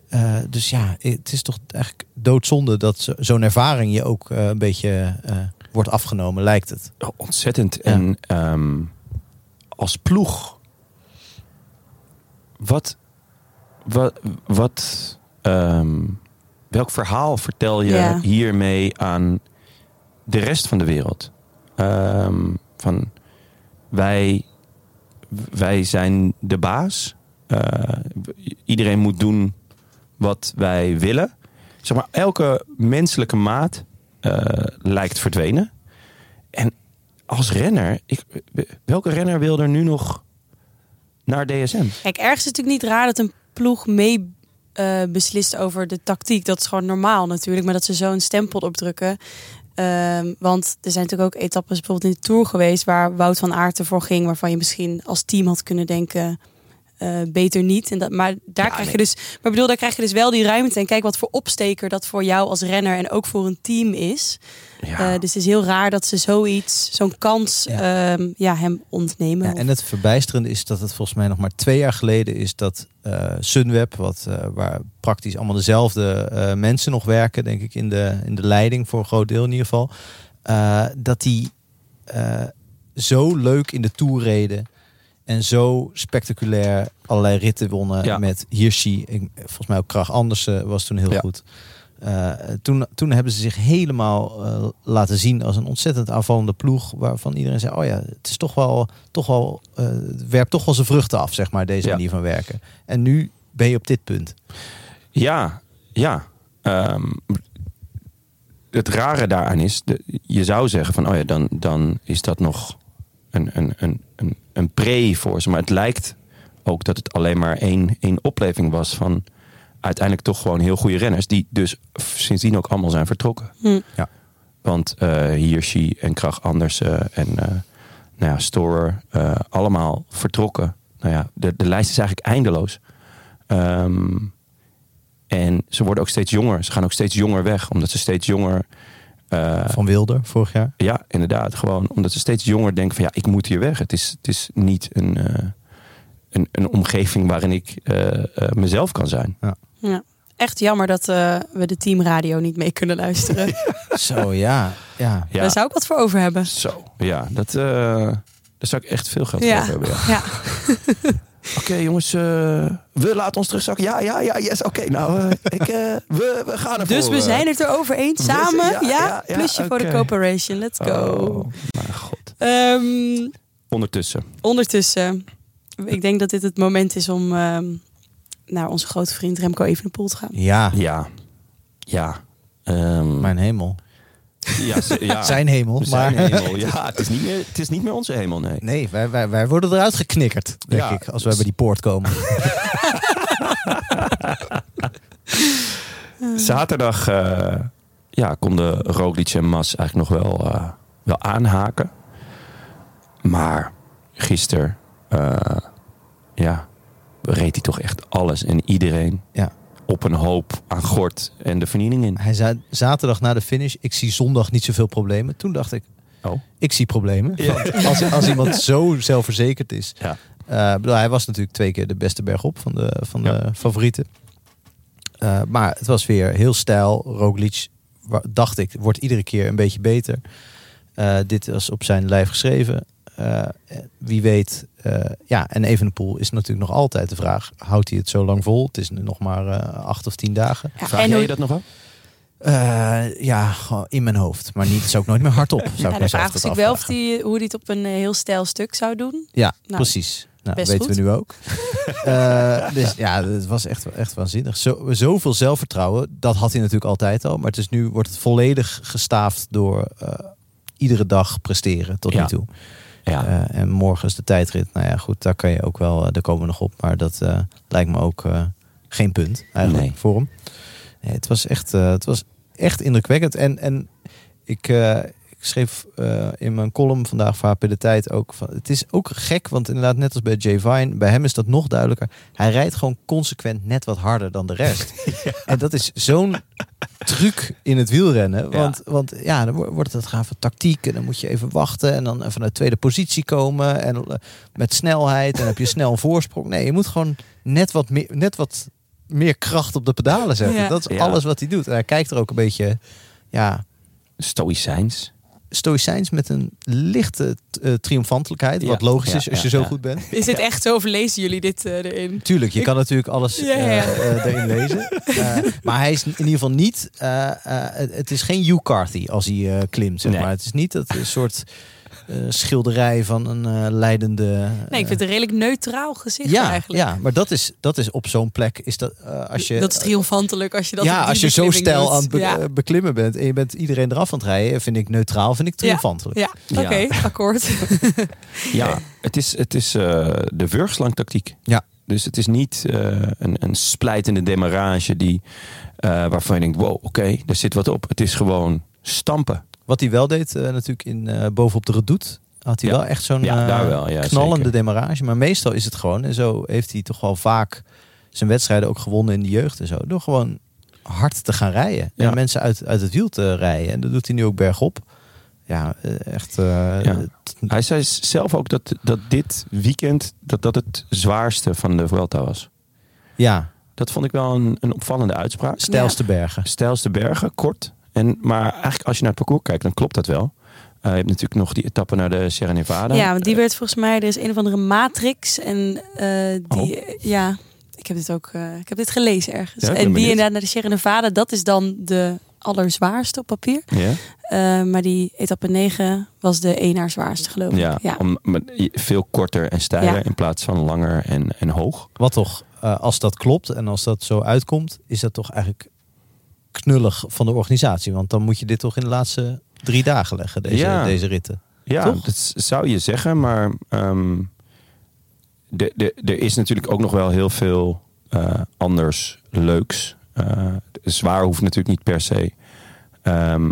Speaker 2: Eh, dus ja, het is toch eigenlijk doodzonde dat zo- zo'n ervaring je ook eh, een beetje eh, wordt afgenomen, lijkt het.
Speaker 1: ontzettend. En ehm, als ploeg... Wat... Wat... wat ehm, welk verhaal vertel je
Speaker 4: Ja.
Speaker 1: hiermee aan de rest van de wereld? Ehm, van wij, wij zijn de baas. Eh, iedereen moet doen wat wij willen. Zeg maar, elke menselijke maat eh, lijkt verdwenen. En als renner, ik, welke renner wil er nu nog naar DSM?
Speaker 4: Kijk, ergens is het natuurlijk niet raar dat een ploeg mee eh, beslist over de tactiek. Dat is gewoon normaal natuurlijk, maar dat ze zo'n stempel opdrukken. Ehm, want er zijn natuurlijk ook etappes bijvoorbeeld in de Tour geweest... waar Wout van Aert ervoor ging, waarvan je misschien als team had kunnen denken... eh, beter niet. En dat, maar daar krijg je dus. Maar ik bedoel, daar krijg je dus wel die ruimte. En kijk wat voor opsteker dat voor jou als renner en ook voor een team is.
Speaker 1: Ja.
Speaker 4: Eh, dus het is heel raar dat ze zoiets, zo'n kans, ja. ja, hem ontnemen.
Speaker 2: Ja,
Speaker 4: Of-
Speaker 2: en het verbijsterende is dat het volgens mij nog maar twee jaar geleden is dat eh, Sunweb, wat, eh, waar praktisch allemaal dezelfde eh, mensen nog werken, denk ik, in de, in de leiding voor een groot deel in ieder geval, eh, dat die eh, zo leuk in de Tour reden en zo spectaculair allerlei ritten wonnen
Speaker 1: Ja.
Speaker 2: met Hirschi. Ik- Volgens mij ook Krach Andersen was toen heel
Speaker 1: Ja.
Speaker 2: goed. Eh, toen, toen hebben ze zich helemaal eh, laten zien als een ontzettend aanvallende ploeg. Waarvan iedereen zei: Oh ja, het is toch wel, toch wel, eh, het werpt toch wel zijn vruchten af, zeg maar, deze
Speaker 1: Ja.
Speaker 2: manier van werken. En nu ben je op dit punt.
Speaker 1: Ja, ja. Ehm, het rare daaraan is, de- je zou zeggen van, oh ja, dan, dan is dat nog een, een, een, een, een pre voor ze. Maar het lijkt ook dat het alleen maar één, één opleving was van uiteindelijk toch gewoon heel goede renners. Die dus sindsdien ook allemaal zijn vertrokken.
Speaker 2: Ja.
Speaker 1: Want eh Hirschi en Krach Andersen en eh, nou ja, Storer, eh, allemaal vertrokken. Nou ja, de, de lijst is eigenlijk eindeloos. Ehm, en ze worden ook steeds jonger. Ze gaan ook steeds jonger weg, omdat ze steeds jonger... eh,
Speaker 2: Van Wilder vorig jaar.
Speaker 1: ja, inderdaad. Gewoon omdat ze steeds jonger denken van ja, ik moet hier weg. Het is, het is niet een, eh, een, een omgeving waarin ik eh, eh, mezelf kan zijn.
Speaker 4: Ja. Echt jammer dat eh, we de teamradio niet mee kunnen
Speaker 1: [LAUGHS]
Speaker 4: luisteren.
Speaker 2: Zo ja. ja.
Speaker 1: Ja,
Speaker 4: Daar zou ik wat voor over hebben.
Speaker 1: zo. Ja, dat, eh, daar zou ik echt veel geld voor
Speaker 4: Ja.
Speaker 1: over hebben. ja.
Speaker 4: Ja.
Speaker 1: Oké jongens, eh, we laten ons terugzakken. Ja, ja, ja, yes. Oké, nou, eh, [LAUGHS] ik, eh, we, we gaan ervoor.
Speaker 4: Dus we
Speaker 1: eh.
Speaker 4: zijn het erover eens.
Speaker 1: zijn-
Speaker 4: Samen,
Speaker 1: [LAUGHS] ja,
Speaker 4: ja,
Speaker 1: ja, ja,
Speaker 4: plusje voor de
Speaker 1: oké.
Speaker 4: corporation. Let's go.
Speaker 1: Oh, mijn god.
Speaker 4: Ehm,
Speaker 1: Ondertussen.
Speaker 4: ondertussen, ik denk dat dit het moment is om ehm, naar onze grote vriend Remco Evenepoel te gaan.
Speaker 2: Ja,
Speaker 1: Ja. Ja. Ehm,
Speaker 2: mijn hemel.
Speaker 1: ja, ze- ja.
Speaker 2: [LAUGHS] Zijn hemel.
Speaker 1: Zijn
Speaker 2: maar...
Speaker 1: hemel. Ja, het is, niet meer, het is niet meer onze hemel, nee.
Speaker 2: Nee, wij, wij, wij worden eruit geknikkerd, denk
Speaker 1: Ja.
Speaker 2: ik, als wij bij die poort komen.
Speaker 1: Zaterdag eh, ja, konden Roglic en Mas eigenlijk nog wel, eh, wel aanhaken. Maar gisteren eh, ja, reed hij toch echt alles en iedereen
Speaker 2: Ja.
Speaker 1: op een hoop aan gort en de vernieling in.
Speaker 2: Hij zei zaterdag na de finish, ik zie zondag niet zoveel problemen. Toen dacht ik,
Speaker 1: Oh.
Speaker 2: ik zie problemen. Want Als, als iemand zo zelfverzekerd is.
Speaker 1: Ja.
Speaker 2: Eh, ik bedoel, hij was natuurlijk twee keer de beste bergop van de, van de
Speaker 1: Ja.
Speaker 2: favorieten. Eh, maar het was weer heel stijl. Roglic, wa- dacht ik, wordt iedere keer een beetje beter. Eh, dit was op zijn lijf geschreven. Eh, wie weet. eh, ja, en Evenepoel is natuurlijk nog altijd de vraag. Houdt hij het zo lang vol? Het is nu nog maar eh, acht of tien dagen.
Speaker 4: Ja,
Speaker 1: Vraag
Speaker 4: en
Speaker 1: jij
Speaker 4: hoe-
Speaker 1: je dat nog af?
Speaker 2: Eh, ja, gewoon in mijn hoofd. Maar niet, het is ook nooit meer hardop. Zou
Speaker 4: [LAUGHS] ja,
Speaker 1: Nou,
Speaker 2: ik
Speaker 4: de
Speaker 2: mezelf
Speaker 4: vraag
Speaker 2: dat
Speaker 4: is natuurlijk wel of
Speaker 2: afvragen.
Speaker 4: die, hoe hij het op een eh, heel stijl stuk zou doen.
Speaker 2: Ja,
Speaker 4: Nou,
Speaker 2: precies. Nou,
Speaker 4: best
Speaker 2: weten we
Speaker 4: goed.
Speaker 2: nu
Speaker 4: [LAUGHS]
Speaker 2: ook. Eh, dus ja, het was echt, echt waanzinnig. Zo, zoveel zelfvertrouwen, dat had hij natuurlijk altijd al. Maar het is nu wordt het volledig gestaafd door eh, iedere dag presteren tot
Speaker 1: Ja.
Speaker 2: nu toe.
Speaker 1: Ja.
Speaker 2: Eh, en morgen is de tijdrit. Nou ja, goed, daar kan je ook wel, eh, daar komen we nog op. Maar dat eh, lijkt me ook eh, geen punt eigenlijk
Speaker 1: Nee.
Speaker 2: voor hem. Nee, het, was echt, eh, het was echt indrukwekkend. En, en ik, eh, ik schreef eh, in mijn column vandaag voor HP De Tijd ook van... Het is ook gek, want inderdaad net als bij Jay Vine... bij hem is dat nog duidelijker. Hij rijdt gewoon consequent net wat harder dan de rest. En dat is zo'n truc in het wielrennen. Want ja, want, ja dan wo- wordt het gaan van tactiek... en dan moet je even wachten en dan vanuit tweede positie komen... en eh, met snelheid en dan heb je snel een voorsprong. Nee, je moet gewoon net wat meer... Net wat meer kracht op de pedalen zetten.
Speaker 4: Ja.
Speaker 2: Dat is
Speaker 1: Ja.
Speaker 2: alles wat hij doet. En hij kijkt er ook een beetje ja,
Speaker 1: Stoïcijns.
Speaker 2: stoïcijns met een lichte eh, triomfantelijkheid. Wat
Speaker 1: Ja,
Speaker 2: logisch
Speaker 1: ja,
Speaker 2: is als
Speaker 1: ja,
Speaker 2: je zo
Speaker 1: ja.
Speaker 2: goed bent.
Speaker 4: Is dit echt zo of lezen jullie dit eh, erin?
Speaker 2: Tuurlijk, je
Speaker 4: Ik-
Speaker 2: kan natuurlijk alles
Speaker 4: Ja, ja,
Speaker 2: eh,
Speaker 4: ja.
Speaker 2: eh, erin
Speaker 4: [LAUGHS]
Speaker 2: lezen. Eh, maar hij is in ieder geval niet... eh, eh, het, het is geen Hugh Carthy als hij eh, klimt, zeg
Speaker 1: Nee.
Speaker 2: maar. Het is niet dat soort eh, schilderij van een eh, leidende... eh,
Speaker 4: Nee, ik vind het een redelijk neutraal gezicht
Speaker 2: ja,
Speaker 4: eigenlijk.
Speaker 2: ja, maar dat is, dat is op zo'n plek... Is dat, eh, als je,
Speaker 4: dat is triomfantelijk als je dat op
Speaker 2: ja,
Speaker 4: die
Speaker 2: als je zo
Speaker 4: beklimming
Speaker 2: stijl
Speaker 4: doet.
Speaker 2: aan het be-
Speaker 4: ja.
Speaker 2: eh, beklimmen bent... en je bent iedereen eraf aan het rijden... vind ik neutraal, vind ik triomfantelijk.
Speaker 4: Ja,
Speaker 1: Ja.
Speaker 4: oké, [LAUGHS] akkoord.
Speaker 1: Ja, het is, het is eh, de wurgslang tactiek.
Speaker 2: Ja.
Speaker 1: Dus het is niet eh, een, een splijtende demarrage die, eh, waarvan je denkt, wow, oké, daar zit wat op. Het is gewoon stampen.
Speaker 2: Wat hij wel deed, eh, natuurlijk in, eh, bovenop de redoute, had hij
Speaker 1: Ja.
Speaker 2: wel echt zo'n
Speaker 1: Ja,
Speaker 2: eh,
Speaker 1: daar wel, ja,
Speaker 2: knallende
Speaker 1: zeker.
Speaker 2: demarrage. Maar meestal is het gewoon, en zo heeft hij toch wel vaak zijn wedstrijden ook gewonnen in de jeugd en zo, door gewoon hard te gaan rijden.
Speaker 1: Ja.
Speaker 2: En mensen uit, uit het wiel te rijden. En dat doet hij nu ook bergop. Ja, eh, echt. eh, t-
Speaker 1: Hij zei s- zelf ook dat, dat dit weekend dat, dat het zwaarste van de Vuelta was.
Speaker 2: ja,
Speaker 1: Dat vond ik wel een, een opvallende uitspraak.
Speaker 2: stijlste bergen.
Speaker 1: Stijlste bergen, kort. En, maar eigenlijk als je naar het parcours kijkt, dan klopt dat wel. Eh, je hebt natuurlijk nog die etappe naar de Sierra Nevada. Eh,
Speaker 4: Ja, want die werd volgens mij, er is een of andere matrix. En eh, die, ja, ik heb dit ook, eh, ik heb dit gelezen ergens.
Speaker 1: Ja, ik ben
Speaker 4: en die
Speaker 1: benieuwd.
Speaker 4: inderdaad naar de Sierra Nevada, dat is dan de allerzwaarste op papier.
Speaker 1: Ja?
Speaker 4: Eh, maar die etappe 9 was de een naar zwaarste geloof ik.
Speaker 1: Ja, Om, maar veel korter en steiler
Speaker 4: Ja.
Speaker 1: in plaats van langer en, en hoog.
Speaker 2: Wat toch, eh, als dat klopt en als dat zo uitkomt, is dat toch eigenlijk knullig van de organisatie. Want dan moet je dit toch in de laatste drie dagen leggen, deze,
Speaker 1: Ja.
Speaker 2: deze ritten.
Speaker 1: Ja,
Speaker 2: Toch?
Speaker 1: dat s- zou je zeggen, maar ehm, de, de, er is natuurlijk ook nog wel heel veel eh, anders leuks. Eh, zwaar hoeft natuurlijk niet per se ehm,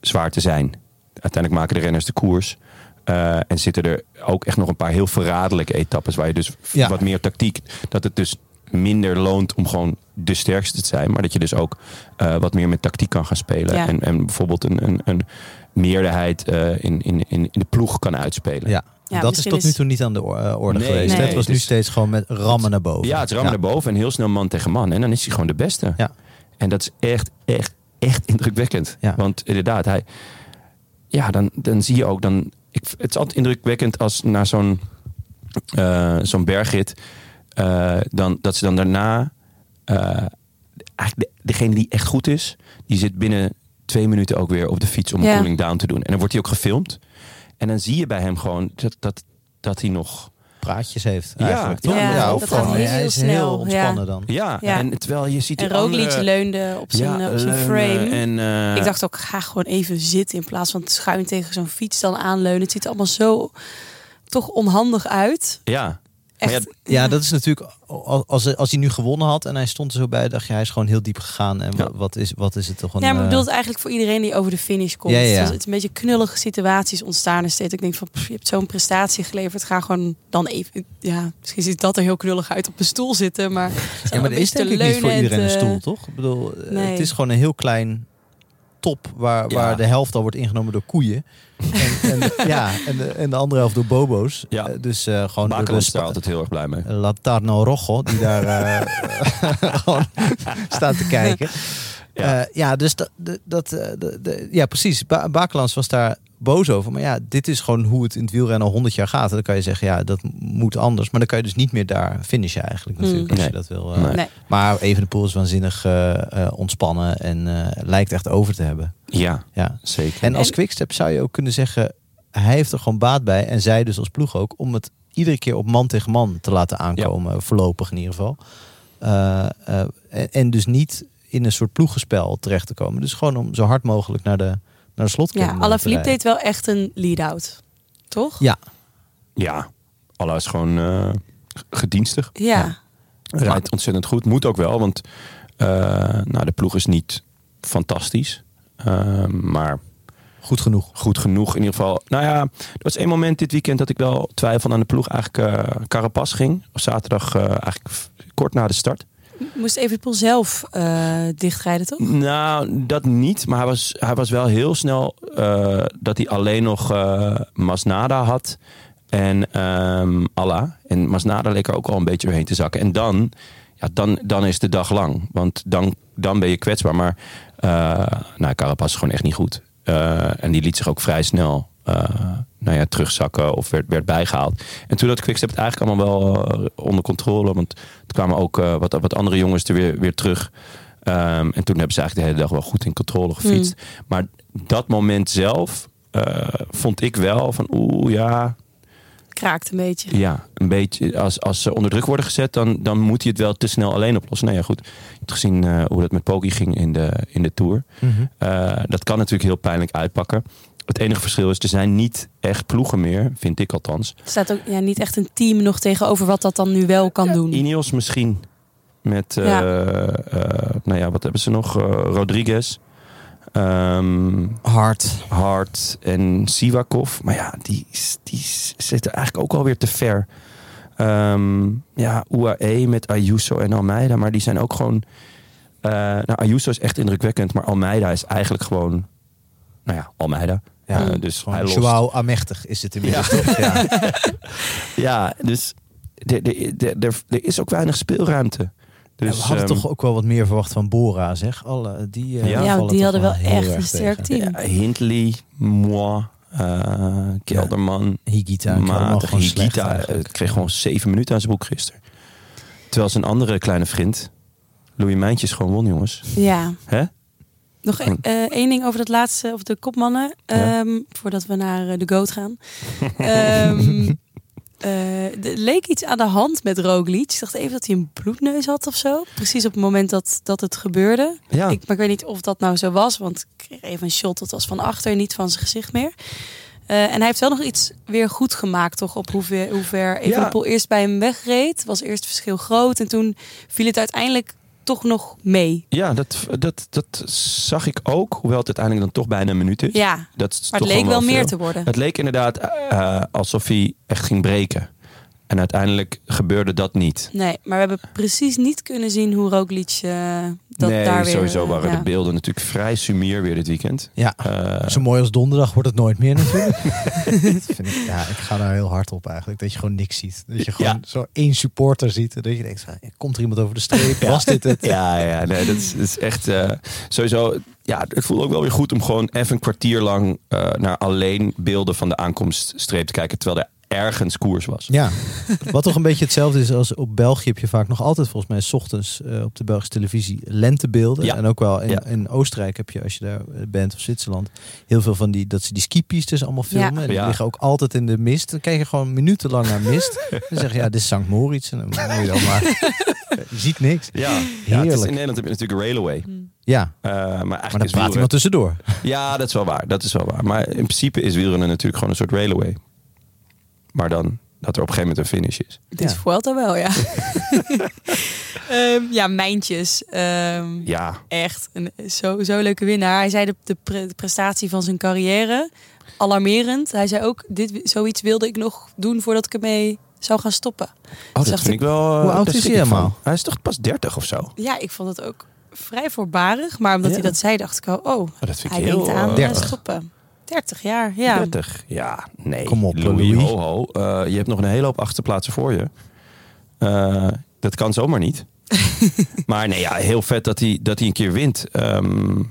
Speaker 1: zwaar te zijn. Uiteindelijk maken de renners de koers. Eh, en zitten er ook echt nog een paar heel verraderlijke etappes. Waar je dus f-
Speaker 2: Ja.
Speaker 1: wat meer tactiek. Dat het dus minder loont om gewoon de sterkste te zijn. Maar dat je dus ook eh, wat meer met tactiek kan gaan spelen.
Speaker 4: Ja.
Speaker 1: En, en bijvoorbeeld een, een, een meerderheid eh, in, in, in, in de ploeg kan uitspelen.
Speaker 2: Ja.
Speaker 4: Ja,
Speaker 2: dat is
Speaker 4: misschien
Speaker 2: tot
Speaker 4: is-
Speaker 2: nu toe niet aan de or- eh, orde
Speaker 1: Nee,
Speaker 2: geweest.
Speaker 1: nee.
Speaker 2: het was nu
Speaker 1: Dus-
Speaker 2: steeds gewoon met rammen naar boven.
Speaker 1: Ja, het rammen naar boven en heel snel man tegen man. En dan is hij gewoon de beste.
Speaker 2: Ja.
Speaker 1: En dat is echt, echt, echt [LAUGHS] indrukwekkend.
Speaker 2: Ja.
Speaker 1: Want inderdaad, hij, ja, dan, dan zie je ook, dan, ik, het is altijd indrukwekkend als naar zo'n eh, zo'n bergrit, eh, dan, dat ze dan daarna, eh, eigenlijk de- degene die echt goed is, die zit binnen twee minuten ook weer op de fiets om een
Speaker 4: Ja.
Speaker 1: cooling down te doen. En dan wordt hij ook gefilmd. En dan zie je bij hem gewoon dat, dat, dat hij nog...
Speaker 2: Praatjes heeft.
Speaker 1: Ja,
Speaker 2: eigenlijk, toch?
Speaker 1: ja,
Speaker 4: dat
Speaker 2: of
Speaker 4: gaat
Speaker 2: gewoon,
Speaker 4: heel
Speaker 2: hij is
Speaker 4: snel,
Speaker 2: heel
Speaker 4: ja.
Speaker 2: ontspannen dan.
Speaker 1: Ja,
Speaker 4: Ja.
Speaker 1: en terwijl je ziet die
Speaker 4: En Roglic
Speaker 1: andere-
Speaker 4: leunde op zijn, eh, op zijn
Speaker 1: leunen
Speaker 4: frame.
Speaker 1: En, eh,
Speaker 4: Ik dacht ook, ga gewoon even zitten in plaats van schuin tegen zo'n fiets dan aanleunen. Het ziet er allemaal zo toch onhandig uit.
Speaker 1: Ja.
Speaker 4: Echt.
Speaker 1: Maar ja,
Speaker 2: Ja, dat is natuurlijk, als, als, als hij nu gewonnen had en hij stond er zo bij, dacht je, hij is gewoon heel diep gegaan. En wa-
Speaker 1: Ja.
Speaker 2: wat, is, wat is het toch een...
Speaker 4: Ja, maar ik
Speaker 2: eh,
Speaker 4: bedoel het eigenlijk voor iedereen die over de finish komt.
Speaker 2: Ja, ja, ja.
Speaker 4: Dus het is een beetje knullige situaties ontstaan er steeds. Ik denk van, pff, je hebt zo'n prestatie geleverd. Ga gewoon dan even... Ja, misschien ziet dat er heel knullig uit op een stoel zitten. [LAUGHS] Maar,
Speaker 2: ja, maar er is denk ik niet voor iedereen een stoel, toch? Ik bedoel, eh,
Speaker 4: nee.
Speaker 2: het is gewoon een heel klein top waar,
Speaker 1: Ja.
Speaker 2: waar de helft al wordt ingenomen door koeien. en,
Speaker 1: [LAUGHS]
Speaker 2: en, ja, en, de, en de andere helft door bobo's.
Speaker 1: Ja.
Speaker 2: Eh, dus eh, gewoon door
Speaker 1: Bakeland
Speaker 2: de
Speaker 1: is daar
Speaker 2: spa-
Speaker 1: altijd heel erg blij mee.
Speaker 2: Latarno Rojo, die daar eh, [LAUGHS] gewoon staat te kijken.
Speaker 1: Ja.
Speaker 2: Ja, ja dus dat, dat- dat, eh, de- de- ja, precies. Ba Bakelans was daar boos over. Maar ja, dit is gewoon hoe het in het wielrennen al 100 jaar gaat. En dan kan je zeggen, ja, dat moet anders. Maar dan kan je dus niet meer daar finishen eigenlijk natuurlijk. Als je
Speaker 1: Hmm. Nee.
Speaker 2: dat wil. eh.
Speaker 1: Nee.
Speaker 4: Nee.
Speaker 2: Maar Evenepoel is waanzinnig eh, eh, ontspannen en eh, lijkt echt over te hebben.
Speaker 1: Ja,
Speaker 2: Ja.
Speaker 1: zeker.
Speaker 2: En als quickstep zou je ook kunnen zeggen, hij heeft er gewoon baat bij. En zij dus als ploeg ook, om het iedere keer op man tegen man te laten aankomen. Voorlopig in ieder geval. Eh, eh, en, en dus niet in een soort ploegenspel terecht te komen. Dus gewoon om zo hard mogelijk naar de, naar de slot
Speaker 4: Ja, Alaphilippe deed wel echt een lead-out. Toch?
Speaker 2: Ja,
Speaker 1: Ja, Allah is gewoon eh, gedienstig.
Speaker 4: Ja.
Speaker 1: Rijdt ontzettend goed. Moet ook wel, want eh, nou, de ploeg is niet fantastisch. Eh, maar
Speaker 2: goed genoeg.
Speaker 1: goed genoeg in ieder geval. Nou ja, er was één moment dit weekend dat ik wel twijfelde aan de ploeg. Eigenlijk eh Carapas ging. Op zaterdag eh, eigenlijk f- kort na de start.
Speaker 4: Moest Evenepoel zelf eh, dichtrijden, toch?
Speaker 1: Nou, dat niet. Maar hij was, hij was wel heel snel eh, dat hij alleen nog eh, Masnada had en ehm Allah. En Masnada leek er ook al een beetje doorheen te zakken. En dan, ja, dan, dan is de dag lang. Want dan, dan ben je kwetsbaar. Maar eh nou, Carapaz is gewoon echt niet goed. Eh, en die liet zich ook vrij snel eh, nou ja, terugzakken of werd, werd bijgehaald. En toen had Quickstep het eigenlijk allemaal wel eh, onder controle. Want er kwamen ook eh, wat, wat andere jongens er weer, weer terug. Ehm, en toen hebben ze eigenlijk de hele dag wel goed in controle gefietst. Maar dat moment zelf eh, vond ik wel van oeh ja,
Speaker 4: Kraakt een beetje.
Speaker 1: ja, een beetje. Als, als ze onder druk worden gezet, dan, dan moet hij het wel te snel alleen oplossen. Nou ja, goed. Je hebt gezien eh, hoe dat met Poki ging in de, in de Tour.
Speaker 2: Mhm.
Speaker 1: Eh, dat kan natuurlijk heel pijnlijk uitpakken. Het enige verschil is, er zijn niet echt ploegen meer, vind ik althans.
Speaker 4: Er staat ook ja, niet echt een team nog tegenover wat dat dan nu wel kan doen.
Speaker 1: Ineos misschien. Met, eh,
Speaker 4: Mm. Ja.
Speaker 1: eh, nou ja, wat hebben ze nog? Eh, Rodriguez. Ehm,
Speaker 2: Hard.
Speaker 1: Hart en Sivakov. Maar ja, die, is- die is- zitten eigenlijk ook alweer te ver. Ehm, ja, UAE met Ayuso en Almeida. Maar die zijn ook gewoon... eh, nou, Ayuso is echt indrukwekkend. Maar Almeida is eigenlijk gewoon... Nou ja, Almeida.
Speaker 2: Ja,
Speaker 1: Eh, dus hij lost.
Speaker 2: Joao Amechtig is het inmiddels toch? [LAUGHS] Ja.
Speaker 1: Ja, dus er- er- er- er- er is ook weinig speelruimte. Dus,
Speaker 2: we hadden
Speaker 1: ehm,
Speaker 2: toch ook wel wat meer verwacht van Bora, zeg. Alle, die,
Speaker 1: Ja.
Speaker 2: eh,
Speaker 4: Ja,
Speaker 2: vallen
Speaker 4: want die
Speaker 2: toch
Speaker 4: hadden wel
Speaker 2: heel
Speaker 4: echt
Speaker 2: erg
Speaker 4: een sterk
Speaker 2: tegen.
Speaker 4: team.
Speaker 1: ja, Hindley, Moi, eh, Kelderman.
Speaker 2: Higita, ik had hem al
Speaker 1: matig.
Speaker 2: gewoon slecht
Speaker 1: Higuita, eh,
Speaker 2: eigenlijk.
Speaker 1: kreeg gewoon zeven minuten aan zijn boek gisteren. Terwijl zijn andere kleine vriend, Louis Mijntjes, gewoon won, jongens.
Speaker 4: Ja.
Speaker 1: Hè?
Speaker 4: Nog eh, eh, één ding over dat laatste, of de kopmannen,
Speaker 1: Oh. Ja.
Speaker 4: ehm, voordat we naar eh, de goat
Speaker 1: [LAUGHS]
Speaker 4: gaan. Ehm, eh, er leek iets aan de hand met Roglic. Ik dacht even dat hij een bloedneus had of zo. Precies op het moment dat, dat het gebeurde.
Speaker 1: Ja.
Speaker 4: Ik, maar ik weet niet of dat nou zo was, want ik kreeg even een shot. Dat was van achter, niet van zijn gezicht meer. Eh, en hij heeft wel nog iets weer goed gemaakt, toch? Op hoe ver, hoe ver Evenepoel eerst bij hem wegreed. Was eerst het verschil groot. En toen viel het uiteindelijk toch nog mee.
Speaker 1: Ja, dat, dat, dat zag ik ook, hoewel het uiteindelijk dan toch bijna een minuut is.
Speaker 4: Ja,
Speaker 1: dat is
Speaker 4: maar
Speaker 1: toch
Speaker 4: het leek wel meer
Speaker 1: veel.
Speaker 4: te worden.
Speaker 1: Het leek inderdaad eh, alsof hij echt ging breken. En uiteindelijk gebeurde dat niet.
Speaker 4: Nee, maar we hebben precies niet kunnen zien hoe Roglic eh, dat
Speaker 1: nee,
Speaker 4: daar weer...
Speaker 1: sowieso
Speaker 4: eh,
Speaker 1: waren
Speaker 4: ja.
Speaker 1: de beelden natuurlijk vrij sumier weer dit weekend.
Speaker 2: Ja,
Speaker 1: Eh,
Speaker 2: zo mooi als donderdag wordt het nooit meer natuurlijk. [LAUGHS] Dat vind ik, ja, ik ga daar heel hard op eigenlijk. Dat je gewoon niks ziet. Dat je gewoon
Speaker 1: Ja.
Speaker 2: zo één supporter ziet. en Dat je denkt, van, komt er iemand over de streep? Was dit het?
Speaker 1: Ja, Ah, ja, nee, dat is, dat is echt eh, sowieso. Ja, het voelt ook wel weer goed om gewoon even een kwartier lang eh, naar alleen beelden van de aankomststreep te kijken, terwijl er ergens koers was.
Speaker 2: Ja, [LAUGHS] wat toch een beetje hetzelfde is als op België heb je vaak nog altijd volgens mij 's ochtends eh, op de Belgische televisie lentebeelden.
Speaker 1: Ja.
Speaker 2: En ook wel in,
Speaker 1: Ja.
Speaker 2: in Oostenrijk heb je als je daar eh, bent of Zwitserland heel veel van die dat ze die skipistes allemaal
Speaker 4: Ja.
Speaker 2: filmen. En die
Speaker 1: Ja.
Speaker 2: liggen ook altijd in de mist. Dan kijk je gewoon minutenlang naar
Speaker 1: [LAUGHS]
Speaker 2: mist. dan zeg je ja, dit is St. Moritz. En dan moet je dan maar. Je ziet niks.
Speaker 1: Ja, ja het is,
Speaker 2: Heerlijk.
Speaker 1: in Nederland heb je natuurlijk Railway.
Speaker 2: Ja.
Speaker 1: Eh, maar eigenlijk
Speaker 2: Maar dan
Speaker 1: is
Speaker 2: praat
Speaker 1: wielrennen-
Speaker 2: iemand tussendoor.
Speaker 1: Ja, dat is wel waar. Dat is wel waar. Maar in principe is wielrennen natuurlijk gewoon een soort railway. Maar dan dat er op een gegeven moment een finish is.
Speaker 4: Dit is
Speaker 2: Ja.
Speaker 4: Vuelta wel,
Speaker 1: [LAUGHS]
Speaker 4: ja. Ehm, ja, Mijntjes. ehm,
Speaker 1: Ja,
Speaker 4: Echt, een, zo, zo leuke winnaar. Hij zei de, de, pre- de prestatie van zijn carrière, alarmerend. Hij zei ook, dit, wi- zoiets wilde ik nog doen voordat ik ermee zou gaan stoppen.
Speaker 1: oh, dat
Speaker 4: Zag
Speaker 1: vind ik wel. eh,
Speaker 2: Hoe oud
Speaker 1: daar
Speaker 2: is
Speaker 1: schrik
Speaker 2: hij
Speaker 1: ik van.
Speaker 2: helemaal?
Speaker 1: Hij is toch pas 30 of zo?
Speaker 4: Ja, ik vond het ook vrij voorbarig. Maar omdat
Speaker 1: Ja.
Speaker 4: hij dat zei, dacht ik al, oh,
Speaker 1: Maar dat vind ik
Speaker 4: hij
Speaker 1: heel,
Speaker 4: denkt aan
Speaker 1: eh,
Speaker 4: eh,
Speaker 2: 30.
Speaker 4: stoppen. 30 jaar, ja.
Speaker 1: 30. Ja, nee.
Speaker 2: Kom op,
Speaker 1: Louis.
Speaker 2: Louis.
Speaker 1: Ho, ho. Eh, je hebt nog een hele hoop achterplaatsen voor je. Eh, dat kan zomaar
Speaker 4: [LAUGHS]
Speaker 1: niet. maar nee, ja, heel vet dat hij, dat hij een keer wint. Ehm,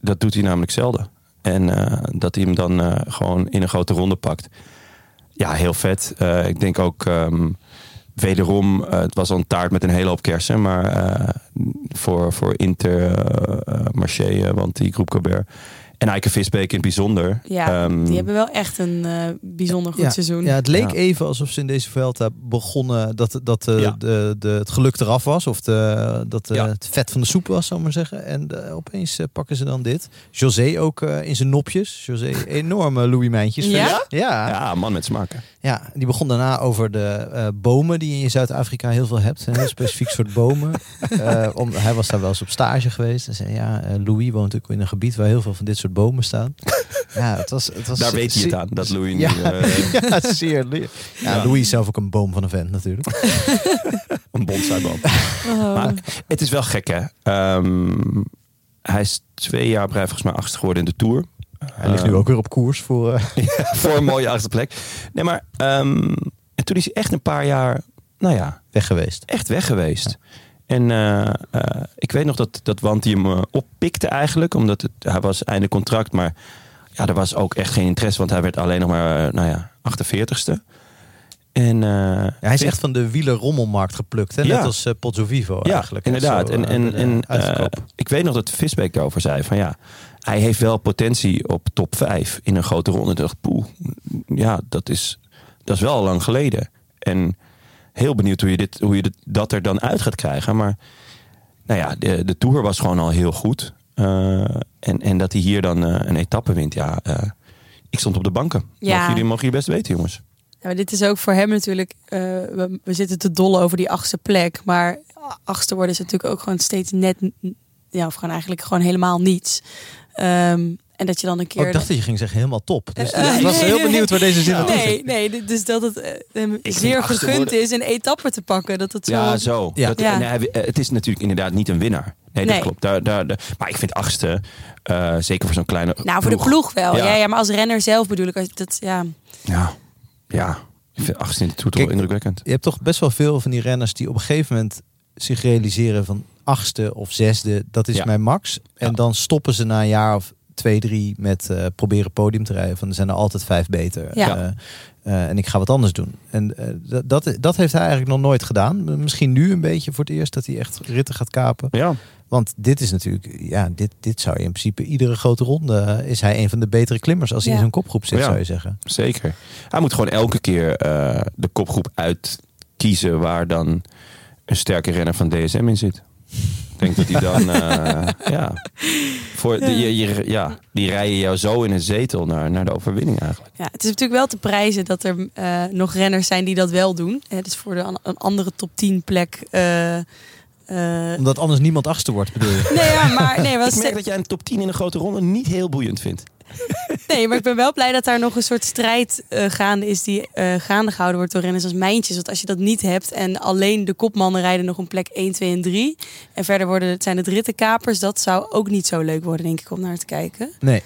Speaker 1: dat doet hij namelijk zelden. En eh, dat hij hem dan eh, gewoon in een grote ronde pakt. Ja, heel vet. Eh, ik denk ook ehm, wederom, eh, het was al een taart met een hele hoop kersen. Maar eh, voor, voor Inter, eh eh, Marché, eh, want die groep Colbert. En Eike Visbeek in het bijzonder.
Speaker 4: Ja,
Speaker 1: Ehm,
Speaker 4: die hebben wel echt een eh, bijzonder goed
Speaker 2: Mm. ja,
Speaker 4: seizoen.
Speaker 2: Ja, het leek
Speaker 1: Ja.
Speaker 2: even alsof ze in deze Vuelta begonnen dat, dat eh,
Speaker 1: Ja.
Speaker 2: de, de, het geluk eraf was. Of de, dat eh,
Speaker 1: Ja.
Speaker 2: het vet van de soep was, zal ik maar zeggen. En eh, opeens eh, pakken ze dan dit. José ook eh, in zijn nopjes. José, [LAUGHS] enorme Louis Mijntjes.
Speaker 4: Ja?
Speaker 2: verder. Ja. ja.
Speaker 1: Ja, man met smaken.
Speaker 2: die begon daarna over de eh, bomen die je in Zuid-Afrika heel veel hebt.
Speaker 4: [LAUGHS]
Speaker 2: Een heel specifiek soort bomen. Eh, om, hij was daar wel eens op stage geweest. En zei, ja, eh, Louis woont ook in een gebied waar heel veel van dit soort bomen
Speaker 4: [LAUGHS]
Speaker 2: staan. Ja, het was, het was
Speaker 1: Daar weet hij het
Speaker 2: zeer-
Speaker 1: aan,
Speaker 2: [LAUGHS]
Speaker 1: dat Louis
Speaker 2: Ja.
Speaker 1: nu... eh,
Speaker 2: [LAUGHS] ja, zeer leer. Ja, Louis is zelf ook een boom van een vent natuurlijk.
Speaker 1: Een bonsaiboom. [LAUGHS] Maar het is wel gek, hè? Ehm, hij is twee jaar brei volgens mij achtste geworden in de Tour.
Speaker 2: Hij ligt nu ook weer op koers voor... eh,
Speaker 1: [LAUGHS] voor een mooie achtste plek. Nee, maar ehm, en toen is hij echt een paar jaar, nou ja,
Speaker 2: weg geweest.
Speaker 1: echt weg geweest. En eh, eh, ik weet nog dat, dat Wanti hem eh, oppikte eigenlijk, omdat het, hij was einde contract. Maar ja, er was ook echt geen interesse, want hij werd alleen nog maar, eh, nou ja, 48ste. En, eh,
Speaker 2: Ja, hij is echt van de wielerrommelmarkt geplukt. Hè? Net
Speaker 1: Ja.
Speaker 2: als eh, Pozzovivo eigenlijk.
Speaker 1: Ja, inderdaad.
Speaker 2: Zo,
Speaker 1: en
Speaker 2: eh,
Speaker 1: en,
Speaker 2: bij de
Speaker 1: en
Speaker 2: uitverkoop.
Speaker 1: eh, ik weet nog dat Visbeek daarover zei van ja, hij heeft wel potentie op top 5 in een grote ronde. Ik dacht, poeh, ja, dat is, dat is wel al lang geleden. En heel benieuwd hoe je, dit, hoe je dit, dat er dan uit gaat krijgen. Maar nou ja, de, de Tour was gewoon al heel goed. Eh, en, en dat hij hier dan eh, een etappe wint, ja... eh, ik stond op de banken.
Speaker 4: Ja.
Speaker 1: Mogen, jullie, mogen jullie best weten, jongens.
Speaker 4: Ja, maar dit is ook voor hem natuurlijk. eh, we, we zitten te dollen over die achtste plek. Maar achtste worden is natuurlijk ook gewoon steeds net. n- Ja, of gewoon eigenlijk gewoon helemaal niets. Ehm, en dat je dan een keer.
Speaker 2: Oh, ik dacht dat je ging zeggen helemaal top. Dus ik was
Speaker 4: [LAUGHS] Eh, nee,
Speaker 2: heel
Speaker 4: nee,
Speaker 2: benieuwd waar deze zin naartoe ging.
Speaker 4: Nee, nee, dit- dus dat het eh, hem
Speaker 1: vind
Speaker 4: zeer
Speaker 1: achtste
Speaker 4: gegund
Speaker 1: worden-
Speaker 4: is een etappe te pakken. Dat het zo.
Speaker 1: Ja, zo.
Speaker 2: Ja.
Speaker 1: Dat,
Speaker 4: Ja.
Speaker 1: en hij- eh, het is natuurlijk inderdaad niet een winnaar. Nee, dat
Speaker 4: Nee.
Speaker 1: klopt. Daar, daar, daar- maar ik vind achtste, eh, zeker voor zo'n kleine
Speaker 4: Nou, voor de ploeg wel.
Speaker 1: Ja.
Speaker 4: Ja. Ja, maar als renner zelf bedoel ik. als- Dat, ja.
Speaker 1: Ja, ja. Ik vind achtste in de Tour toch wel
Speaker 2: Kijk,
Speaker 1: indrukwekkend.
Speaker 2: Je hebt toch best wel veel van die renners die op een gegeven moment zich realiseren van achtste of zesde, dat is
Speaker 1: Ja.
Speaker 2: mijn max. En
Speaker 1: Ja.
Speaker 2: dan stoppen ze na een jaar of twee, drie met eh, proberen podium te rijden. Van er zijn er altijd vijf beter.
Speaker 4: Ja.
Speaker 2: Eh, eh, en ik ga wat anders doen. En eh, dat- dat, dat heeft hij eigenlijk nog nooit gedaan. Misschien nu een beetje voor het eerst dat hij echt ritten gaat kapen.
Speaker 1: Ja,
Speaker 2: Want dit is natuurlijk, ja, dit, dit zou je in principe iedere grote ronde eh, is hij een van de betere klimmers als hij
Speaker 4: Ja.
Speaker 2: in zo'n kopgroep zit,
Speaker 1: Ja.
Speaker 2: zou je zeggen.
Speaker 1: zeker. Hij moet gewoon elke keer eh, de kopgroep uitkiezen waar dan een sterke renner van DSM in zit. Ik denk dat hij
Speaker 4: [LAUGHS]
Speaker 1: dan, eh, ja, voor de, je, je- ja, die rijden jou zo in een zetel naar, naar de overwinning eigenlijk.
Speaker 4: Ja, het is natuurlijk wel te prijzen dat er eh, nog renners zijn die dat wel doen. Hè, dus voor de, an- een andere top 10 plek. eh, eh,
Speaker 2: Omdat anders niemand achtste wordt, bedoel je?
Speaker 4: Nee, ja, maar, nee, maar
Speaker 1: [LAUGHS] Ik merk dat jij een top 10 in een grote ronde niet heel boeiend vindt.
Speaker 4: Nee, maar ik ben wel blij dat daar nog een soort strijd eh, gaande is die eh, gaande gehouden wordt door renners als mijntjes. Want als je dat niet hebt en alleen de kopmannen rijden nog een plek 1, 2 en 3. En verder worden, het- zijn het rittenkapers. Dat zou ook niet zo leuk worden, denk ik, om naar te kijken.
Speaker 2: Nee.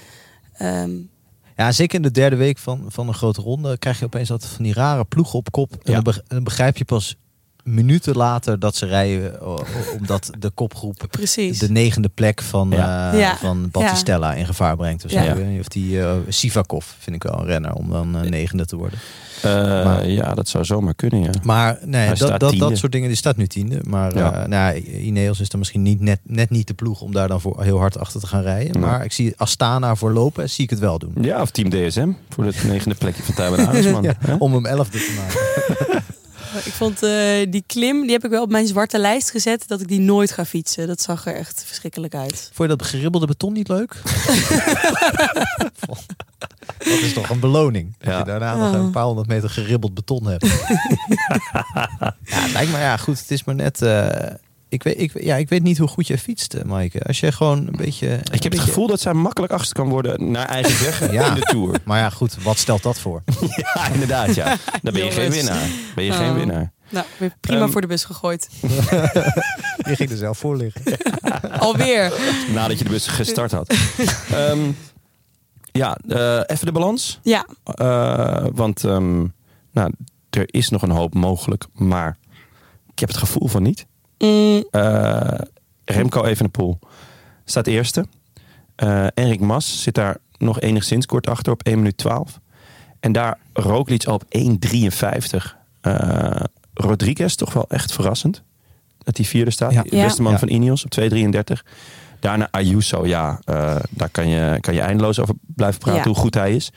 Speaker 4: Ehm,
Speaker 2: Ja, zeker in de derde week van, van een grote ronde krijg je opeens altijd van die rare ploegen op kop. En
Speaker 1: Ja.
Speaker 2: dan beg- dan begrijp je pas minuten later dat ze rijden, o- o- omdat de kopgroep
Speaker 4: precies.
Speaker 2: de negende plek van,
Speaker 1: Ja.
Speaker 2: eh,
Speaker 4: Ja.
Speaker 2: van Battistella in gevaar brengt. Of, zo.
Speaker 4: Ja.
Speaker 2: Ik weet niet of die eh, Sivakov vind ik wel een renner om dan eh, negende te worden.
Speaker 1: Eh,
Speaker 2: Maar-
Speaker 1: ja, dat zou zomaar kunnen, ja.
Speaker 2: Maar nee,
Speaker 1: Hij
Speaker 2: dat,
Speaker 1: staat
Speaker 2: dat,
Speaker 1: tiende.
Speaker 2: dat soort dingen, die staat nu tiende. Maar eh
Speaker 1: Ja.
Speaker 2: nou, ja, Ineos is dan misschien niet, net, net niet de ploeg om daar dan voor heel hard achter te gaan rijden.
Speaker 1: Nee.
Speaker 2: Maar ik zie Astana voor lopen, zie ik het wel doen.
Speaker 1: Ja, of Team DSM voor het negende plekje van Tijmen [LAUGHS] Arendsman.
Speaker 2: Ja,
Speaker 1: Hè?
Speaker 2: [LAUGHS] om hem elfde te maken.
Speaker 4: Ik vond eh, die klim, die heb ik wel op mijn zwarte lijst gezet. Dat ik die nooit ga fietsen. Dat zag er echt verschrikkelijk uit.
Speaker 2: Vond je dat geribbelde beton niet leuk? [LAUGHS] dat is toch een beloning. Dat
Speaker 1: Ja.
Speaker 2: je daarna nog een paar honderd meter geribbeld beton [LAUGHS] hebt. ja, het lijkt me ja, goed. Het is maar net. eh, ik, weet, ik, ja, ik weet niet hoe goed jij fietst, eh, Maaike. Als je gewoon een beetje. een
Speaker 1: Ik heb het
Speaker 2: beetje-
Speaker 1: gevoel dat zij makkelijk achter kan worden naar eigen zeggen
Speaker 2: Ja.
Speaker 1: in de [LAUGHS] Tour.
Speaker 2: Maar ja, goed, wat stelt dat voor?
Speaker 1: Ja, inderdaad, ja. Dan ben je geen
Speaker 4: Jongens.
Speaker 1: winnaar. Ben je geen
Speaker 4: Oh.
Speaker 1: winnaar.
Speaker 4: Nou, weer prima
Speaker 1: Ehm,
Speaker 4: voor de bus gegooid.
Speaker 2: [LAUGHS] Je ging er zelf voor liggen.
Speaker 4: Alweer.
Speaker 1: Nadat je de bus gestart had. Ehm, ja, eh, even de balans.
Speaker 4: [LAUGHS] Ja,
Speaker 1: Eh, want ehm, nou, er is nog een hoop mogelijk, maar ik heb het gevoel van niet.
Speaker 4: Mm,
Speaker 1: Eh, Remco Evenepoel staat eerste. Eh Enrik Mas zit daar nog enigszins kort achter op 1 minuut 12. En daar Roglic al op 1.53. Eh Rodriguez toch wel echt verrassend. Dat hij vierde staat.
Speaker 2: Ja.
Speaker 1: De beste man
Speaker 2: Ja.
Speaker 1: van Ineos op 2.33. Daarna Ayuso, ja. eh, daar kan je, kan je eindeloos over blijven praten
Speaker 4: Ja.
Speaker 1: hoe goed hij is.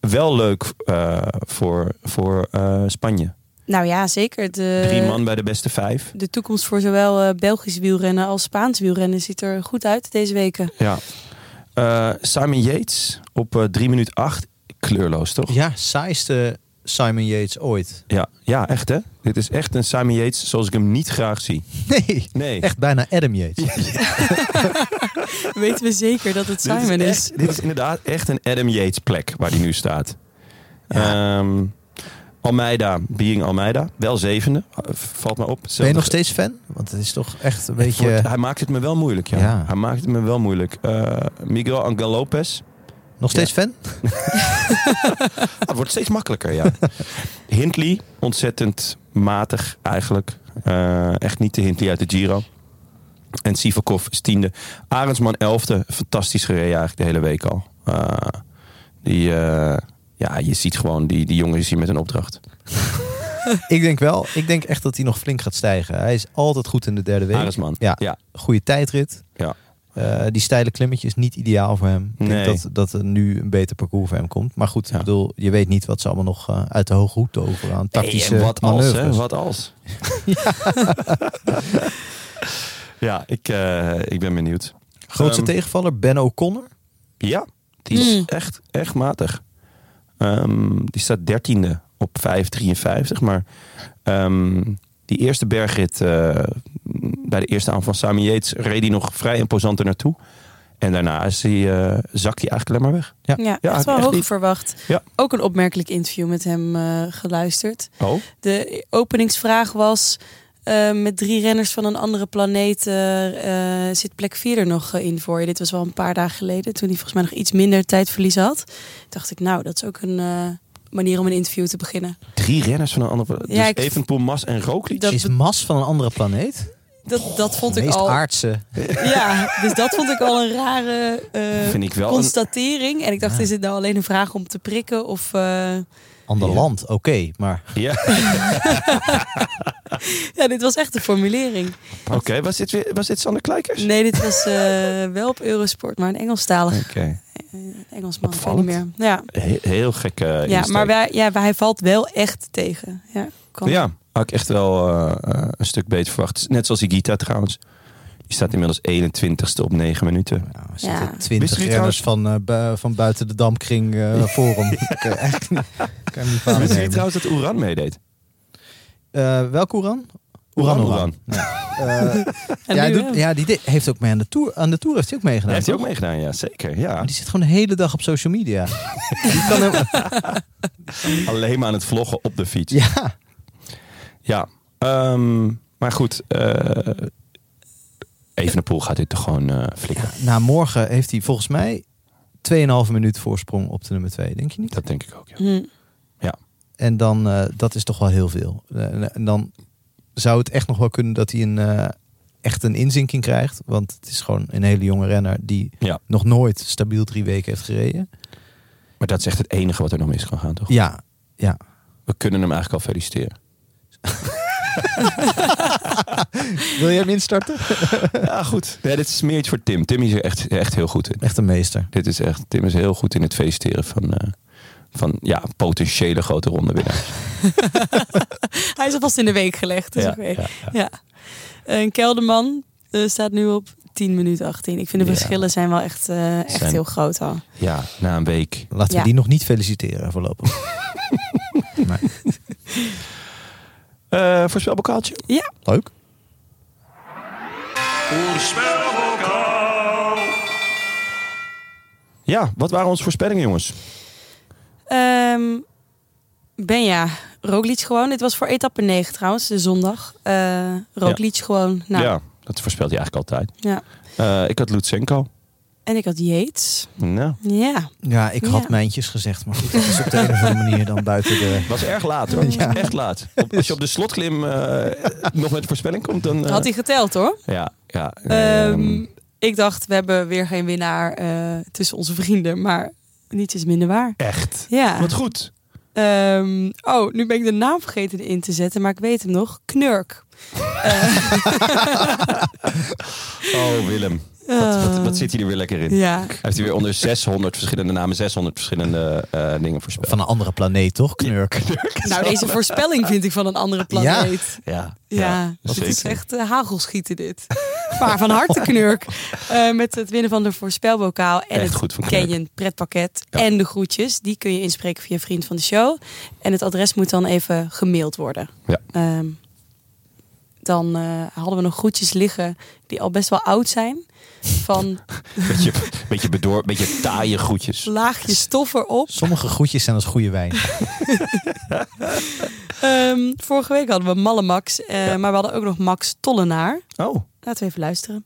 Speaker 1: Wel leuk eh, voor, voor eh, Spanje.
Speaker 4: nou ja, zeker. De,
Speaker 1: Drie man bij de beste vijf.
Speaker 4: De toekomst voor zowel eh, Belgisch wielrennen als Spaans wielrennen ziet er goed uit deze weken.
Speaker 1: Ja. Eh, Simon Yates op eh 3 minuut 8. Kleurloos, toch?
Speaker 2: Ja, saaiste Simon Yates ooit.
Speaker 1: Ja, ja, echt hè? Dit is echt een Simon Yates zoals ik hem niet graag zie.
Speaker 2: Nee,
Speaker 1: Nee.
Speaker 2: echt bijna Adam Yates.
Speaker 4: [LAUGHS] Weten we zeker dat het Simon
Speaker 1: [LAUGHS] dit is,
Speaker 4: is.
Speaker 1: echt- dit is inderdaad echt een Adam Yates plek waar hij nu staat. Ehm, Almeida, being Almeida. Wel zevende, eh, valt me op.
Speaker 2: Ben je nog
Speaker 1: Zelfde-
Speaker 2: steeds fan? Want het is toch echt een
Speaker 1: Het wordt-
Speaker 2: beetje...
Speaker 1: hij maakt het me wel moeilijk, ja.
Speaker 2: Ja.
Speaker 1: Hij maakt het me wel moeilijk. Eh, Miguel Angel Lopez,
Speaker 2: Nog steeds fan?
Speaker 1: Ah, het wordt steeds makkelijker,
Speaker 2: [LAUGHS]
Speaker 1: ja. Hindley, ontzettend matig eigenlijk. Eh, echt niet de Hindley uit de Giro. En Sivakov is tiende. Arendsman elfde. Fantastisch gereden eigenlijk de hele week al. Eh, die, eh, ja, je ziet gewoon, die, die jongen is hier met een opdracht.
Speaker 2: Ik denk wel. Ik denk echt dat hij nog flink gaat stijgen. Hij is altijd goed in de derde week.
Speaker 1: Arendsman.
Speaker 2: Ja.
Speaker 1: ja.
Speaker 2: Goede tijdrit.
Speaker 1: Ja.
Speaker 2: Eh, die steile klimmetje is niet ideaal voor hem. Ik
Speaker 1: Nee.
Speaker 2: denk dat, dat er nu een beter parcours voor hem komt. Maar goed,
Speaker 1: Ja.
Speaker 2: ik bedoel, je weet niet wat ze allemaal nog eh, uit de hoge hoed over aan tactische
Speaker 1: Hey, en wat als, hè?
Speaker 2: manoeuvres.
Speaker 1: Wat
Speaker 2: [LAUGHS]
Speaker 1: als? [LAUGHS] ja, ik, eh, ik ben benieuwd.
Speaker 2: Grootste
Speaker 1: Ehm,
Speaker 2: tegenvaller, Ben O'Connor.
Speaker 1: Ja, die is
Speaker 4: Mm.
Speaker 1: echt, echt matig. Ehm, die staat dertiende op 5,53. Maar ehm, die eerste bergrit, eh, bij de eerste aan van Sami Yates, reed hij nog vrij imposant er naartoe. En daarna is hij, eh, zakt hij eigenlijk alleen maar weg.
Speaker 4: Ja,
Speaker 1: Ja,
Speaker 4: echt wel
Speaker 1: echt
Speaker 4: hoog
Speaker 1: niet.
Speaker 4: verwacht.
Speaker 1: Ja.
Speaker 4: Ook een opmerkelijk interview met hem eh, geluisterd.
Speaker 1: Oh,
Speaker 4: De openingsvraag was... eh, met drie renners van een andere planeet eh, eh, zit plek 4 er nog eh, in voor je. Dit was wel een paar dagen geleden, toen hij volgens mij nog iets minder tijdverlies had. Dacht ik, nou, dat is ook een eh, manier om een interview te beginnen.
Speaker 1: drie renners van een andere... Dus
Speaker 4: Ja, ik-
Speaker 1: Evenepoel, Mas en Roglic.
Speaker 4: Dat-
Speaker 2: is Mas van een andere planeet.
Speaker 4: Dat, dat vond
Speaker 2: De
Speaker 4: ik
Speaker 2: meest
Speaker 4: al...
Speaker 2: aardse.
Speaker 4: [LAUGHS] Ja, dus dat vond ik al een rare eh,
Speaker 1: Vind ik wel een-
Speaker 4: constatering. En ik dacht,
Speaker 2: Ja.
Speaker 4: is het nou alleen een vraag om te prikken? Of eh,
Speaker 2: Ander
Speaker 1: Ja.
Speaker 2: land, oké. maar
Speaker 1: Ja, [LAUGHS]
Speaker 4: ja, dit was echt een formulering.
Speaker 1: oké. Was, dit weer- was dit Sander Kleikers?
Speaker 4: Nee, dit was eh, wel op Eurosport, maar een Engelstalig
Speaker 1: Oké.
Speaker 4: Engelsman. ik weet
Speaker 1: Opvallend.
Speaker 4: Niet meer. Ja,
Speaker 1: He- heel gek. eh,
Speaker 4: ja
Speaker 1: insteek.
Speaker 4: maar wij, ja, maar hij valt wel echt tegen. Ja, kan.
Speaker 1: Ja, had ik echt wel eh, eh, een stuk beter verwacht. Net zoals Igita trouwens. Die staat inmiddels 21ste op 9 minuten.
Speaker 2: nou, er zitten
Speaker 4: Ja.
Speaker 1: Wisten
Speaker 2: twintig
Speaker 1: jullie
Speaker 2: renners van, eh, bu- van buiten de damkring eh
Speaker 1: [LAUGHS]
Speaker 2: forum. Ik kan echt niet, ik kan hem niet kwalijk
Speaker 4: Oh,
Speaker 1: Wist je
Speaker 2: nemen.
Speaker 1: trouwens dat Oeran meedeed?
Speaker 2: Eh, welk Oeran?
Speaker 1: Oeran
Speaker 2: Oeran.
Speaker 1: Oeran.
Speaker 2: Ja. [LAUGHS] Eh, ja,
Speaker 4: En
Speaker 2: hij
Speaker 4: nu,
Speaker 2: doet-
Speaker 4: eh,
Speaker 2: ja, die de- heeft ook mee aan de tour. Aan de tour heeft hij ook meegedaan.
Speaker 1: Hij heeft hij ook
Speaker 2: toch?
Speaker 1: meegedaan, ja zeker. Ja.
Speaker 2: Maar die zit gewoon de hele dag op social media. die kan hem,
Speaker 1: Alleen maar aan het vloggen op de fiets. Ja.
Speaker 2: ja,
Speaker 1: Ehm, maar goed, eh Evenepoel gaat dit toch gewoon eh flikken.
Speaker 2: na Nou, morgen heeft hij volgens mij 2,5 minuut voorsprong op de nummer 2, denk je niet?
Speaker 1: Dat denk ik ook, ja.
Speaker 4: hm,
Speaker 2: En dan, eh, dat is toch wel heel veel. Eh, en dan zou het echt nog wel kunnen dat hij een, eh, echt een inzinking krijgt. Want het is gewoon een hele jonge renner die
Speaker 1: Ja.
Speaker 2: nog nooit stabiel drie weken heeft gereden.
Speaker 1: Maar dat is echt het enige wat er nog mis kan gaan, toch?
Speaker 2: Ja, ja.
Speaker 1: We kunnen hem eigenlijk al feliciteren.
Speaker 2: Wil jij hem instarten?
Speaker 1: Ja, goed. Nee, dit is meer iets voor Tim. Tim is er echt, echt heel goed in.
Speaker 2: Echt een meester.
Speaker 1: Dit is echt, Tim is heel goed in het feliciteren van, eh, van ja, potentiële grote ronde
Speaker 4: [LAUGHS]
Speaker 1: winnaars.
Speaker 4: hij is alvast in de week gelegd. Dus
Speaker 1: Ja,
Speaker 4: oké.
Speaker 1: ja, ja.
Speaker 4: Ja. Een kelderman eh, staat nu op 10 minuten 18. Ik vind de
Speaker 1: Ja.
Speaker 4: verschillen zijn wel echt, eh, echt
Speaker 1: Zijn-
Speaker 4: heel groot al.
Speaker 1: Ja, na een week.
Speaker 2: Laten
Speaker 4: Ja.
Speaker 2: we die nog niet feliciteren [LAUGHS] voorlopig. maar,
Speaker 1: Eh voorspelbokaaltje?
Speaker 4: Ja,
Speaker 2: leuk.
Speaker 1: Ja, wat waren onze voorspellingen, jongens?
Speaker 4: ehm Benja, Roglic gewoon. Dit was voor etappe 9 trouwens, de zondag. Eh Roglic gewoon. Nou, ja.
Speaker 1: Ja, dat voorspelt hij eigenlijk altijd. Eh, ik had Lutsenko.
Speaker 4: En ik had Yates.
Speaker 1: Nou,
Speaker 4: Ja.
Speaker 2: Ja, ik had
Speaker 4: Ja.
Speaker 2: mijntjes gezegd, maar goed, dat is op de een of andere manier dan buiten de...
Speaker 1: was erg laat hoor.
Speaker 2: Ja.
Speaker 1: Echt laat. Op- als je op de slotklim eh, nog met de voorspelling komt, dan... eh,
Speaker 4: Had hij geteld hoor.
Speaker 1: Ja, ja.
Speaker 4: Ehm, ik dacht, we hebben weer geen winnaar eh, tussen onze vrienden, maar niets is minder waar.
Speaker 1: echt.
Speaker 4: Ja.
Speaker 1: Wat goed.
Speaker 4: Ehm, oh, nu ben ik de naam vergeten in te zetten, maar ik weet hem nog. Knurk.
Speaker 1: [LAUGHS]
Speaker 4: Eh,
Speaker 1: Oh, Willem. Wat, wat, wat zit hij er weer lekker in?
Speaker 4: Ehm, ja.
Speaker 1: Hij heeft hij weer onder 600 verschillende namen, 600 verschillende eh, dingen voorspeld.
Speaker 2: Van een andere planeet, toch? Knurk.
Speaker 4: Nou, deze voorspelling vind ik van een andere planeet.
Speaker 1: Ja,
Speaker 4: Ja,
Speaker 1: dat
Speaker 4: het is
Speaker 1: zeker.
Speaker 4: echt eh, hagelschieten dit. [LAUGHS] Maar van harte knurk. Eh, met het winnen van de voorspelbokaal en
Speaker 1: Echt
Speaker 4: het
Speaker 1: goed van Knurk.
Speaker 4: Canyon pretpakket en de groetjes. Die kun je inspreken via vriend van de show. En het adres moet dan even gemaild worden.
Speaker 1: Ja.
Speaker 4: Ehm, dan eh, hadden we nog groetjes liggen die al best wel oud zijn. Van
Speaker 1: Beetje, beetje bedoor, beetje taaie groetjes.
Speaker 4: laagje stof erop.
Speaker 2: Sommige groetjes zijn als goede wijn.
Speaker 4: Ehm, vorige week hadden we Malle Max. eh, Maar we hadden ook nog Max Tollenaar.
Speaker 1: Oh,
Speaker 4: Laten we even luisteren.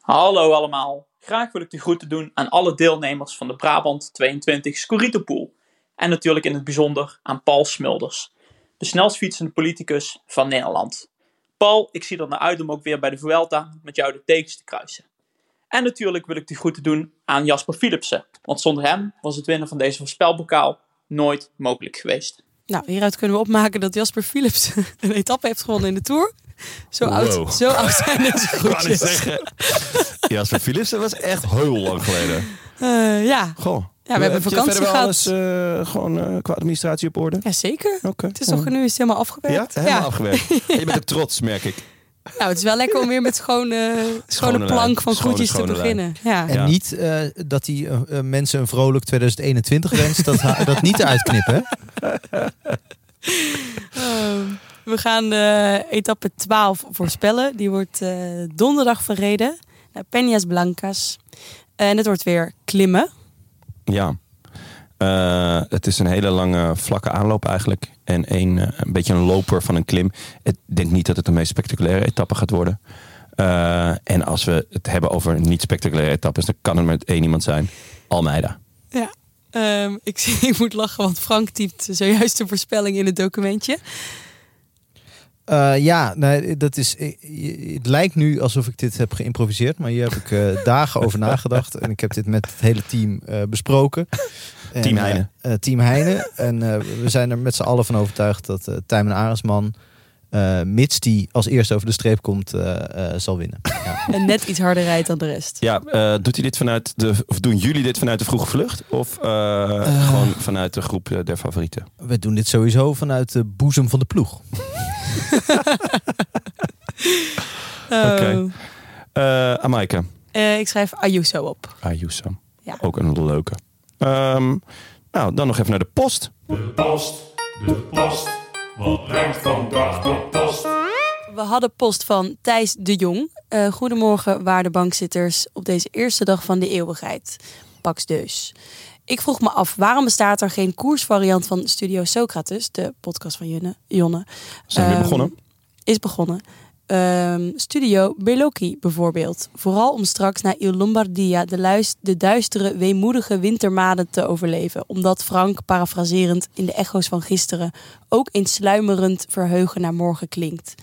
Speaker 5: Hallo allemaal. Graag wil ik de groeten doen aan alle deelnemers van de Brabant 22 Scorito-pool. En natuurlijk in het bijzonder aan Paul Smulders, de snelst fietsende politicus van Nederland. Paul, ik zie er naar uit om ook weer bij de Vuelta met jou de tekens te kruisen. En natuurlijk wil ik de groeten doen aan Jasper Philipsen, want zonder hem was het winnen van deze voorspelbokaal nooit mogelijk geweest.
Speaker 4: Nou, hieruit kunnen we opmaken dat Jasper Philips [LAUGHS] een etappe heeft gewonnen in de Tour. Zo,
Speaker 1: Wow.
Speaker 4: oud, zo
Speaker 1: [LAUGHS]
Speaker 4: oud zijn deze
Speaker 1: ik wou net
Speaker 4: groetjes.
Speaker 1: zeggen. [LAUGHS] Jasper Philips, dat was echt heel lang geleden.
Speaker 4: Eh, ja.
Speaker 1: Goh.
Speaker 4: Ja, we hebben
Speaker 1: Heb je
Speaker 4: vakantie
Speaker 1: verder wel alles
Speaker 4: gehad.
Speaker 1: eh, gewoon eh, qua administratie op orde?
Speaker 4: ja, zeker.
Speaker 1: Oké.
Speaker 4: Het is toch nu is het helemaal afgewerkt.
Speaker 1: Ja, helemaal
Speaker 4: [LAUGHS]
Speaker 1: afgewerkt. En je bent ook trots, merk ik.
Speaker 4: Nou, het is wel lekker om weer met schone, schone,
Speaker 1: lijn.
Speaker 4: plank van
Speaker 1: Schone,
Speaker 4: groetjes
Speaker 1: schone
Speaker 4: te beginnen. Ja.
Speaker 2: En
Speaker 1: Ja.
Speaker 2: niet eh, dat die eh, eh, mensen een vrolijk 2021 wenst. Dat, ha- dat niet uitknippen. hè?
Speaker 4: Ehm, we gaan eh, etappe 12 voorspellen. Die wordt eh, donderdag verreden naar Peñas Blancas. En het wordt weer klimmen.
Speaker 1: Ja. Eh, het is een hele lange vlakke aanloop eigenlijk. En een, eh, een beetje een loper van een klim. Ik denk niet dat het de meest spectaculaire etappe gaat worden. Eh, en als we het hebben over niet spectaculaire etappes, dan kan er met één iemand zijn. Almeida.
Speaker 4: Ja. Ehm, ik, zie, [LAUGHS] ik moet lachen, want Frank typt zojuist de voorspelling in het documentje.
Speaker 2: Eh, ja, nee, dat is, eh, je- het lijkt nu alsof ik dit heb geïmproviseerd. Maar hier heb ik eh, dagen over nagedacht. En ik heb dit met het hele team eh, besproken. En,
Speaker 1: Team
Speaker 2: eh,
Speaker 1: Heine.
Speaker 2: eh, team Heine. En eh, we zijn er met z'n allen van overtuigd dat eh Tijmen Aresman... eh, mits die als eerste over de streep komt, eh, eh, zal winnen. Ja.
Speaker 4: En net iets harder rijdt dan de rest.
Speaker 1: Ja, eh, doet hij dit vanuit de, of doen jullie dit vanuit de vroege vlucht? Of eh, gewoon vanuit de groep eh, der favorieten?
Speaker 2: We doen dit sowieso vanuit de boezem van de ploeg.
Speaker 4: Oh.
Speaker 1: Oké. Eh Amaike.
Speaker 4: Eh, ik schrijf Ayuso op.
Speaker 1: Ayuso.
Speaker 4: Ja.
Speaker 1: Ook een leuke. Ehm, nou, dan nog even naar de post.
Speaker 3: Post, de post, wat brengt vandaag de post?
Speaker 4: We hadden post van Thijs de Jong. Eh, goedemorgen, waarde bankzitters, op deze eerste dag van de eeuwigheid. Pax deus. Ik vroeg me af, waarom bestaat er geen koersvariant van Studio Socrates, de podcast van Jonne? Jonne?
Speaker 1: Zijn we weer
Speaker 4: Ehm,
Speaker 1: begonnen?
Speaker 4: Is begonnen. Ehm, Studio Beloki bijvoorbeeld. Vooral om straks na Il Lombardia de, luis- de duistere, weemoedige wintermaden te overleven. Omdat Frank, parafraserend in de echo's van gisteren, ook in sluimerend verheugen naar morgen klinkt.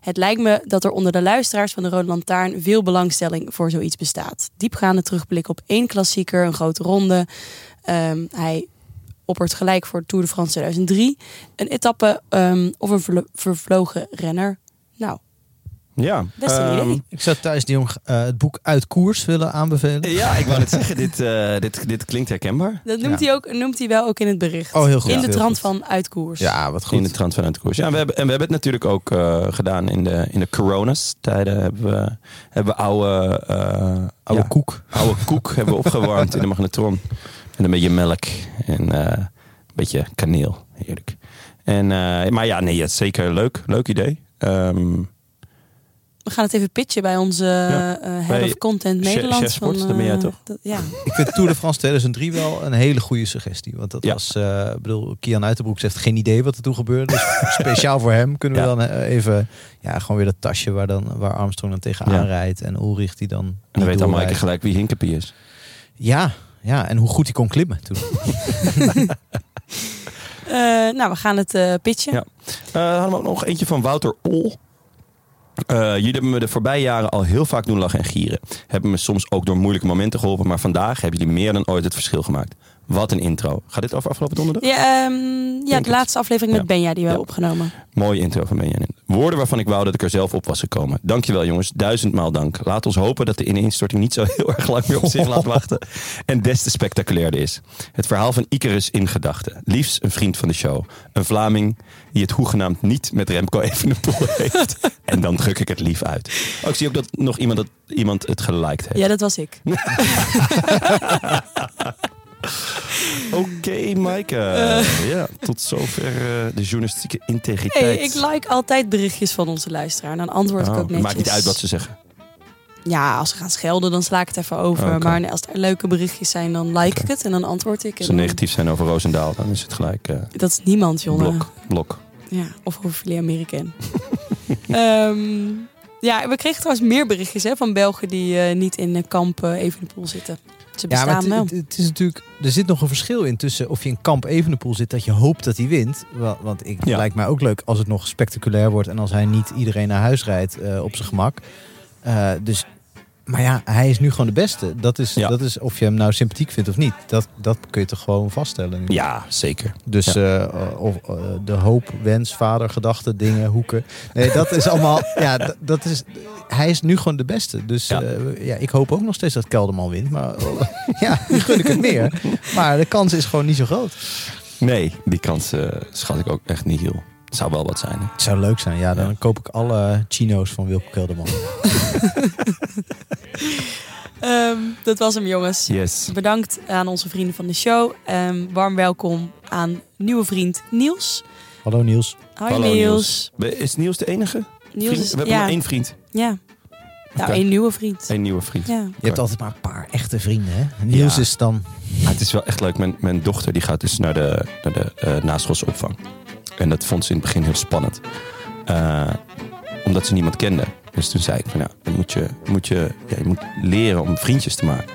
Speaker 4: Het lijkt me dat er onder de luisteraars van de Rode Lantaarn veel belangstelling voor zoiets bestaat. Diepgaande terugblik op één klassieker, een grote ronde. Ehm, hij oppert gelijk voor Tour de France 2003. Een etappe ehm, of een verlo- vervlogen renner. Nou,
Speaker 1: Ja.
Speaker 4: best een
Speaker 1: ehm,
Speaker 4: idee.
Speaker 2: Ik zou Thijs de Jong eh, het boek Uit Koers willen aanbevelen.
Speaker 1: ehm, Ja, ik wou net zeggen, dit, eh, dit, dit klinkt herkenbaar.
Speaker 4: Dat noemt,
Speaker 2: ja.
Speaker 4: hij ook, noemt hij wel ook in het bericht.
Speaker 2: Oh, heel goed.
Speaker 4: In
Speaker 2: Ja.
Speaker 4: de trant
Speaker 2: Heel
Speaker 4: van uitkoers.
Speaker 2: Ja, wat
Speaker 1: In de trant vanuit de koers. Ja, we hebben, en we hebben het natuurlijk ook eh, gedaan in de, in de coronas. Tijden hebben we, hebben we oude, eh,
Speaker 2: Oude
Speaker 1: ja,
Speaker 2: koek.
Speaker 1: oude koek hebben we opgewarmd in de magnetron. En een beetje melk en eh, een beetje kaneel. Heerlijk. En, eh, maar ja, nee, ja, zeker leuk. Leuk idee. Ehm,
Speaker 4: We We gaan het even pitchen bij onze eh, eh, Head
Speaker 1: bij
Speaker 4: of Content
Speaker 1: Chef-
Speaker 4: Nederland. eh,
Speaker 1: Chef Sport, dat ben jij toch?
Speaker 4: ja.
Speaker 2: Ik vind Tour de France 2003 wel een hele goede suggestie. Want dat
Speaker 1: Ja.
Speaker 2: was, eh, ik bedoel, Kian Uiterbroek heeft geen idee wat er toen
Speaker 1: [LAUGHS]
Speaker 2: gebeurde. Dus speciaal voor hem kunnen we dan eh, even, ja, gewoon weer dat tasje waar, dan, waar Armstrong dan tegenaan
Speaker 1: Ja.
Speaker 2: rijdt. En Ulrich die dan...
Speaker 1: En dan weet dan Maaike
Speaker 2: eigenlijk.
Speaker 1: gelijk wie Hinkepie is.
Speaker 2: Ja, ja, en hoe goed hij kon klimmen toen.
Speaker 4: Eh, nou, we gaan het eh, pitchen.
Speaker 1: Ja. Eh hadden we ook nog eentje van Wouter Ol. Eh, jullie hebben me de voorbije jaren al heel vaak doen lachen en gieren. Hebben me soms ook door moeilijke momenten geholpen. Maar vandaag hebben jullie meer dan ooit het verschil gemaakt. Wat een intro. Gaat dit over afgelopen donderdag?
Speaker 4: Ja, ehm, ja
Speaker 1: Denk
Speaker 4: de
Speaker 1: het.
Speaker 4: laatste aflevering met
Speaker 1: Ja.
Speaker 4: Benja die we
Speaker 1: Ja.
Speaker 4: hebben opgenomen.
Speaker 1: Mooie intro van Benjamin. Woorden waarvan ik wou dat ik er zelf op was gekomen. Dankjewel jongens, duizendmaal dank. Laat ons hopen dat de ineenstorting niet zo heel erg lang meer op zich laat wachten. En des te spectaculairder is. Het verhaal van Icarus in gedachten. Liefst een vriend van de show. Een Vlaming die het hoegenaamd niet met Remco Evenepoel heeft. En dan druk ik het lief uit. Oh, ik zie ook dat nog iemand, dat, iemand het geliked heeft.
Speaker 4: Ja, dat was ik.
Speaker 1: Oké Maaike. Ja, tot zover eh, de journalistieke integriteit.
Speaker 4: Hey, ik like altijd berichtjes van onze luisteraar. Dan antwoord ik
Speaker 1: Oh,
Speaker 4: ook netjes.
Speaker 1: maakt niet uit wat ze zeggen.
Speaker 4: Ja, als ze gaan schelden, dan sla ik het even over.
Speaker 1: Oh, Oké.
Speaker 4: Maar als er leuke berichtjes zijn, dan like ik het en dan antwoord ik. En
Speaker 1: Als ze
Speaker 4: dan-
Speaker 1: negatief zijn over Roosendaal, dan is het gelijk... eh,
Speaker 4: Dat is niemand, jongen.
Speaker 1: Blok, blok.
Speaker 4: Ja, of hoeveel jullie
Speaker 1: [LAUGHS]
Speaker 4: Amerikaan. Ehm ja, we kregen trouwens meer berichtjes hè, van Belgen die eh, niet in eh, kampen even in de pool zitten. Ze
Speaker 2: Ja,
Speaker 4: bestaan
Speaker 2: maar het,
Speaker 4: wel.
Speaker 2: het- het is natuurlijk, er zit nog een verschil in tussen of je in kamp Evenepoel zit dat je hoopt dat hij wint. Wel, Want ik
Speaker 1: Ja.
Speaker 2: lijkt mij ook leuk als het nog spectaculair wordt en als hij niet iedereen naar huis rijdt eh, op zijn gemak. Eh, dus, maar ja, hij is nu gewoon de beste. Dat is,
Speaker 1: Ja.
Speaker 2: dat is of je hem nou sympathiek vindt of niet. Dat, dat kun je toch gewoon vaststellen. nu.
Speaker 1: Ja, zeker.
Speaker 2: Dus eh, of, eh, de hoop, wens, vader, gedachten, dingen, hoeken. Nee, dat is
Speaker 1: [LAUGHS]
Speaker 2: allemaal. ja, d- dat is. Hij is nu gewoon de beste. Dus
Speaker 1: Ja.
Speaker 2: ja. ja, ik hoop ook nog steeds dat Kelderman wint. Maar
Speaker 1: [LAUGHS]
Speaker 2: oh, ja, nu gun ik het meer. Maar de kans is gewoon niet zo groot.
Speaker 1: Nee, die kans eh, schat ik ook echt niet heel. Het zou wel wat zijn. Hè?
Speaker 2: Het zou leuk zijn. Ja, dan
Speaker 1: Ja.
Speaker 2: koop ik alle chino's van Wilco Kelderman.
Speaker 4: Ehm, dat was hem, jongens.
Speaker 1: Yes.
Speaker 4: Bedankt aan onze vrienden van de show. Ehm, warm welkom aan nieuwe vriend Niels.
Speaker 2: Hallo Niels.
Speaker 4: Hoi
Speaker 1: Hallo,
Speaker 4: Niels.
Speaker 1: Be- Is Niels de enige?
Speaker 4: Niels
Speaker 1: Vriend?
Speaker 4: is
Speaker 1: We hebben
Speaker 4: ja,
Speaker 1: maar één vriend.
Speaker 4: ja. Nou,
Speaker 1: Oké.
Speaker 4: één nieuwe vriend.
Speaker 1: Eén nieuwe vriend.
Speaker 4: Ja.
Speaker 2: Je hebt altijd maar een paar echte vrienden. Hè? Niels
Speaker 1: Ja.
Speaker 2: is dan.
Speaker 1: Ah, het is wel echt leuk. Mijn, mijn dochter die gaat dus naar de, naar de eh, naschoolsopvang. En dat vond ze in het begin heel spannend. Eh, omdat ze niemand kende. Dus toen zei ik van nou, dan moet je, moet je, ja, je moet leren om vriendjes te maken.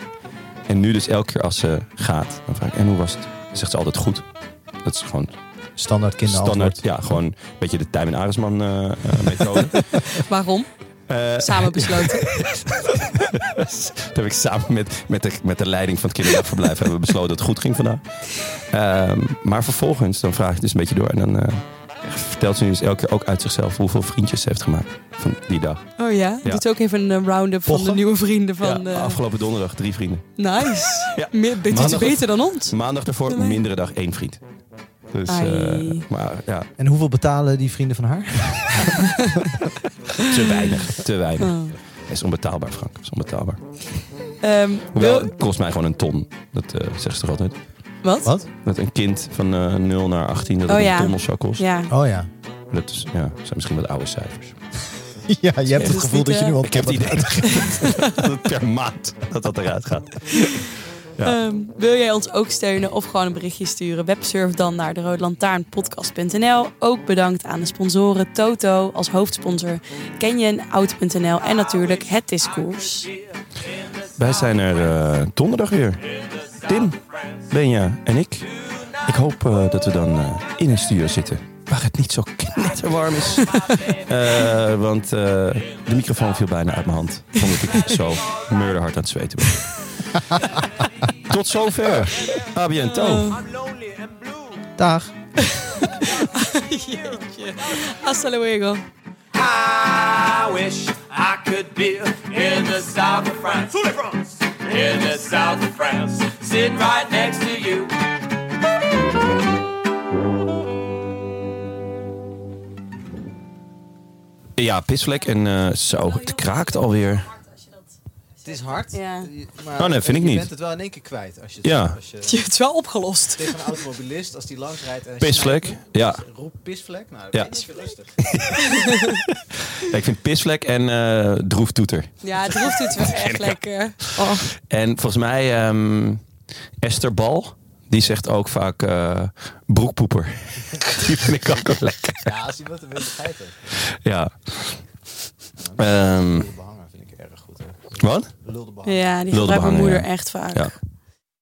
Speaker 1: En nu dus elke keer als ze gaat, dan vraag ik en hoe was het? Dan zegt ze altijd goed. Dat is gewoon
Speaker 2: Standaard kinderantwoord.
Speaker 1: standaard. Ja, gewoon een beetje de Tijmen Aresman eh, eh, methode.
Speaker 4: Waarom?
Speaker 1: Eh, [LAUGHS]
Speaker 4: Samen besloten.
Speaker 1: Dat heb ik samen met, met, de, met de leiding van het kinderdagverblijf hebben we besloten dat het goed ging vandaag. Ehm, maar vervolgens, dan vraag ik het dus een beetje door. En dan eh, vertelt ze nu dus elke keer ook uit zichzelf hoeveel vriendjes ze heeft gemaakt van die dag.
Speaker 4: Oh ja?
Speaker 1: Ja.
Speaker 4: Doet ook even een eh, round-up van de
Speaker 1: Pochen?
Speaker 4: nieuwe vrienden
Speaker 1: Ja,
Speaker 4: van... eh,
Speaker 1: afgelopen donderdag drie vrienden.
Speaker 4: Nice.
Speaker 1: [LAUGHS] Ja.
Speaker 4: Meer, dit is
Speaker 1: Maandag-
Speaker 4: beter dan ons.
Speaker 1: Maandag daarvoor,
Speaker 4: Doei.
Speaker 1: mindere dag één vriend. Dus,
Speaker 4: Ai.
Speaker 1: eh, maar ja,
Speaker 2: En hoeveel betalen die vrienden van haar?
Speaker 1: te weinig. Te weinig.
Speaker 4: Oh.
Speaker 1: Het is onbetaalbaar, Frank. Het is onbetaalbaar.
Speaker 4: Ehm,
Speaker 1: Hoewel,
Speaker 4: wil-
Speaker 1: het kost mij gewoon een ton. Dat eh zeggen ze toch altijd?
Speaker 4: wat?
Speaker 2: Wat?
Speaker 1: Dat een kind van eh 0 naar 18, dat
Speaker 4: Oh
Speaker 1: het
Speaker 4: ja.
Speaker 1: een ton of zo kost.
Speaker 4: Ja.
Speaker 2: Oh ja.
Speaker 1: Dat is, ja, zijn misschien wat oude cijfers.
Speaker 2: [LAUGHS] Ja, je hebt
Speaker 4: Dus
Speaker 2: het gevoel
Speaker 4: niet,
Speaker 2: dat je
Speaker 4: eh,
Speaker 2: nu al.
Speaker 1: Ik heb het idee [LAUGHS] dat het per maand dat dat eruit gaat. Ja.
Speaker 4: Ehm, wil jij ons ook steunen of gewoon een berichtje sturen? Websurf dan naar de roodlantaarnpodcast.nl. Ook bedankt aan de sponsoren Toto als hoofdsponsor, Canyon, Oud.nl en natuurlijk het discours.
Speaker 1: Wij zijn er eh, donderdag weer. Tim, Benja en ik. Ik hoop eh, dat we dan eh, in een studio zitten waar het niet zo knetterwarm is. Eh, want eh, de microfoon viel bijna uit mijn hand. Omdat ik zo murderhard aan het zweten ben. [LAUGHS] Tot zover. A bientôt.
Speaker 2: Dag.
Speaker 4: Jeetje. Hasta luego.
Speaker 3: I wish I could be in the south of France. In the south of France, sitting right next to you.
Speaker 1: Ja, pisvlek en eh, zo, het kraakt alweer.
Speaker 2: Het is hard.
Speaker 4: Ja.
Speaker 2: je- Maar
Speaker 1: Oh, nee, vind ik
Speaker 2: je
Speaker 1: niet.
Speaker 2: bent het wel in één keer kwijt. Als je,
Speaker 1: Ja.
Speaker 2: als je
Speaker 4: [LAUGHS] Je hebt het wel opgelost.
Speaker 2: tegen een automobilist, als die langsrijdt... en
Speaker 1: Pisvlek, ja.
Speaker 2: Roep pisvlek. Nou,
Speaker 1: Ja.
Speaker 2: dat is rustig.
Speaker 1: Ja, ik vind pisvlek en eh droeftoeter.
Speaker 4: Ja, het roept het wel echt lekker. Oh,
Speaker 1: En volgens mij ehm, Esther Bal, die zegt ook vaak eh, broekpoeper. [LAUGHS] die vind ik ook wel lekker.
Speaker 2: Ja, als iemand een wilde geit heeft.
Speaker 1: Ja. Ehm,
Speaker 2: Lulde behanger vind ik erg goed. Hoor.
Speaker 1: wat?
Speaker 2: Lulde behanger.
Speaker 4: ja, die
Speaker 1: Wilde
Speaker 4: gebruikt mijn
Speaker 1: behangen,
Speaker 4: moeder
Speaker 1: ja.
Speaker 4: echt vaak.
Speaker 1: Ja.